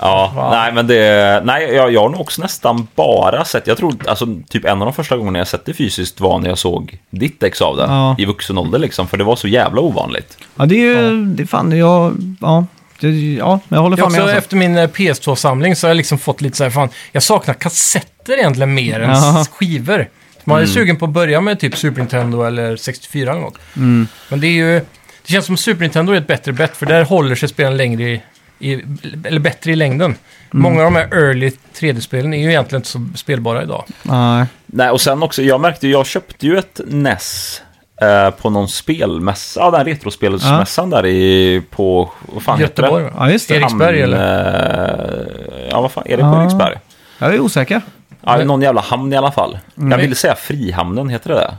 S3: ja. Nej, men det, nej, jag, jag har nog också nästan bara sett, jag tror alltså, typ en av de första gångerna jag sett det fysiskt var när jag såg ditt ex av det
S1: Ja.
S3: i vuxen ålder liksom, för det var så jävla ovanligt.
S1: Ja, det är ju, det är fan, jag, ja, det, ja, jag håller
S2: Jag
S1: fan med.
S2: också,
S1: Alltså.
S2: efter min eh, PS2-samling så har jag liksom fått lite så här, fan, jag saknar kassetter egentligen mer än
S1: Ja.
S2: skivor. Man
S3: Mm.
S2: är sugen på att börja med typ Super Nintendo eller 64 eller något.
S1: Mm.
S2: Men det är ju... Det känns som Super Nintendo är ett bättre bett, för där håller sig spelen längre i, i, eller bättre i längden.
S1: Mm.
S2: Många av de här early 3D-spelen är ju egentligen inte så spelbara idag.
S1: Nej.
S3: Nej, och sen också, jag märkte ju, jag köpte ju ett NES eh, på någon spelmässa, ja, den retrospelsmässan där i, på, vad fan
S2: Göteborg,
S3: heter
S2: va?
S1: Ja, just det.
S2: Eriksberg, eller?
S3: eller? Ja, vad fan, är det på
S1: Ja.
S3: Eriksberg?
S1: Jag är osäker.
S3: Ja,
S2: Men-
S3: någon jävla hamn i alla fall. Jag ville säga Frihamnen, heter det det?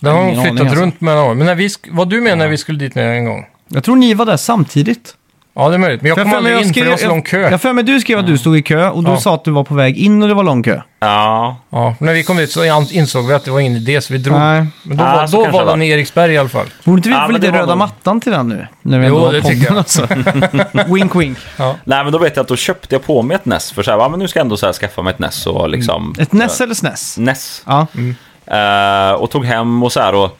S2: Där har de
S1: Ingen aning,
S2: flyttat
S1: alltså.
S2: runt mellan år. Men när vi sk- var du med när vi skulle dit en gång?
S1: Jag tror ni var där samtidigt.
S2: Ja, det är möjligt. Men jag
S1: För
S2: kom
S1: för mig
S2: aldrig in, för det var så
S1: jag-
S2: lång kö. Mm.
S1: Jag för mig du skrev att du stod i kö och då
S2: Ja.
S1: sa att du var på väg in och det var lång kö.
S3: Ja,
S2: Ja, när vi kom dit så ans- insåg vi att det var ingen idé, så vi drog.
S1: Nej.
S2: Men då,
S3: Ah,
S2: var
S3: så
S2: då
S3: kanske
S2: var
S3: det
S2: den i Eriksberg i alla fall.
S1: Borde inte vi
S3: Ja,
S1: få
S3: men
S1: lite
S3: det var
S1: röda
S3: nog-
S1: mattan till den nu? När vi
S2: Jo,
S1: ändå har
S2: det tycker
S1: podden
S2: jag.
S1: alltså. wink wink.
S2: Ja.
S3: Nej, men då vet jag att då köpte jag på mig ett NES. För så här, ja, men nu ska jag ändå så här skaffa mig ett NES och liksom...
S1: Ett NES eller SNES?
S3: NES.
S1: Ja.
S2: Mm.
S3: Eh, och tog hem och så här och...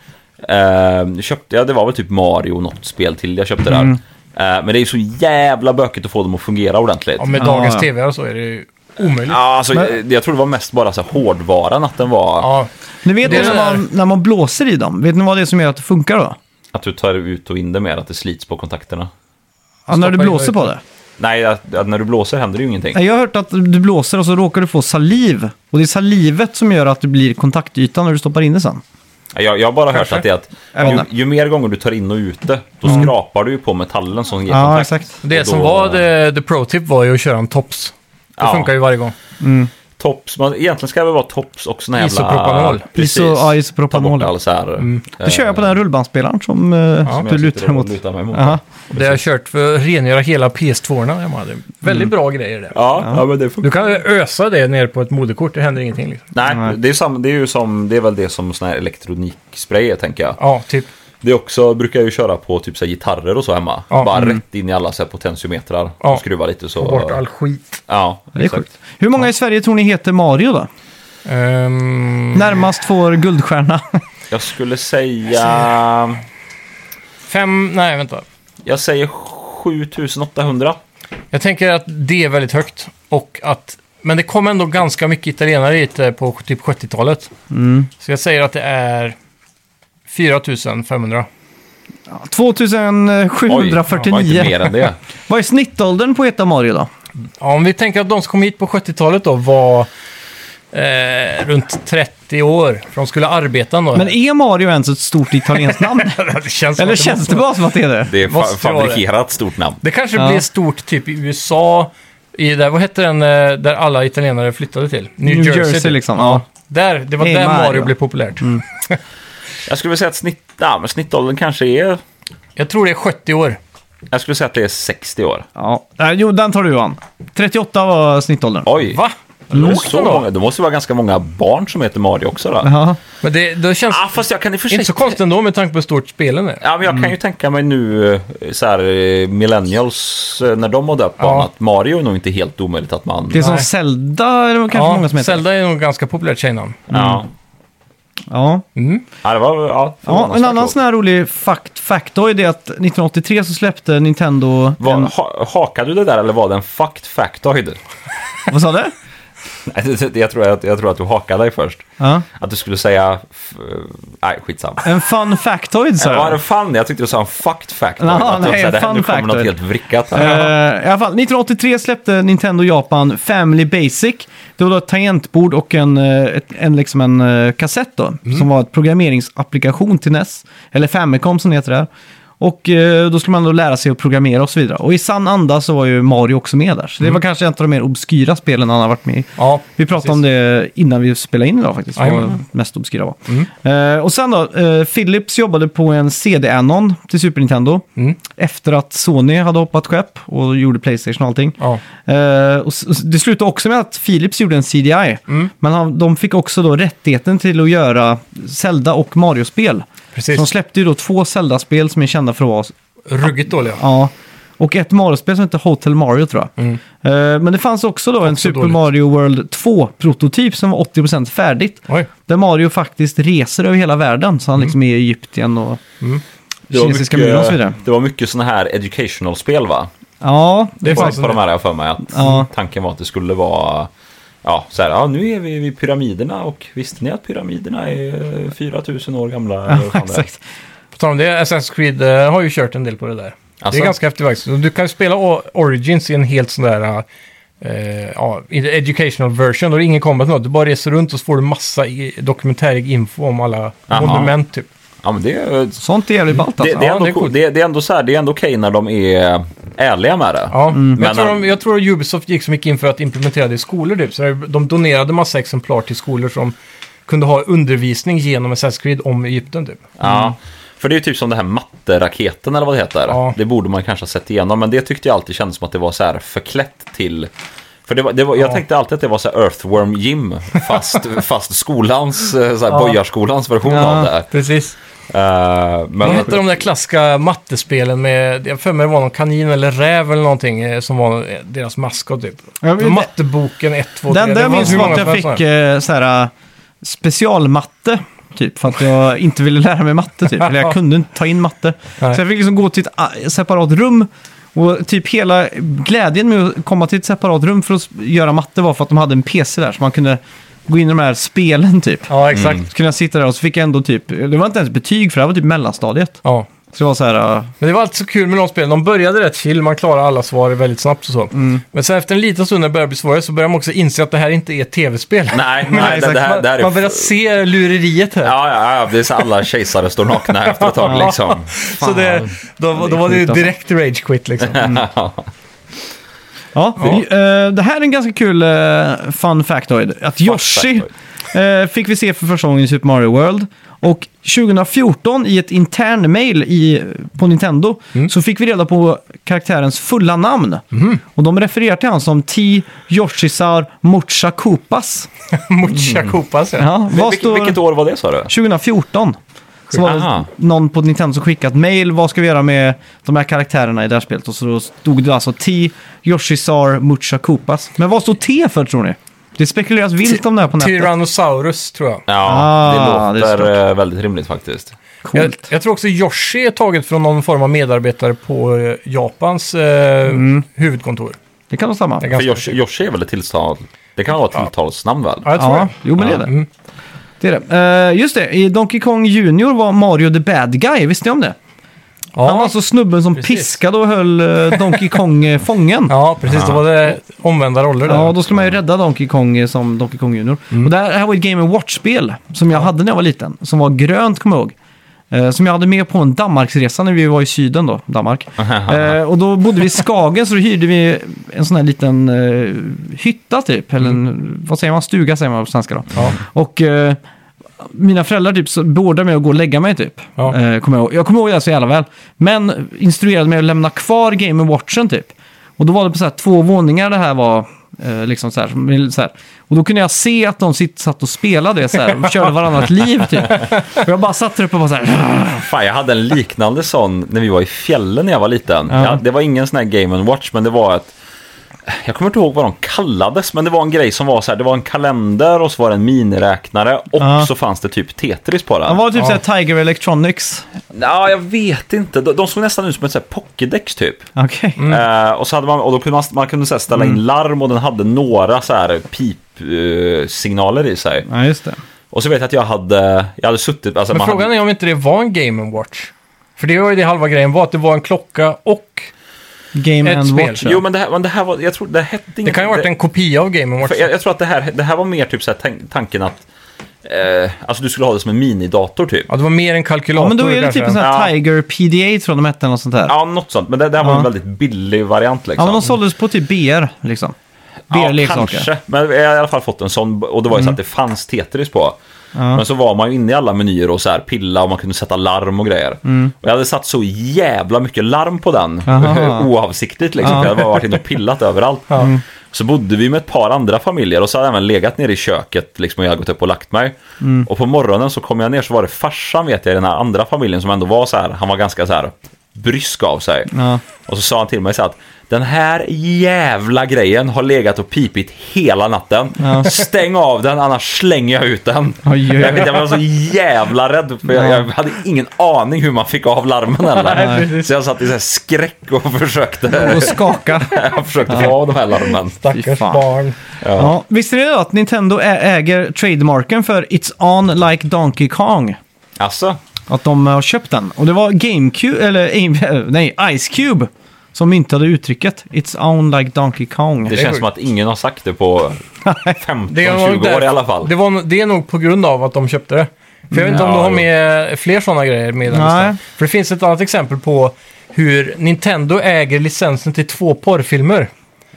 S3: eh, köpte jag, det var väl typ Mario och något spel till jag köpte där. Eh, men det är ju så jävla bökigt att få dem att fungera ordentligt.
S2: ja, med
S1: Ja,
S2: dagens
S1: ja.
S2: tv och så är det ju omöjligt.
S3: Ja,
S2: Ja,
S3: alltså, jag, jag tror det var mest bara så här hårdvaran att den var...
S1: Ni vet
S2: Det
S1: ni
S2: är
S1: när
S2: det där.
S1: man, när man blåser i dem, vet ni vad det är som gör att det funkar då?
S3: Att du tar ut och in det mer, att det slits på kontakterna.
S1: Ja, när du
S2: Stoppa in
S1: blåser
S2: och
S1: på
S2: ut.
S1: det.
S3: Nej, att, att när du blåser händer det ju ingenting.
S1: Nej, Jag har hört att du blåser och så råkar du få saliv. Och det är salivet som gör att det blir kontaktytan när du stoppar in det sen.
S3: Jag, jag har bara hört att det är
S1: Jag vet
S3: att
S1: inte. Mm.
S3: ju, ju mer gånger du tar in och ut det, då skrapar du ju på metallen som ger
S1: Ja,
S3: kontakt.
S1: exakt.
S2: Det
S3: Och
S2: som
S3: då-
S2: var the, the pro-tip var ju att köra en tops. Det
S3: Ja.
S2: funkar ju varje gång.
S3: Tops, man, egentligen ska det väl vara tops och såna jävla...
S2: Isopropanol.
S3: Precis.
S1: Iso- ja, Mm. isopropanol.
S3: Ta bort all så här... eh,
S2: Eh.
S1: Då kör jag på den rultbandsspelaren som, eh, som du lutar dig mot.
S3: Lutar mig mot.
S1: Jaha.
S2: Det har jag kört för att rengöra hela PS2-orna hemma. Det är Väldigt bra grejer det.
S3: Ja, ja. men det funkar.
S2: Du kan ösa det ner på ett moderkort, det händer ingenting liksom.
S3: Nej, det är, sam, det är ju som, det är väl det som sån här elektronikspray är, tänker jag.
S2: Ja, typ.
S3: Det är också, brukar jag ju köra på typ så här, gitarrer och så hemma.
S2: Ja.
S3: Bara
S2: Mm.
S3: rätt in i alla så här potentiometrar
S2: Ja.
S3: och skruva lite så...
S2: Få bort all skit.
S3: Ja,
S1: Det är
S3: exakt.
S1: sjukt. Hur många i Sverige tror ni heter Mario då?
S2: Ehm,
S1: Närmast får guldstjärna.
S3: Jag skulle säga...
S2: fem, nej vänta.
S3: Jag säger 7800.
S2: Jag tänker att det är väldigt högt. Och att, men det kom ändå ganska mycket italienare hit eh, på typ 70-talet.
S1: Mm.
S2: Så jag säger att det är 4500.
S1: 2749.
S3: Oj, det var inte mer än det.
S1: Vad är snittåldern på att heta Mario då?
S2: Ja, om vi tänker att de som kom hit på 70-talet då var eh, runt 30 år. För de skulle arbeta då.
S1: Men är Mario ens ett stort italienskt namn?
S2: det känns som
S1: Eller
S2: att
S1: känns
S2: måste
S1: det
S2: vara-
S1: bara som att det är det?
S3: Det är fa-
S2: Måste vara det.
S3: fabrikerat stort namn.
S2: Det kanske
S1: Ja.
S2: blir stort typ i USA. I där, vad hette den eh, där alla italienare flyttade till? New,
S1: New Jersey,
S2: Jersey, typ.
S1: liksom.
S2: Ja. Där, det var
S1: Hey,
S2: där Mario,
S1: Mario. Mm.
S2: blev populärt.
S3: Jag skulle vilja säga att snitt, ja, men snittåldern kanske är...
S2: Jag tror det är 70 år.
S3: Jag skulle säga att det är 60 år.
S1: Ja. Nej, jo, den tar du an. 38 var snittåldern.
S3: Oj!
S2: Va?
S3: Det, är
S2: Lågt
S3: Mm. så
S2: ändå.
S3: många, det måste vara ganska många barn som heter Mario också då.
S1: Ja.
S2: Men det, det känns
S3: Ah, fast jag kan i och för sig...
S2: inte så Mm. konstigt ändå med tanke på hur stort spelen är.
S3: Ja, men jag kan ju tänka mig nu eh, så här, eh, millennials, eh, när de har döpt barn,
S2: Ja.
S3: att Mario är nog inte helt omöjligt att man...
S1: Det är som
S2: Nej.
S1: Zelda, är det kanske
S2: ja,
S1: många som heter.
S2: Zelda är nog ganska populärt tjejnamn.
S3: Ja.
S2: Mm.
S1: Ja.
S3: ja, det var... Ja,
S1: Ja, en
S3: förvånansvärt
S1: annan
S3: lågt.
S1: sån här rolig fact, factoid är att 1983 så släppte Nintendo...
S3: Var,
S1: en,
S3: ha, hakade du det där eller var det en fact factoid?
S1: vad sa du?
S3: Nej, det- det- jag, tror att, jag tror att du hakade dig först.
S1: Ja.
S3: Att du skulle säga... f- eh, Nej, skitsamma.
S1: En fun factoid sa
S3: Vad var
S1: jag.
S3: det fan? Jag tyckte du sa en fact factoid.
S1: Jaha,
S3: Att jag
S1: nej,
S3: sa, det-
S1: fun
S3: nu kommer något
S1: factoid.
S3: helt vrickat
S1: Eh,
S3: här.
S1: I alla fall, 1983 släppte Nintendo Japan Family Basic. Det var då ett tangentbord och en, eh, ett- en, liksom en eh, kassett då, som var ett programmeringsapplikation till NES, eller Famicom som det heter där. Och eh, då skulle man då lära sig att programmera och så vidare. Och i sann anda så var ju Mario också med där. Så det var kanske ett av de mer obskyra spelen han har varit med i.
S2: Ja,
S1: Vi pratade om det innan vi spelade in idag faktiskt. Vad
S2: Jajamän. Mm.
S1: det mest obskyra var. Eh, och sen då, eh, Philips jobbade på en CD-anon till Super Nintendo.
S2: Mm.
S1: Efter att Sony hade hoppat skepp och gjorde Playstation och allting.
S2: Ja.
S1: Eh, och s- och s- det slutade också med att Philips gjorde en CDI.
S2: Mm.
S1: Men han, de fick också då rättigheten till att göra Zelda och Mario-spel. Så
S2: Precis.
S1: de släppte ju då två Zelda-spel som är kända för att vara
S2: Ruggigt dåliga.
S1: Ja. Och ett Mario-spel som heter Hotel Mario tror jag. Eh, Men det fanns också då en Super
S2: dåligt.
S1: Mario World 2-prototyp som var 80% färdigt.
S2: Oj.
S1: Där Mario faktiskt reser över hela världen. Så han liksom är i Egypten och
S3: Det var
S1: kinesiska
S3: mycket-
S1: muren och så vidare.
S3: Det var mycket sådana här educational-spel va?
S1: Ja,
S2: Det
S1: det
S2: fanns
S1: var...
S3: På, på de här har jag för mig att
S1: Ja.
S3: tanken var att det skulle vara... ja, ja, så här, ja, nu är vi vid pyramiderna och visste ni att pyramiderna är eh, 4000 år gamla? eller vad fan det är?
S1: Exakt.
S2: På tal om det, Assassin's Creed eh, har ju kört en del på det där.
S3: Alltså?
S2: Det är ganska häftigt faktiskt. Och Du kan ju spela O- Origins i en helt sån där eh, ja, i the educational version. Då är det ingen combat något. Du bara reser runt och så får du massa i, dokumentärig info om alla
S3: Aha.
S2: monument typ.
S3: Ja, men det, är-
S1: Sånt är jävligt ballt
S3: det,
S1: alltså.
S3: det, är
S2: Ja,
S3: ändå
S2: det är
S3: cool.
S2: coolt.
S3: det, det är ändå så här, det är ändå okej när de är ärliga med det.
S2: Ja.
S1: Mm.
S2: Men
S3: Men
S2: jag, tror
S3: han-
S2: de, jag tror Ubisoft gick så mycket in för att implementera det i skolor typ. Så de donerade massa exemplar till skolor som kunde ha undervisning genom Assassin's Creed om Egypten typ.
S3: Ja. För det är ju typ som den här matteraketen eller vad det heter.
S2: Ja.
S3: Det borde man kanske ha sett igenom, men det tyckte jag alltid kändes som att det var så här förklätt till... För det var, det var, jag
S2: Ja.
S3: tänkte alltid att det var så här Earthworm Jim, fast, fast skolans, eh, så här
S2: Ja.
S3: bojarskolans version av det. här.
S2: precis.
S3: Eh, men,
S2: Vad hette de där klassiska mattespelen med, jag har för mig det var någon kanin eller räv eller någonting eh, som var eh, deras maskot typ.
S1: Ja, men det-
S2: Matteboken 1, 2, 3.
S1: Den där jag minns var att jag fick eh, så här, eh, specialmatte. Typ för att jag inte ville lära mig matte. Typ. Eller jag kunde inte ta in matte.
S2: Nej.
S1: Så jag fick liksom gå till ett a- separat rum. Och typ hela glädjen med att komma till ett separat rum för att s- göra matte var för att de hade en PC där. Så man kunde gå in i de här spelen typ.
S2: Ja, exakt.
S3: Mm.
S1: Så kunde jag sitta där och så fick jag ändå typ, det var inte ens betyg för det här var typ mellanstadiet.
S2: Ja.
S1: Så det var så här, eh,
S2: Men det var alltid så kul med de spelen. De började rätt chill, man klarade alla svar väldigt snabbt och så.
S1: Mm.
S2: Men sen efter en liten stund när det började bli svårare så började man också inse att det här inte är ett tv-spel.
S3: nej, nej, det, det, här, det här är...
S2: Man börjar se lureriet här.
S3: Ja, ja, ja, det är så alla kejsare står nakna efter ett tag liksom.
S2: så det, då, då,
S1: det är
S2: var det ju
S1: sjukt alltså.
S2: direkt rage quit liksom.
S1: Ja, vi- eh, det här är en ganska kul eh, fun factoid. Att Yoshi eh, fick vi se för första gången i Super Mario World. Och 2014 i ett intern mail i, på Nintendo så fick vi reda på karaktärens fulla namn. Och de refererar till han som T. Yoshisar Mocha Koopas.
S2: Mucha
S1: Mm.
S2: Koopas ja.
S1: Ja, vad
S3: Vilket,
S1: står...
S3: vilket år var det sa du?
S1: 2014. Så var
S3: Aha.
S1: det någon på Nintendo som skickat mail. Vad ska vi göra med de här karaktärerna i det här spelet? Och så då stod det alltså T, Yoshisar, Mucha Koopas. Men vad står T för tror ni? Det spekuleras vilt om det här på nätet.
S2: Tyrannosaurus tror jag.
S3: Ja,
S1: Ah,
S3: det
S1: det är
S3: låter eh, väldigt rimligt faktiskt.
S2: Jag,
S1: Coolt.
S2: jag tror också Yoshi är taget från någon form av medarbetare på eh, Japans eh,
S1: Mm.
S2: huvudkontor.
S1: Det kan nog stämma.
S2: Det är
S1: Ja,
S3: För
S2: ganska-
S3: Yoshi, Yoshi är väl ett tilltal... Det kan vara ett tilltalsnamn väl?
S2: Ja, jag tror det.
S1: jo men det är det.
S2: Mm.
S1: det, är det. Eh, just det, i Donkey Kong Junior var Mario the bad guy, visste ni om det? Han var
S2: Ja.
S1: alltså snubben som
S2: precis.
S1: piskade och höll eh, Donkey Kong eh, fången.
S2: ja, precis. Då var det omvända roller där. Mm.
S1: Ja, då skulle man ju rädda Donkey Kong eh, som Donkey Kong Junior. Och det här, det här var ett Game Watch-spel som jag hade när jag var liten. Som var grönt, kommer jag ihåg. Eh, som jag hade med på en Danmarksresa när vi var i Syden då, Danmark. Eh, och då bodde vi i Skagen så då hyrde vi en sån här liten eh, hytta typ. Eller en, vad säger man, stuga säger man på svenska då.
S2: Mm. Ja.
S1: Och eh, mina föräldrar typ så beordrade mig att gå och lägga mig typ.
S2: Ja.
S1: Eh, kommer jag, ihåg. jag kommer ihåg det här så jävla väl. Men instruerade mig att lämna kvar Game Watchen typ. Och då var det på så här två våningar det här var. Eh, liksom så här, som- så här. Och då kunde jag se att de sitt, satt och spelade så här, och körde varannat liv typ. Och jag bara satt där uppe och bara så här.
S3: Fan, jag hade en liknande sån när vi var i fjällen när jag var liten.
S1: Ja.
S3: Ja, det var ingen sån här Game Watch, men det var ett... Jag kommer inte ihåg vad de kallades, men det var en grej som var så här. Det var en kalender och så var det en miniräknare och
S1: Ja.
S3: så fanns det typ Tetris på
S1: Han
S3: den.
S1: var typ så här Tiger Electronics.
S3: Ja, jag vet inte. De, de såg nästan ut som ett så här Pokédex typ.
S1: Okej.
S2: Mm.
S3: Eh, och, så hade man, och då kunde man, man kunde så här ställa in larm och den hade några så här pipsignaler i sig.
S1: Ja, just det.
S3: Och så vet jag att jag hade, jag hade suttit... Alltså
S2: Men
S3: man
S2: frågan
S3: hade,
S2: är om inte det var en Game Watch. För det var ju det halva grejen var, att det var en klocka och...
S1: Game
S2: Ett
S1: and
S2: spel.
S1: Watch.
S3: Jo, men det här, men det här var... Jag tror det hette
S2: Det
S3: inget-
S2: kan ju ha varit en kopia av Game Watch.
S3: För jag, jag tror att det här, det här var mer typ så här tan- tanken att eh, alltså du skulle ha det som en minidator typ.
S2: Ja, det var mer en
S1: Ja,
S2: kalkylator
S1: men då är det
S2: kanske.
S1: typ en sån här
S3: Ja.
S1: Tiger PDA tror jag de hette, eller något sånt där.
S3: Ja, något sånt. Men det, det här var
S1: Ja.
S3: en väldigt billig variant
S1: Ja,
S3: liksom.
S1: men de såldes på typ BR, liksom. BR-leksaker.
S3: kanske. Men jag har i alla fall fått en sån. Och det var ju
S1: Mm.
S3: så att det fanns Tetris på. Men så var man ju inne i alla menyer och så här pilla och man kunde sätta larm och grejer.
S1: Mm.
S3: Och jag hade satt så jävla mycket larm på den.
S1: Aha.
S3: Oavsiktligt liksom.
S1: Ja. Mm.
S3: För jag hade bara varit inne och pillat överallt. Så bodde vi med ett par andra familjer och så hade jag även legat nere i köket liksom, och jag hade gått upp och lagt mig.
S1: Mm.
S3: Och på morgonen så kom jag ner så var det farsan vet jag i den här andra familjen som ändå var så här. Han var ganska så här brysk av sig.
S1: Ja.
S3: Och så sa han till mig så här att Den här jävla grejen har legat och pipit hela natten. Stäng av den, annars slänger jag ut den.
S1: Oj, oj,
S3: Jag,
S1: oj.
S3: vet, jag var så jävla rädd, för jag,
S1: Ja.
S3: jag hade ingen aning hur man fick av larmen
S2: Nej,
S3: heller.
S2: precis.
S3: Så jag satt i så här skräck och försökte,
S1: Och skakar.
S3: jag försökte få av de här larmen.
S1: Fy
S2: Stackars
S1: fan.
S2: barn.
S1: Ja. Visste ni då att Nintendo ä- äger trademarken för It's On Like Donkey Kong?
S3: Alltså,
S1: Att de har köpt den. Och det var GameCube, eller Aim- nej, Ice Cube som myntade uttrycket It's On Like Donkey Kong.
S3: det
S2: är
S3: känns som
S2: sjukt.
S3: att ingen har sagt det på 15-20 år
S2: därför-
S3: i alla fall.
S2: Det, var, nog- det är nog på grund av att de köpte det. För jag vet inte om
S3: Ja,
S2: du har
S3: jo.
S2: med fler sådana grejer med den
S1: Nej.
S2: listan. För det finns ett annat exempel på hur Nintendo äger licensen till två porrfilmer.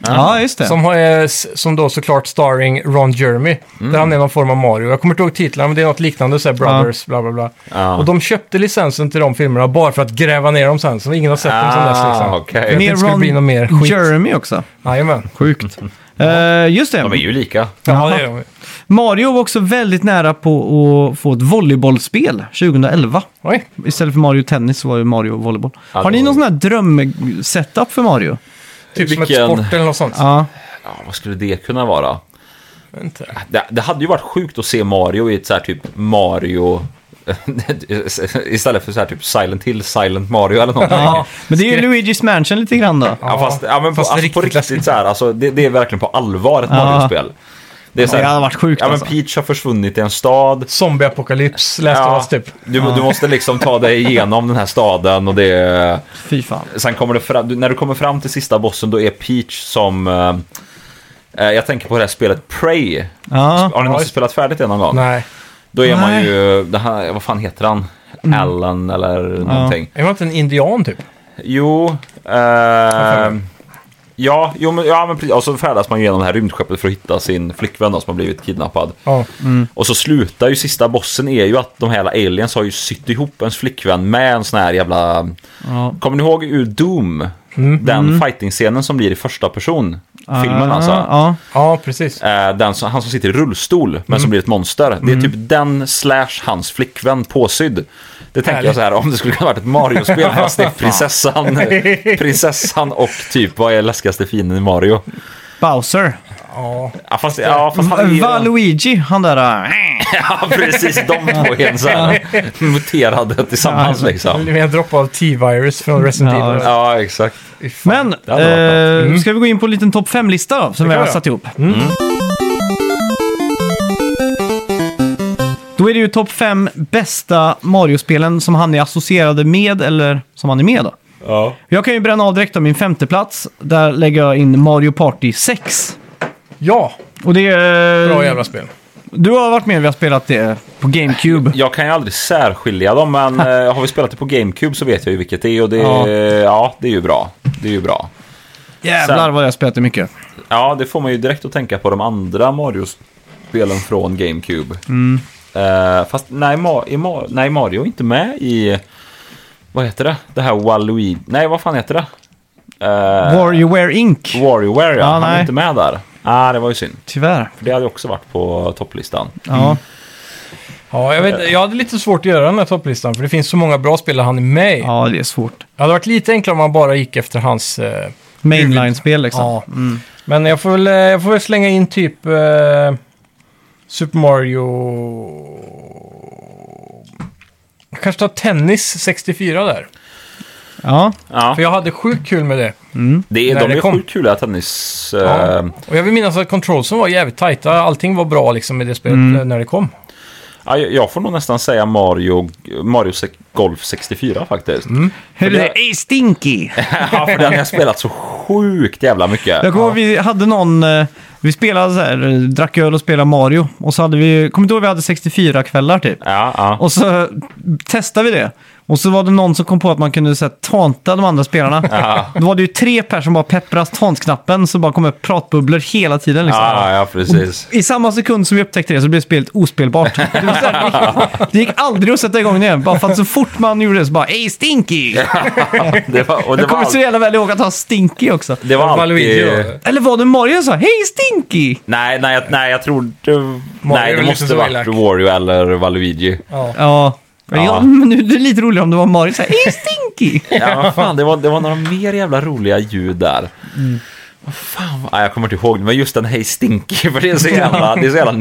S1: Ja, just det.
S2: Som, har, eh, s- som då såklart starring Ron Jeremy.
S3: Mm.
S2: Där han är någon form av Mario. Jag kommer inte ihåg titlarna men det är något liknande. Så här Brothers, bla bla bla.
S3: Ja.
S2: Och de köpte licensen till de filmerna bara för att gräva ner dem sen. Så ingen har sett dem sen dess.
S3: Ah,
S2: Liksom. För
S3: okej.
S2: att det
S1: Med
S2: inte skulle bli något mer skit.
S1: Jeremy också.
S2: Jajamän.
S1: Sjukt. Eh, just det.
S3: De är ju lika.
S2: Ja, det är de.
S1: Mario var också väldigt nära på att få ett volleybollspel 2011.
S2: Oj.
S1: Istället för Mario Tennis så var ju Mario Volleyboll.
S3: Ja,
S1: har ni
S3: det var-
S1: någon sån här dröm-setup för Mario?
S2: Typ som
S3: Vilken-
S2: ett sport eller något sånt.
S1: Ja,
S3: Ja, vad skulle det kunna vara?
S2: Inte.
S3: Det, det hade ju varit sjukt att se Mario i ett så här typ Mario... Istället för så här typ Silent Hill, Silent Mario eller någonting.
S1: ja. Men det är ju Luigi's Mansion lite grann då.
S3: Ja, fast, ja, men på,
S2: Fast det är
S3: alltså, på
S2: riktigt
S3: riktigt så här, alltså, det, det är verkligen på allvar ett
S1: Ja.
S3: Mario-spel. Det är så
S1: Ja,
S3: här,
S1: det hade varit sjukt
S3: ja, men
S1: alltså.
S3: Peach har försvunnit i en stad.
S2: Zombieapokalyps läste jag
S3: Ja,
S2: oss typ.
S3: du, du måste liksom ta dig igenom den här staden och det är...
S1: Fy fan.
S3: Sen kommer det fram, du- när du kommer fram till sista bossen då är Peach som... eh, eh, jag tänker på det här spelet Prey.
S1: Ja.
S3: Har ni någonsin
S2: Ja.
S3: spelat färdigt det någon gång?
S2: Nej.
S3: Då är man
S1: Nej.
S3: ju, det här, vad fan heter han? Allen eller någonting.
S2: Är man inte en indian typ?
S3: Jo, eh, ja, jo, men, ja men precis. Och så färdas man ju genom det här rymdskeppet för att hitta sin flickvän då, som har blivit kidnappad.
S2: Ja.
S3: Och så slutar ju sista bossen är ju att de här jävla aliens har ju sytt ihop ens flickvän med en sån här jävla...
S1: Ja.
S3: Kommer ni ihåg ur Doom? Den fighting-scenen som blir i första person.
S1: Ah.
S3: Filmen alltså.
S1: Ja.
S2: ja, precis.
S3: Eh, den som, han som sitter i rullstol men som blir ett monster. Det är typ den slash hans flickvän påsydd. Det tänker jag
S2: Härligt.
S3: så här om det skulle kunna varit ett Mario-spel fast det är prinsessan, prinsessan och typ vad är läskigaste fienden i Mario?
S1: Bowser.
S2: Ja.
S3: Ja fast, ja, fast han är ju...
S1: Valuigi, han där... äh,
S3: Ja precis, de två är så här muterade tillsammans liksom.
S2: Med en droppe av T-virus från Resident
S1: Ja,
S2: Evil.
S3: Ja exakt.
S2: Fy fan.
S1: Men,
S3: det hade varit Mm.
S1: eh, ska vi gå in på en liten topp 5-lista då, som vi
S2: kan
S1: har
S2: vi
S1: satt ihop? Mm. Då är det ju topp 5 bästa Mario-spelen som han är associerade med, eller som han är med då.
S3: Ja.
S1: Jag kan ju bränna av direkt av min femte plats. Där lägger jag in Mario Party 6.
S2: Ja,
S1: Och det är...
S3: Mm.
S2: bra jävla spel.
S1: Du har varit med vi har spelat det på GameCube.
S3: Jag kan ju aldrig särskilja dem men eh, har vi spelat det på GameCube så vet jag ju vilket det är och det,
S1: Ja.
S3: ja. Ja, det är ju bra. Det är ju bra.
S1: Jävlar
S3: sen-
S1: vad jag spelat det mycket.
S3: Ja, det får man ju direkt att tänka på de andra Mario-spelen från GameCube. Eh, fast nej, Ma- i Ma- nej, Mario är inte med i... Vad heter det? Det här Waluigi... Nej, vad fan heter det? Uh,
S1: WarioWare Inc.
S3: Warrior, ja.
S1: Ja,
S3: Han
S1: nej.
S3: är inte med där. ah, det var ju synd.
S1: Tyvärr.
S3: För det hade också varit på topplistan.
S1: Ja.
S2: Ja, jag, vet, jag hade lite svårt att göra den här topplistan för det finns så många bra spel han är med i.
S1: ja, det är svårt.
S2: Det hade varit lite enklare om man bara gick efter hans... Eh,
S1: Mainline-spel liksom.
S2: ja.
S3: mm.
S2: Men jag får, väl, eh, jag får väl slänga in typ eh, Super Mario... Jag kanske tar Tennis 64 där.
S1: Ja.
S3: Ja,
S2: För jag hade sjukt kul med det.
S3: det är,
S2: när
S3: de
S2: det
S3: är
S2: kom.
S3: sjukt kula tennis... eh,
S2: Ja. Och jag vill minnas att controlsen var jävligt tajta. Allting var bra liksom i det spelet eh, när det kom.
S3: ja, jag- jag får nog nästan säga Mario, Mario se- Golf 64 faktiskt.
S2: Mm.
S1: Hur
S3: det-
S1: är stinky?
S3: ja, för den har jag spelat så sjukt jävla mycket.
S1: Jag kommer ihåg vi hade någon... eh, Vi spelade så här, eh, drack öl och spelade Mario. Och så hade vi... Kommer du ihåg vi hade 64 kvällar typ?
S3: Ja, ja.
S1: Och så testade vi det. Och så var det någon som kom på att man kunde så här, tanta de andra spelarna. Då var det ju tre personer som bara peppras tantknappen så bara kom upp pratbubblor hela tiden. Liksom.
S3: Ja, ja, precis.
S1: I samma sekund som vi upptäckte det så blev spelet ospelbart. Det, var så här, det gick aldrig att sätta igång det igen. Bara för att så fort man gjorde det så bara Ey Stinky!
S3: Det var, och det
S1: Jag
S3: var,
S1: kommer så
S3: all,
S1: jävla väl ihåg att han Stinky också.
S3: det var
S2: Valuigi då.
S3: alltid...
S1: Eller var det Mario som sa Hej Stinky!
S3: Nej, nej, jag- nej, jag tror... det- Nej,
S2: är
S3: det
S2: väl lite
S3: måste
S2: så
S3: varit
S2: elak.
S3: Wario eller Valuigi.
S2: Ja.
S1: Ja. Men
S3: Ja.
S1: Ja, men nu är det lite roligare om det var Mario som sa Hej Stinky!
S3: Ja, vad fan, det var, det var några mer jävla roliga ljud där.
S2: Mm.
S3: Fan, vad- nej, jag kommer inte ihåg, men just den Hej Stinky, för det är så jävla, det är så jävla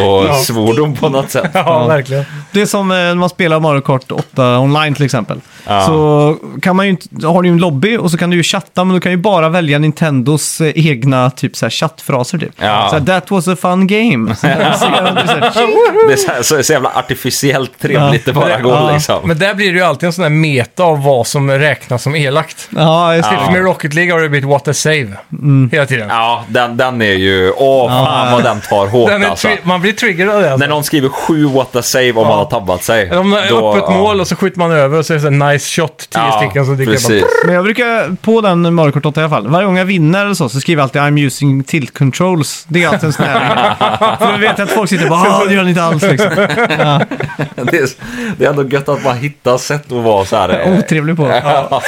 S3: Nintendo-svordom på något sätt.
S2: Ja, verkligen.
S1: Det är som eh, när man spelar Mario Kart 8 online till exempel.
S3: Ja.
S1: Så kan man ju inte, har du ju en lobby och så kan du ju chatta, men du kan ju bara välja Nintendos eh, egna typ så här, chattfraser. Typ.
S3: Ja.
S1: Så här, That was a fun game. Så här, så kan man så här,
S3: Det är så, här, så, så jävla artificiellt trevligt det bara går
S1: Ja.
S3: liksom.
S2: Men där blir det ju alltid en sån här meta av vad som räknas som elakt.
S1: ja, just det.
S2: Till och med Rocket League har det blivit What a save hela tiden.
S3: Ja, den, den är ju... Åh, fan vad den tar hårt
S2: Den är
S3: alltså.
S2: tri- man blir triggerad av det.
S3: När
S2: Alltså.
S3: någon skriver sju what a save om man har tabbat sig.
S2: De har öppet
S3: ja.
S2: mål och så skjuter man över och så är det så här nice shot, tio
S3: Ja,
S2: stycken. Så dyker det
S3: precis.
S2: bara...
S1: Men jag brukar, på den Mario Kart 8 i alla fall, varje gång jag vinner eller så, så skriver jag alltid I'm using tilt controls. Det är alltid en sån här... För då vet jag att folk sitter och bara "Ah, det gör ni inte alls liksom.
S3: Det är, det är ändå gött att man hittar sätt att vara så här... eh,
S1: Otrevlig på.
S3: ja,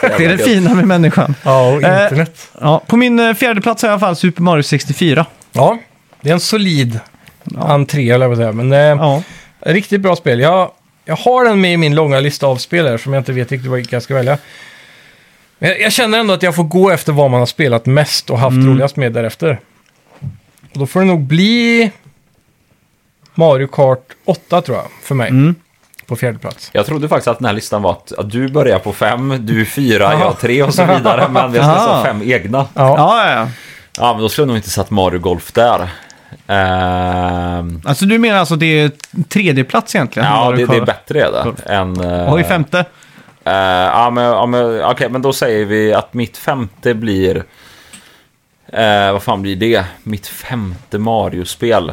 S1: Det är det
S3: jävla gött.
S1: fina med människan.
S2: Ja, och
S1: Eh,
S2: internet.
S1: Ja, på min eh, fjärde plats har jag i alla fall Super Mario 64.
S2: Ja, det är en solid entré, eller vad jag säga. Men eh,
S1: Ja.
S2: riktigt bra spel. Jag, jag har den med i min långa lista av spel här som jag inte vet riktigt vilka jag ska välja. Men jag, jag känner ändå att jag får gå efter vad man har spelat mest och haft roligast med därefter. Och då får det nog bli Mario Kart 8 tror jag, för mig. På fjärde plats.
S3: Jag trodde faktiskt att den här listan var att, att du börjar på fem, du fyra,
S2: Aha.
S3: jag tre och så vidare. Men vi
S1: Aha.
S3: har nästan fem egna.
S2: Ja.
S1: Ja, ja, ja.
S3: Ja, men då skulle jag nog inte satt Mario Golf där. Ehm,
S1: Alltså du menar alltså det är tredje plats egentligen?
S3: ja,
S1: Mario
S3: det, det är
S1: Kart?
S3: bättre är det.
S1: Golf.
S3: Än, eh,
S1: Oj, femte.
S3: Eh, ja, men, ja, men, okej, men då säger vi att mitt femte blir... eh, vad fan blir det? Mitt femte Mario-spel.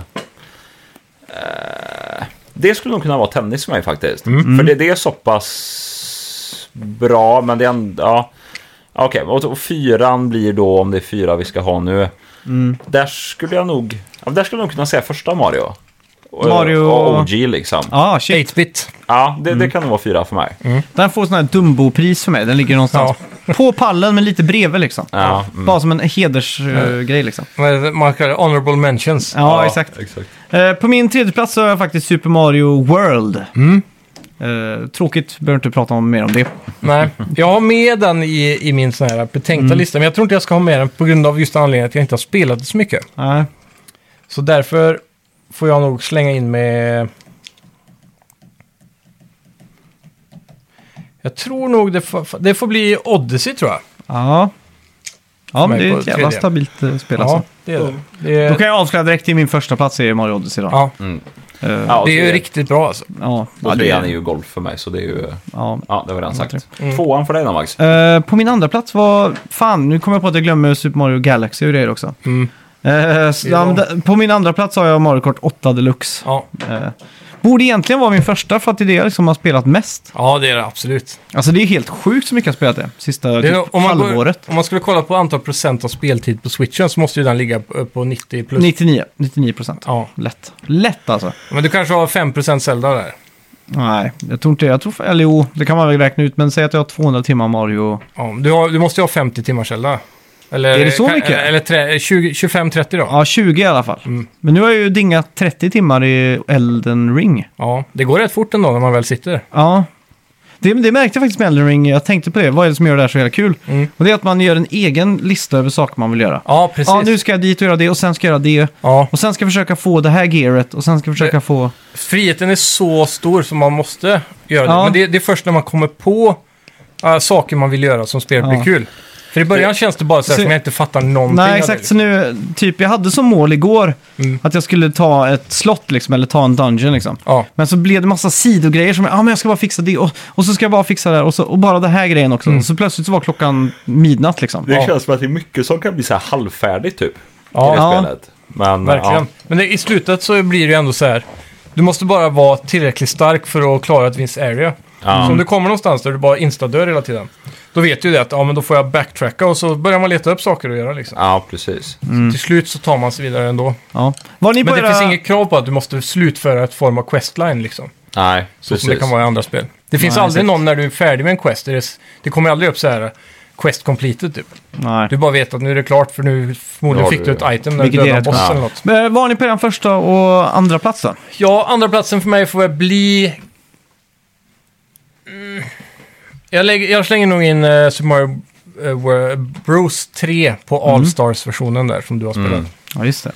S3: Eh, det skulle nog kunna vara tennis för mig faktiskt. För det, det är så pass bra, men det är ändå... Ja. Okej, och, och fyran blir då, om det är fyra vi ska ha nu. Där skulle jag nog... Ja, där skulle jag nog kunna säga första Mario. Och-
S1: Mario-
S3: Och OG liksom. Ja,
S1: Ja, shit.
S2: 8-bit.
S3: det, det kan nog vara fyra för mig.
S1: Den får sån här Dumbo-pris för mig. Den ligger någonstans på pallen men lite bredvid liksom.
S3: Ja, mm.
S1: Bara som en hedersgrej liksom.
S2: Vad- Man kallar det honorable mentions.
S1: Ja, exakt.
S3: exakt.
S1: Eh, på min tredje plats så har jag faktiskt Super Mario World.
S2: Mm.
S1: Eh, tråkigt, behöver inte prata om mer om det.
S2: Nej, jag har med den i, i min sån här betänkta lista. Men jag tror inte jag ska ha med den på grund av just anledningen att jag inte har spelat det så mycket.
S1: Nej.
S2: Så därför får jag nog slänga in med... Jag tror nog det får, det får bli Odyssey tror jag.
S1: ja. Ja, men det är
S2: Mig på
S1: ett jävla
S2: tredje.
S1: stabilt eh, spel
S2: Ja,
S1: alltså.
S2: det är det. det,
S1: Då
S2: är,
S1: kan jag avslöja direkt till min första plats är Mario Odyssey då.
S2: ja,
S1: Eh,
S3: Ja,
S2: det är ju
S3: så-
S2: riktigt bra alltså.
S1: ja.
S3: Och
S1: Ja, det
S3: trean
S1: är-
S3: är ju golf för mig, så det är ju...
S1: ja.
S3: Ja, det var redan
S2: Mm,
S1: Jag
S3: sagt. Tvåan för dig då, Max?
S1: Eh, på min andra plats var... Fan, nu kommer jag på att jag glömmer Super Mario Galaxy och grejer också.
S2: Mm.
S1: Eh, så,
S2: Ja.
S1: ja, men d- på min andra plats har jag Mario Kart 8 Deluxe.
S2: Ja,
S1: Eh, borde egentligen vara min första för att det är det jag liksom har spelat mest.
S2: ja det är det absolut.
S1: Alltså det är helt sjukt så mycket jag har spelat det sista
S2: Det är, nog-
S1: typ,
S2: om, man går,
S1: halvåret.
S2: om man skulle kolla på antal procent av speltid på switchen så måste ju den ligga på, på 90 plus.
S1: 99, 99 procent.
S2: Ja,
S1: Lätt. Lätt alltså.
S2: men du kanske har 5 procent Zelda där.
S1: Nej, jag tror inte Jag tror... Eller jo, det kan man väl räkna ut. Men säg att jag har 200 timmar Mario.
S2: Ja, du, har, du måste ju ha 50 timmar Zelda. Eller,
S1: Är det så
S2: kan-
S1: mycket?
S2: Eller tre- 20 25-30 då.
S1: Ja, 20 i alla fall.
S2: Mm.
S1: Men nu har jag ju dingat 30 timmar i Elden Ring.
S2: Ja, det går rätt fort ändå när man väl sitter.
S1: Ja. Det, det märkte jag faktiskt med Elden Ring. Jag tänkte på det. Vad är det som gör det här så jävla kul?
S2: Mm.
S1: Och det är att man gör en egen lista över saker man vill göra.
S2: Ja, precis.
S1: Ja, nu ska jag dit och göra det och sen ska jag göra det.
S2: Ja.
S1: Och sen ska jag försöka få det här gearet och sen ska jag försöka få...
S2: Friheten är så stor som man måste göra det.
S1: Ja.
S2: Men det, det är först när man kommer på äh, saker man vill göra som spelet
S1: Ja.
S2: blir kul. För i början känns det bara så här
S1: Så-
S2: som jag inte fattar någonting av
S1: Nej,
S2: det,
S1: exakt. Så
S2: liksom.
S1: nu, typ jag hade som mål igår
S2: Mm.
S1: att jag skulle ta ett slott liksom, eller ta en dungeon liksom.
S2: Ja,
S1: Men så blev det massa sidogrejer som, ja ah, men jag ska bara fixa det och, och så ska jag bara fixa det här och, så, och bara det här grejen också.
S2: Mm.
S1: Och så plötsligt så var klockan midnatt liksom.
S3: Det
S2: Ja.
S3: känns som att det är mycket som kan bli så här halvfärdigt, typ. I
S2: ja
S3: det
S1: Ja.
S3: spelet. Men,
S2: verkligen. Men det, i slutet så blir det ju ändå så här. Du måste bara vara tillräckligt stark för att klara ett visst area.
S3: Ja.
S2: Så om du kommer någonstans där du bara instadör hela tiden. Då vet du ju det att ja, men då får jag backtracka och så börjar man leta upp saker att göra. Liksom.
S3: Ja, ja precis.
S2: Till slut så tar man sig vidare ändå.
S1: Ja. Var ni på
S2: Men det
S1: era...
S2: finns inget krav på att du måste slutföra ett form av questline liksom.
S3: Nej,
S2: Så
S3: precis.
S2: som det kan vara i andra spel. Det finns
S1: Nej,
S2: aldrig
S1: exakt.
S2: någon när du är färdig med en quest. där Det, s- det kommer aldrig upp så här eh, quest completed typ.
S1: Nej.
S2: Du bara vet att nu är det klart för nu förmodligen
S3: Ja,
S2: fick du
S3: det-
S2: ett item när du
S1: Vilket är
S2: dödade
S1: rätt
S2: bossen
S3: bra.
S2: eller något.
S1: Men eh, var ni på den första och andra plats då?
S2: Ja, andra platsen för mig får väl bli... Mm. Jag, lägger, jag slänger nog in eh, Super Mario eh, Wor- Bruce 3 på
S1: Mm.
S2: All-Stars-versionen där som du har spelat.
S1: Ja, just det.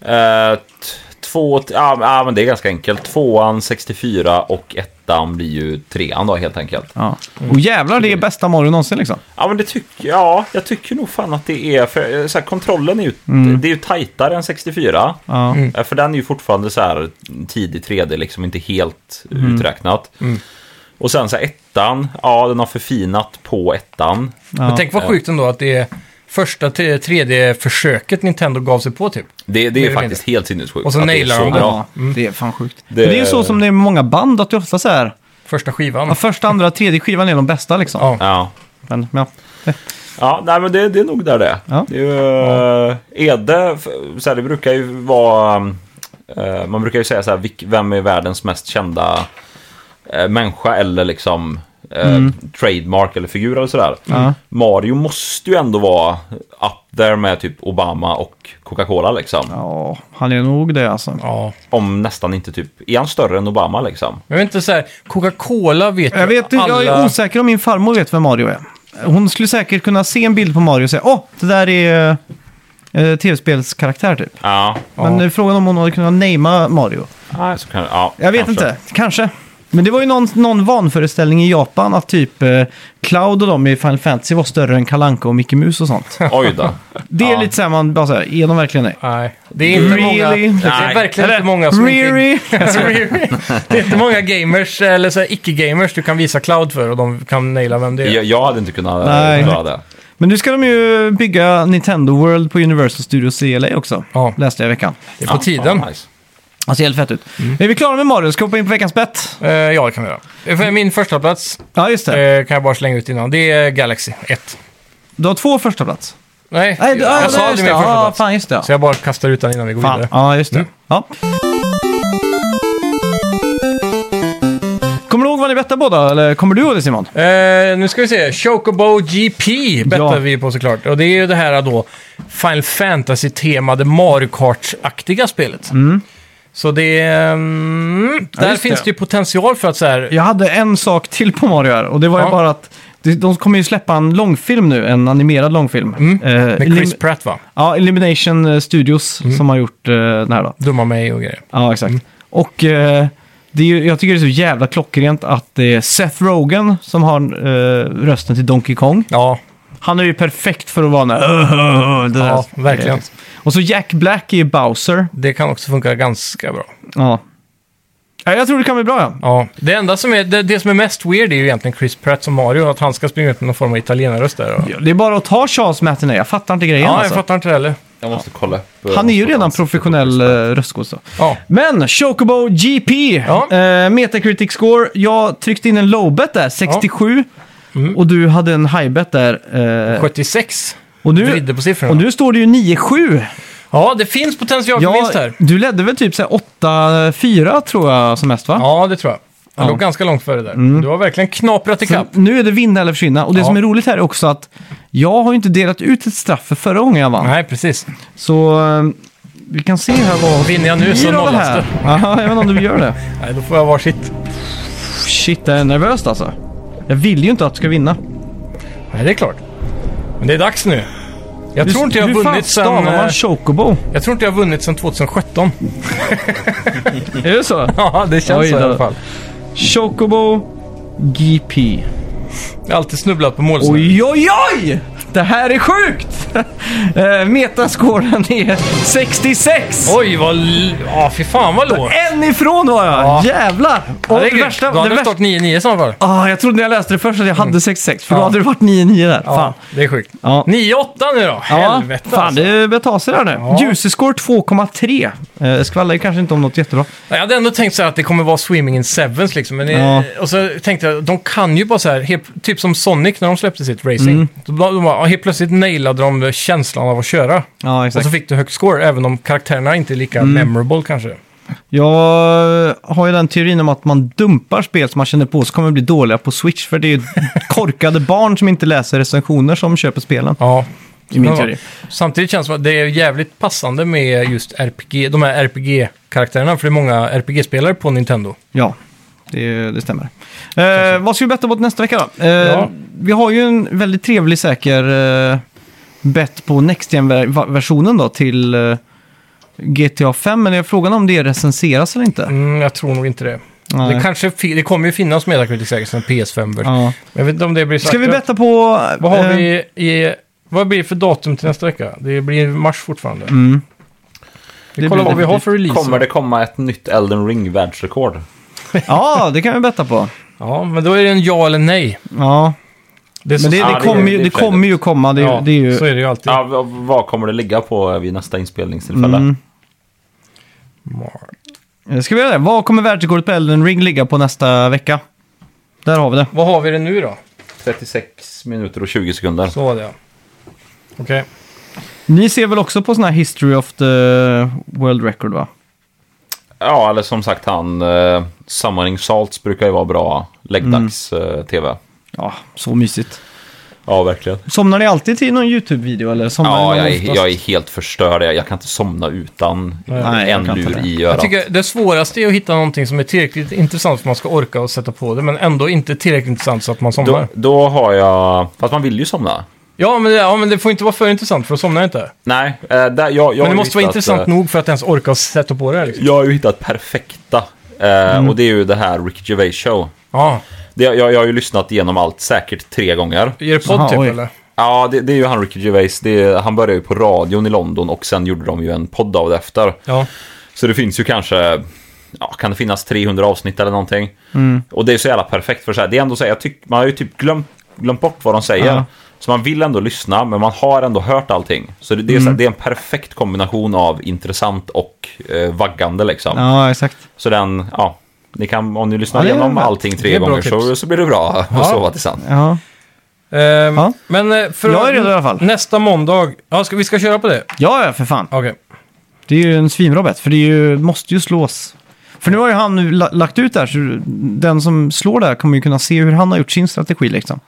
S3: Eh, t- två, t- ja, men- ja, men det är ganska enkelt. Tvåan 64 och ettan blir ju trean då helt enkelt.
S1: Ja.
S2: Mm.
S1: Och jävlar, det är bästa Mario någonsin liksom.
S3: Ja, men det tycker ja, jag tycker nog fan att det är... För, eh, så här, kontrollen är ju,
S2: Mm.
S3: det är ju tajtare än 64.
S1: Ja.
S3: Eh, För den är ju fortfarande så här tidig 3D, liksom inte helt
S2: Mm.
S3: uträknat. Och sen så här, ettan, ja den har förfinat på ettan.
S2: Men
S1: Ja.
S2: tänk vad sjukt ändå att det är första 3D-försöket Nintendo gav sig på typ.
S3: Det, det
S2: eller
S3: är faktiskt helt sinnessjukt.
S2: Och så
S3: att det är
S2: nailar
S3: så
S2: de den.
S3: bra.
S1: Ja, det är fan sjukt.
S3: Det-
S1: Men det är ju så som det är med många band, att det ofta så här,
S2: Första skivan.
S1: ja, första, andra, tredje skivan är de bästa liksom.
S2: Ja.
S3: Ja.
S1: Men, ja.
S3: Ja, nej men det, det är nog där det är.
S1: Ja.
S3: Det är ju, eh, Ede, f- så här, det brukar ju vara... eh, man brukar ju säga så här, vilk, vem är världens mest kända eh, människa eller liksom eh, trademark eller figur eller sådär.
S1: Mm. Ja.
S3: Mario måste ju ändå vara up there med typ Obama och Coca-Cola liksom.
S1: ja, han är nog det alltså.
S2: Ja.
S3: Om nästan inte typ, är han större än Obama liksom?
S2: Men jag vet inte så här, Coca-Cola vet
S1: Jag,
S2: ju
S1: vet, jag är
S2: alla...
S1: osäker om min farmor vet vem Mario är. Hon skulle säkert kunna se en bild på Mario och säga åh, det där är eh, tv-spelskaraktär typ.
S3: Ja,
S1: Men eh, frågan om hon hade kunnat namea Mario.
S3: nej, så kan, ja
S1: Jag vet
S3: kanske.
S1: inte, kanske. Men det var ju någon, någon vanföreställning i Japan att typ eh, Cloud och de i Final Fantasy var större än Kalanka och Mickey Mouse och sånt.
S3: Oj då.
S1: Det är
S3: Ja.
S1: lite såhär man bara såhär, är de verkligen det?
S2: Nej, det är inte
S1: Really?
S2: många... Det är
S3: Nej.
S2: verkligen inte många som inte... Alltså,
S1: Really?
S2: Really? det är inte många gamers, eller så här icke-gamers, du kan visa cloud för och de kan naila vem det är.
S3: Jag, jag hade inte kunnat
S1: Nej.
S3: klara det.
S1: Men nu ska de ju bygga Nintendo World på Universal Studios i LA också.
S2: Ja.
S1: Läste jag i veckan.
S2: Det är på
S3: Ja,
S2: tiden.
S3: fan, nice.
S1: Han ser helt fett ut.
S2: Mm.
S1: Är vi klara med Mario? Ska vi hoppa in på veckans bett?
S2: Eh, ja, det kan vi göra. Eh, för Min första plats
S1: Ja, just det.
S2: eh, kan jag bara slänga ut innan. Det är Galaxy 1.
S1: Du har två första plats.
S2: Nej,
S1: Nej, du, ja,
S2: jag sa
S1: just
S2: aldrig min
S1: det.
S2: första
S1: Ja,
S2: plats.
S1: fan, just det.
S2: Så jag bara kastar ut den innan vi går
S1: Fan.
S2: vidare. Mm.
S1: Ja, just det. Ja. Kommer du ihåg vad ni bettade båda? Eller kommer du ihåg det Simon?
S2: Eh, nu ska vi se. Chocobo GP bettar
S1: Ja.
S2: vi på såklart. Och det är ju det här då Final Fantasy-temade Mario Kart-aktiga spelet. Så det... är, Mm, där
S1: Mm. just
S2: finns
S1: det.
S2: det ju potential för att så här...
S1: Jag hade en sak till på Mario här och det var ju
S2: Ja.
S1: bara att de- de kommer ju släppa en långfilm nu, en animerad långfilm. Eh,
S2: Mm. Med
S1: Elim-
S2: Chris Mm. Pratt va?
S1: Ja, Elimination eh, Studios som har gjort eh, den här då.
S2: Dumma mig och grejer.
S1: Ja, exakt.
S2: Mm.
S1: Och eh, det är ju, jag tycker det är så jävla klockrent att det är Seth Rogen som har eh, rösten till Donkey Kong.
S2: Ja,
S1: Han är ju perfekt för att vara den här... det där. Eh,
S2: ja verkligen.
S1: Och så Jack Black är Bowser.
S2: Det kan också funka ganska bra.
S1: Ja. Ja, Jag tror det kan bli bra, ja.
S2: Ja. Det enda som är, det, det som är mest weird är ju egentligen Chris Pratt som Mario. Att han ska springa ut med någon form av italienarröst där. Och... Ja,
S1: Ja, Det är bara att ta Charles Martinet. Jag fattar inte grejen.
S2: jag
S1: alltså.
S2: fattar inte det heller.
S3: Jag måste kolla upp. eh,
S1: Han är ju
S3: något
S1: redan
S3: annat.
S1: professionell eh, röstskådis. då.
S2: Ja.
S1: Men Chocobo GP,
S2: Ja.
S1: eh, Metacritic score. Jag tryckte in en low bet där, 67.
S2: Mm.
S1: Och du hade en high bet där. Eh,
S2: 76.
S1: och, nu,
S2: Vrider på siffrorna.
S1: och nu står det ju 9-7.
S2: Ja, det finns potential för vinst här.
S1: du ledde väl typ så här 8-4 tror jag som mest va?
S2: Ja, det tror jag. Han
S1: Ja. Mm.
S2: låg ganska långt före där. Du har verkligen knaprat
S1: Så
S2: ikapp.
S1: Mm. nu är det vinna eller försvinna. Och det
S2: Ja.
S1: som är roligt här är också att jag har ju inte delat ut ett straff för förra gången jag vann.
S2: Nej, precis.
S1: Så eh, vi kan se här vad...
S2: Vinner jag nu så
S1: blir av det
S2: nollas
S1: här.
S2: det.
S1: Ja, jag vet inte om du gör det.
S2: Nej, då får jag varsitt.
S1: Shit, jag är nervöst alltså. Jag vill ju inte att du ska vinna.
S2: Nej, det är klart. Men det är dags nu. Jag tror inte jag
S1: Hur
S2: har
S1: fan
S2: vunnit sen...
S1: stavar man
S2: eh,
S1: chocobo?
S2: Jag tror inte jag har vunnit sen 2017.
S1: är det så?
S2: Ja, det känns
S1: Oj
S2: så i
S1: då.
S2: alla fall.
S1: Chocobo GP.
S2: Jag har alltid snubblat på målsnöret.
S1: Oj, oj, oj! Det här är sjukt! Eh, Metascoren är 66!
S2: Oj, vad... l- Ja, fy fan vad lågt.
S1: En ifrån var jag!
S2: Ja.
S1: Jävlar! Och
S2: Ja, det är
S1: det
S2: grymt.
S1: värsta...
S2: Då
S1: Det
S2: hade det
S1: värsta
S2: stått 9-9 i så fall.
S1: ah, jag trodde när jag läste det först att jag hade 66, för då
S2: Ja.
S1: hade det varit 9-9 där. Fan.
S2: Ja, det är sjukt.
S1: Ja.
S2: 9-8 nu då. Helvete
S1: fan
S2: alltså.
S1: det börjar ta sig där nu.
S2: Ja.
S1: Ljusescore 2,3. Eh, skvallrar ju kanske inte om något jättebra.
S2: Jag hade ändå tänkt så här att det kommer vara Swimming in Sevens liksom. Men
S1: Ja.
S2: och så tänkte jag, de kan ju bara så här, helt, typ som Sonic när de släppte sitt racing.
S1: Mm.
S2: Då bara- De bara, helt plötsligt nailade de känslan av att köra.
S1: Ja, Mm.
S2: Och så fick du högt score, även om karaktärerna inte är lika memorable kanske.
S1: Jag eh, har ju den teorin om att man dumpar spel som man känner på så kommer bli dåliga på Switch. För det är ju korkade barn som inte läser recensioner som köper spelen.
S2: Ja.
S1: I min
S2: Men,
S1: teori.
S2: Samtidigt känns det som att det är jävligt passande med just RPG, de här RPG-karaktärerna, för det är många RPG-spelare på Nintendo.
S1: Ja, det, det stämmer. Eh, vad ska vi betta mot nästa vecka då? Eh, vi har ju en väldigt trevlig säker eh, bet på Next Gen-versionen då till eh, GTA 5. Men är frågan om det recenseras eller inte?
S2: Mm, jag tror nog inte det.
S1: Nej.
S2: Det, kanske fi- det kommer ju finnas Metacritic säkert som PS5-version.
S1: Ja.
S2: Jag vet inte om det blir så
S1: Ska vi
S2: aktuellt.
S1: betta på...
S2: Vad har
S1: eh,
S2: vi i... Vad blir det för datum till nästa vecka? Det blir mars fortfarande.
S1: Mm.
S2: Vi
S1: det
S2: kollar
S1: blir
S2: vad vi har för release.
S3: Kommer det komma ett nytt Elden Ring världsrekord?
S2: Typ.
S1: Ja, det kan vi betta på.
S2: Ja, men då är det en ja eller nej.
S1: Ja,
S2: Det är så-
S1: men det,
S3: Ja,
S1: det,
S3: det-
S1: kommer
S3: det
S1: ju,
S3: är
S1: det kommer ju komma. Det, är ju-
S2: ja,
S1: det är ju...
S2: så är det ju alltid.
S3: Ja, v- vad kommer det ligga på vid nästa inspelningstillfälle?
S1: Mm.
S2: Mar-
S1: Eh, Ska vi göra det? Vad kommer världsrekordet på Elden Ring ligga på nästa vecka? Där har vi det.
S2: Vad har vi det nu då?
S3: 36 minuter och 20 sekunder.
S2: Så var det ja. Okej.
S1: Ni ser väl också på sån här History of the World Record va?
S3: Ja, eller som sagt han... Eh, Summoning Salts brukar ju vara bra
S2: Mm.
S3: läggdags-tv.
S1: Ja, så mysigt.
S3: Ja, verkligen.
S1: Somnar ni alltid till någon YouTube-video eller? Somnar
S3: Ja,
S1: ni
S3: jag, är-
S1: oftast?
S3: jag är helt förstörd. Jag, jag kan inte somna utan
S1: Nej, jag
S3: en
S1: kan inte
S3: lur
S1: det.
S3: i
S2: Jag
S3: örat.
S2: tycker det svåraste är att hitta någonting som är tillräckligt intressant för att man ska orka och sätta på det, men ändå inte tillräckligt intressant så att man somnar.
S3: Då, då har jag... Fast man vill ju somna.
S2: Ja, men det, ja, men det får inte vara för intressant för då somnar jag inte.
S3: Nej, eh, där, jag, jag har
S2: men
S3: ju
S2: det måste vara
S3: hittat,
S2: intressant
S3: eh,
S2: nog för att ens orka och sätta på det här, liksom.
S3: Jag har ju hittat perfekta. Eh,
S2: Mm.
S3: Och det är ju det här Ricky Gervais show.
S2: Ja.
S3: Det, jag, jag har ju lyssnat igenom allt säkert tre gånger.
S2: Ger det podd
S1: Aha,
S2: typ
S1: oj.
S2: eller?
S3: Ja, det, det är ju han Ricky Gervais. Det är, han började ju på radion i London och sen gjorde de ju en podd av det efter.
S2: Ja.
S3: Så det finns ju kanske, ja, kan det finnas 300 avsnitt eller någonting. Och det är så jävla perfekt för så här, det är ändå så här, jag tycker, man har ju typ glömt, glömt bort vad de säger.
S1: Ja.
S3: Så man vill ändå lyssna, men man har ändå hört allting. Så det, det, är, så här, det är en perfekt kombination av intressant och eh, vaggande liksom.
S1: Ja, exakt.
S3: Så den, ja. Ni kan, om ni lyssnar
S1: Ja, det är
S3: igenom
S1: bra.
S3: allting
S2: Det
S3: tre
S2: är bra
S3: gånger så,
S2: tips.
S3: så blir det bra och
S2: Ja.
S3: sova till sen.
S1: Ja.
S2: Ehm,
S1: Ja.
S2: Men eh, för
S1: Jag är redo i alla fall.
S2: nästa måndag, ja, ska, vi ska köra på det.
S1: ja, ja, för fan.
S2: Okej.
S1: Det är ju en svinbra bet, för det är ju, måste ju slås. För nu har ju han nu la- lagt ut där, så den som slår där kommer ju kunna se hur han har gjort sin strategi liksom.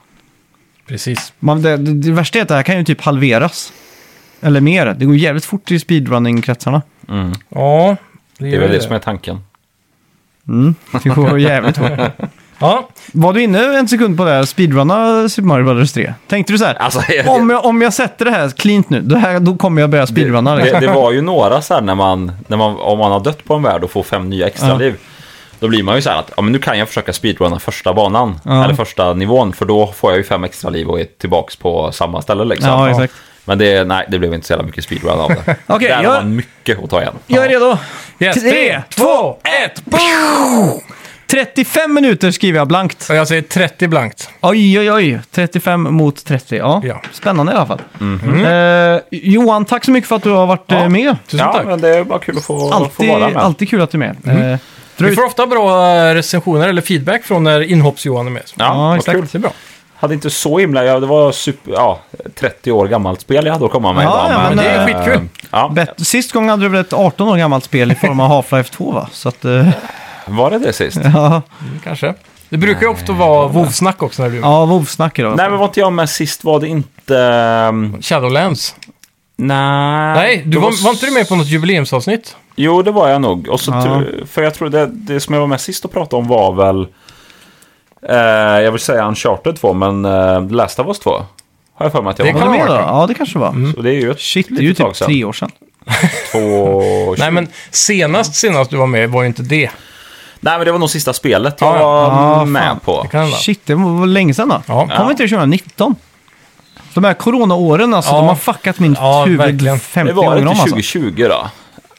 S2: Precis.
S1: Man, det, det, det värsta är att det här kan ju typ halveras. Eller mer. Det går jävligt fort i speedrunning-kretsarna.
S3: Mm.
S2: Ja,
S3: Det är väl det som är tanken.
S1: Mm. Det går jävligt fort.
S2: Ja,
S1: Var du inne en sekund på det här speedrunna Super Mario Brothers 3? Tänkte du så här?
S3: Alltså,
S1: om, jag, om jag sätter det här cleant nu, det här, då kommer jag börja speedrunna. Liksom.
S3: Det, det var ju några så här när man, när man, om man har dött på en värld och får fem nya extra
S1: Ja.
S3: liv. Då blir man ju så här att, ja men nu kan jag försöka speedrunna första banan,
S1: Ja.
S3: eller första nivån, för då får jag ju fem extra liv och är tillbaks på samma ställe liksom.
S1: Ja, exakt.
S3: Men det, nej, det blev inte så jävla mycket speedrun av det.
S1: Okej,
S3: Där
S1: jag-
S3: har man mycket att ta igen.
S1: Jag är redo.
S2: yes,
S1: Tre,
S2: tre,
S1: två,
S2: två, ett.
S1: 35 minuter skriver jag blankt.
S2: Och jag säger 30 blankt.
S1: Oj, oj, oj. 35 mot 30. Ja.
S2: Ja.
S1: Spännande i alla fall.
S3: Mhm.
S1: Eh, Johan, tack så mycket för att du har varit eh, med.
S2: Tusen tack.
S3: det är bara kul att få,
S1: Alltid, alltid kul att du är med. Eh, dra
S2: Vi
S1: ut.
S2: får ofta bra eh, recensioner eller feedback från när inhopps-Johan är med.
S3: Ja,
S1: Ja,
S3: vad
S1: exakt.
S3: kul.
S2: Det är bra.
S3: Hade inte så himla, ja, det var super, ja, 30 år gammalt spel jag hade att komma med
S1: Ja,
S3: idag.
S1: ja, men det är
S3: eh,
S2: skitkul.
S3: Ja,
S1: Bet- Sist gången hade du väl ett 18 år gammalt spel i form av Half-Life 2 va? Så att, eh,
S3: var det det sist?
S1: ja,
S2: Kanske. Det brukar ju ofta vara vovsnack också när du
S1: ja WoW-snack idag.
S3: Nej, men var inte jag med sist? Var det inte... ehm,
S2: Shadowlands.
S3: Nej.
S2: Nej, du
S3: Det
S2: var, var inte du med på något jubileumsavsnitt?
S3: Jo, det var jag nog. Och så
S1: Ja.
S3: tro- För jag tror det, det som jag var med sist och pratade om var väl... Eh, jag vill säga Uncharted 2, men eh, The Last of Us 2. Har jag för mig att jag
S2: Det
S3: var
S1: Var
S2: kan
S1: du
S3: med.
S1: med
S2: ha
S1: då?
S2: varit
S1: Ja, det kanske det var.
S3: Så det är ju ett
S1: Shit, det är ju
S3: litet
S1: typ
S3: Mm. tag sedan.
S1: tre år sedan.
S3: Två...
S2: Nej, men senast senast du var med var ju inte det.
S3: Nej, men det var nog sista spelet jag
S2: Ja, ja.
S3: var
S1: Ah,
S3: med
S1: fan.
S3: på.
S2: Det kan hända.
S1: Shit, det var länge sedan då.
S2: Ja.
S1: Kom inte det 2019? De här coronaåren alltså,
S2: Ja.
S1: de har fuckat min
S2: Ja,
S1: huvud
S2: verkligen.
S1: 50
S3: Det var
S1: gånger
S3: inte
S1: om alltså.
S3: 2020 då?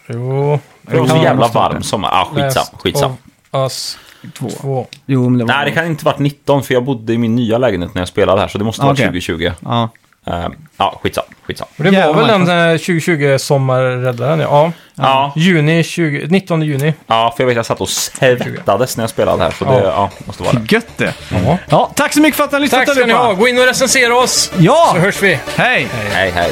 S2: Jo.
S3: Det var så
S1: Ja,
S3: jävla
S1: måste ha varit
S3: varm
S1: det.
S3: sommar. Ah, skitsam.
S2: Last
S3: skitsam.
S2: of Us
S1: Två.
S2: 2.
S1: Jo, men det var...
S3: Nej, det kan inte varit 19 för jag bodde i min nya lägenhet när jag spelade här, så det måste ha varit
S1: Okej.
S3: 2020.
S1: Ja.
S3: Eh, ja, skitsam. skitsam.
S2: Och det
S1: Jävlar,
S2: var väl eh,
S1: Minecraft.
S2: den 2020-sommarräddaren, ja.
S3: Ja,
S2: Juni 20, 19 juni.
S3: Ja, för jag vet jag satt och svettades när jag spelade här. Så det
S2: Ja.
S3: ja, måste vara det.
S1: Gött det.
S2: Ja.
S1: Ja, tack så mycket för att ni har lyssnat
S2: Tack ska ni
S1: allihopa.
S2: ha. Gå in och recensera oss.
S1: Ja,
S2: Så hörs vi.
S1: hej!
S3: Hej, hej.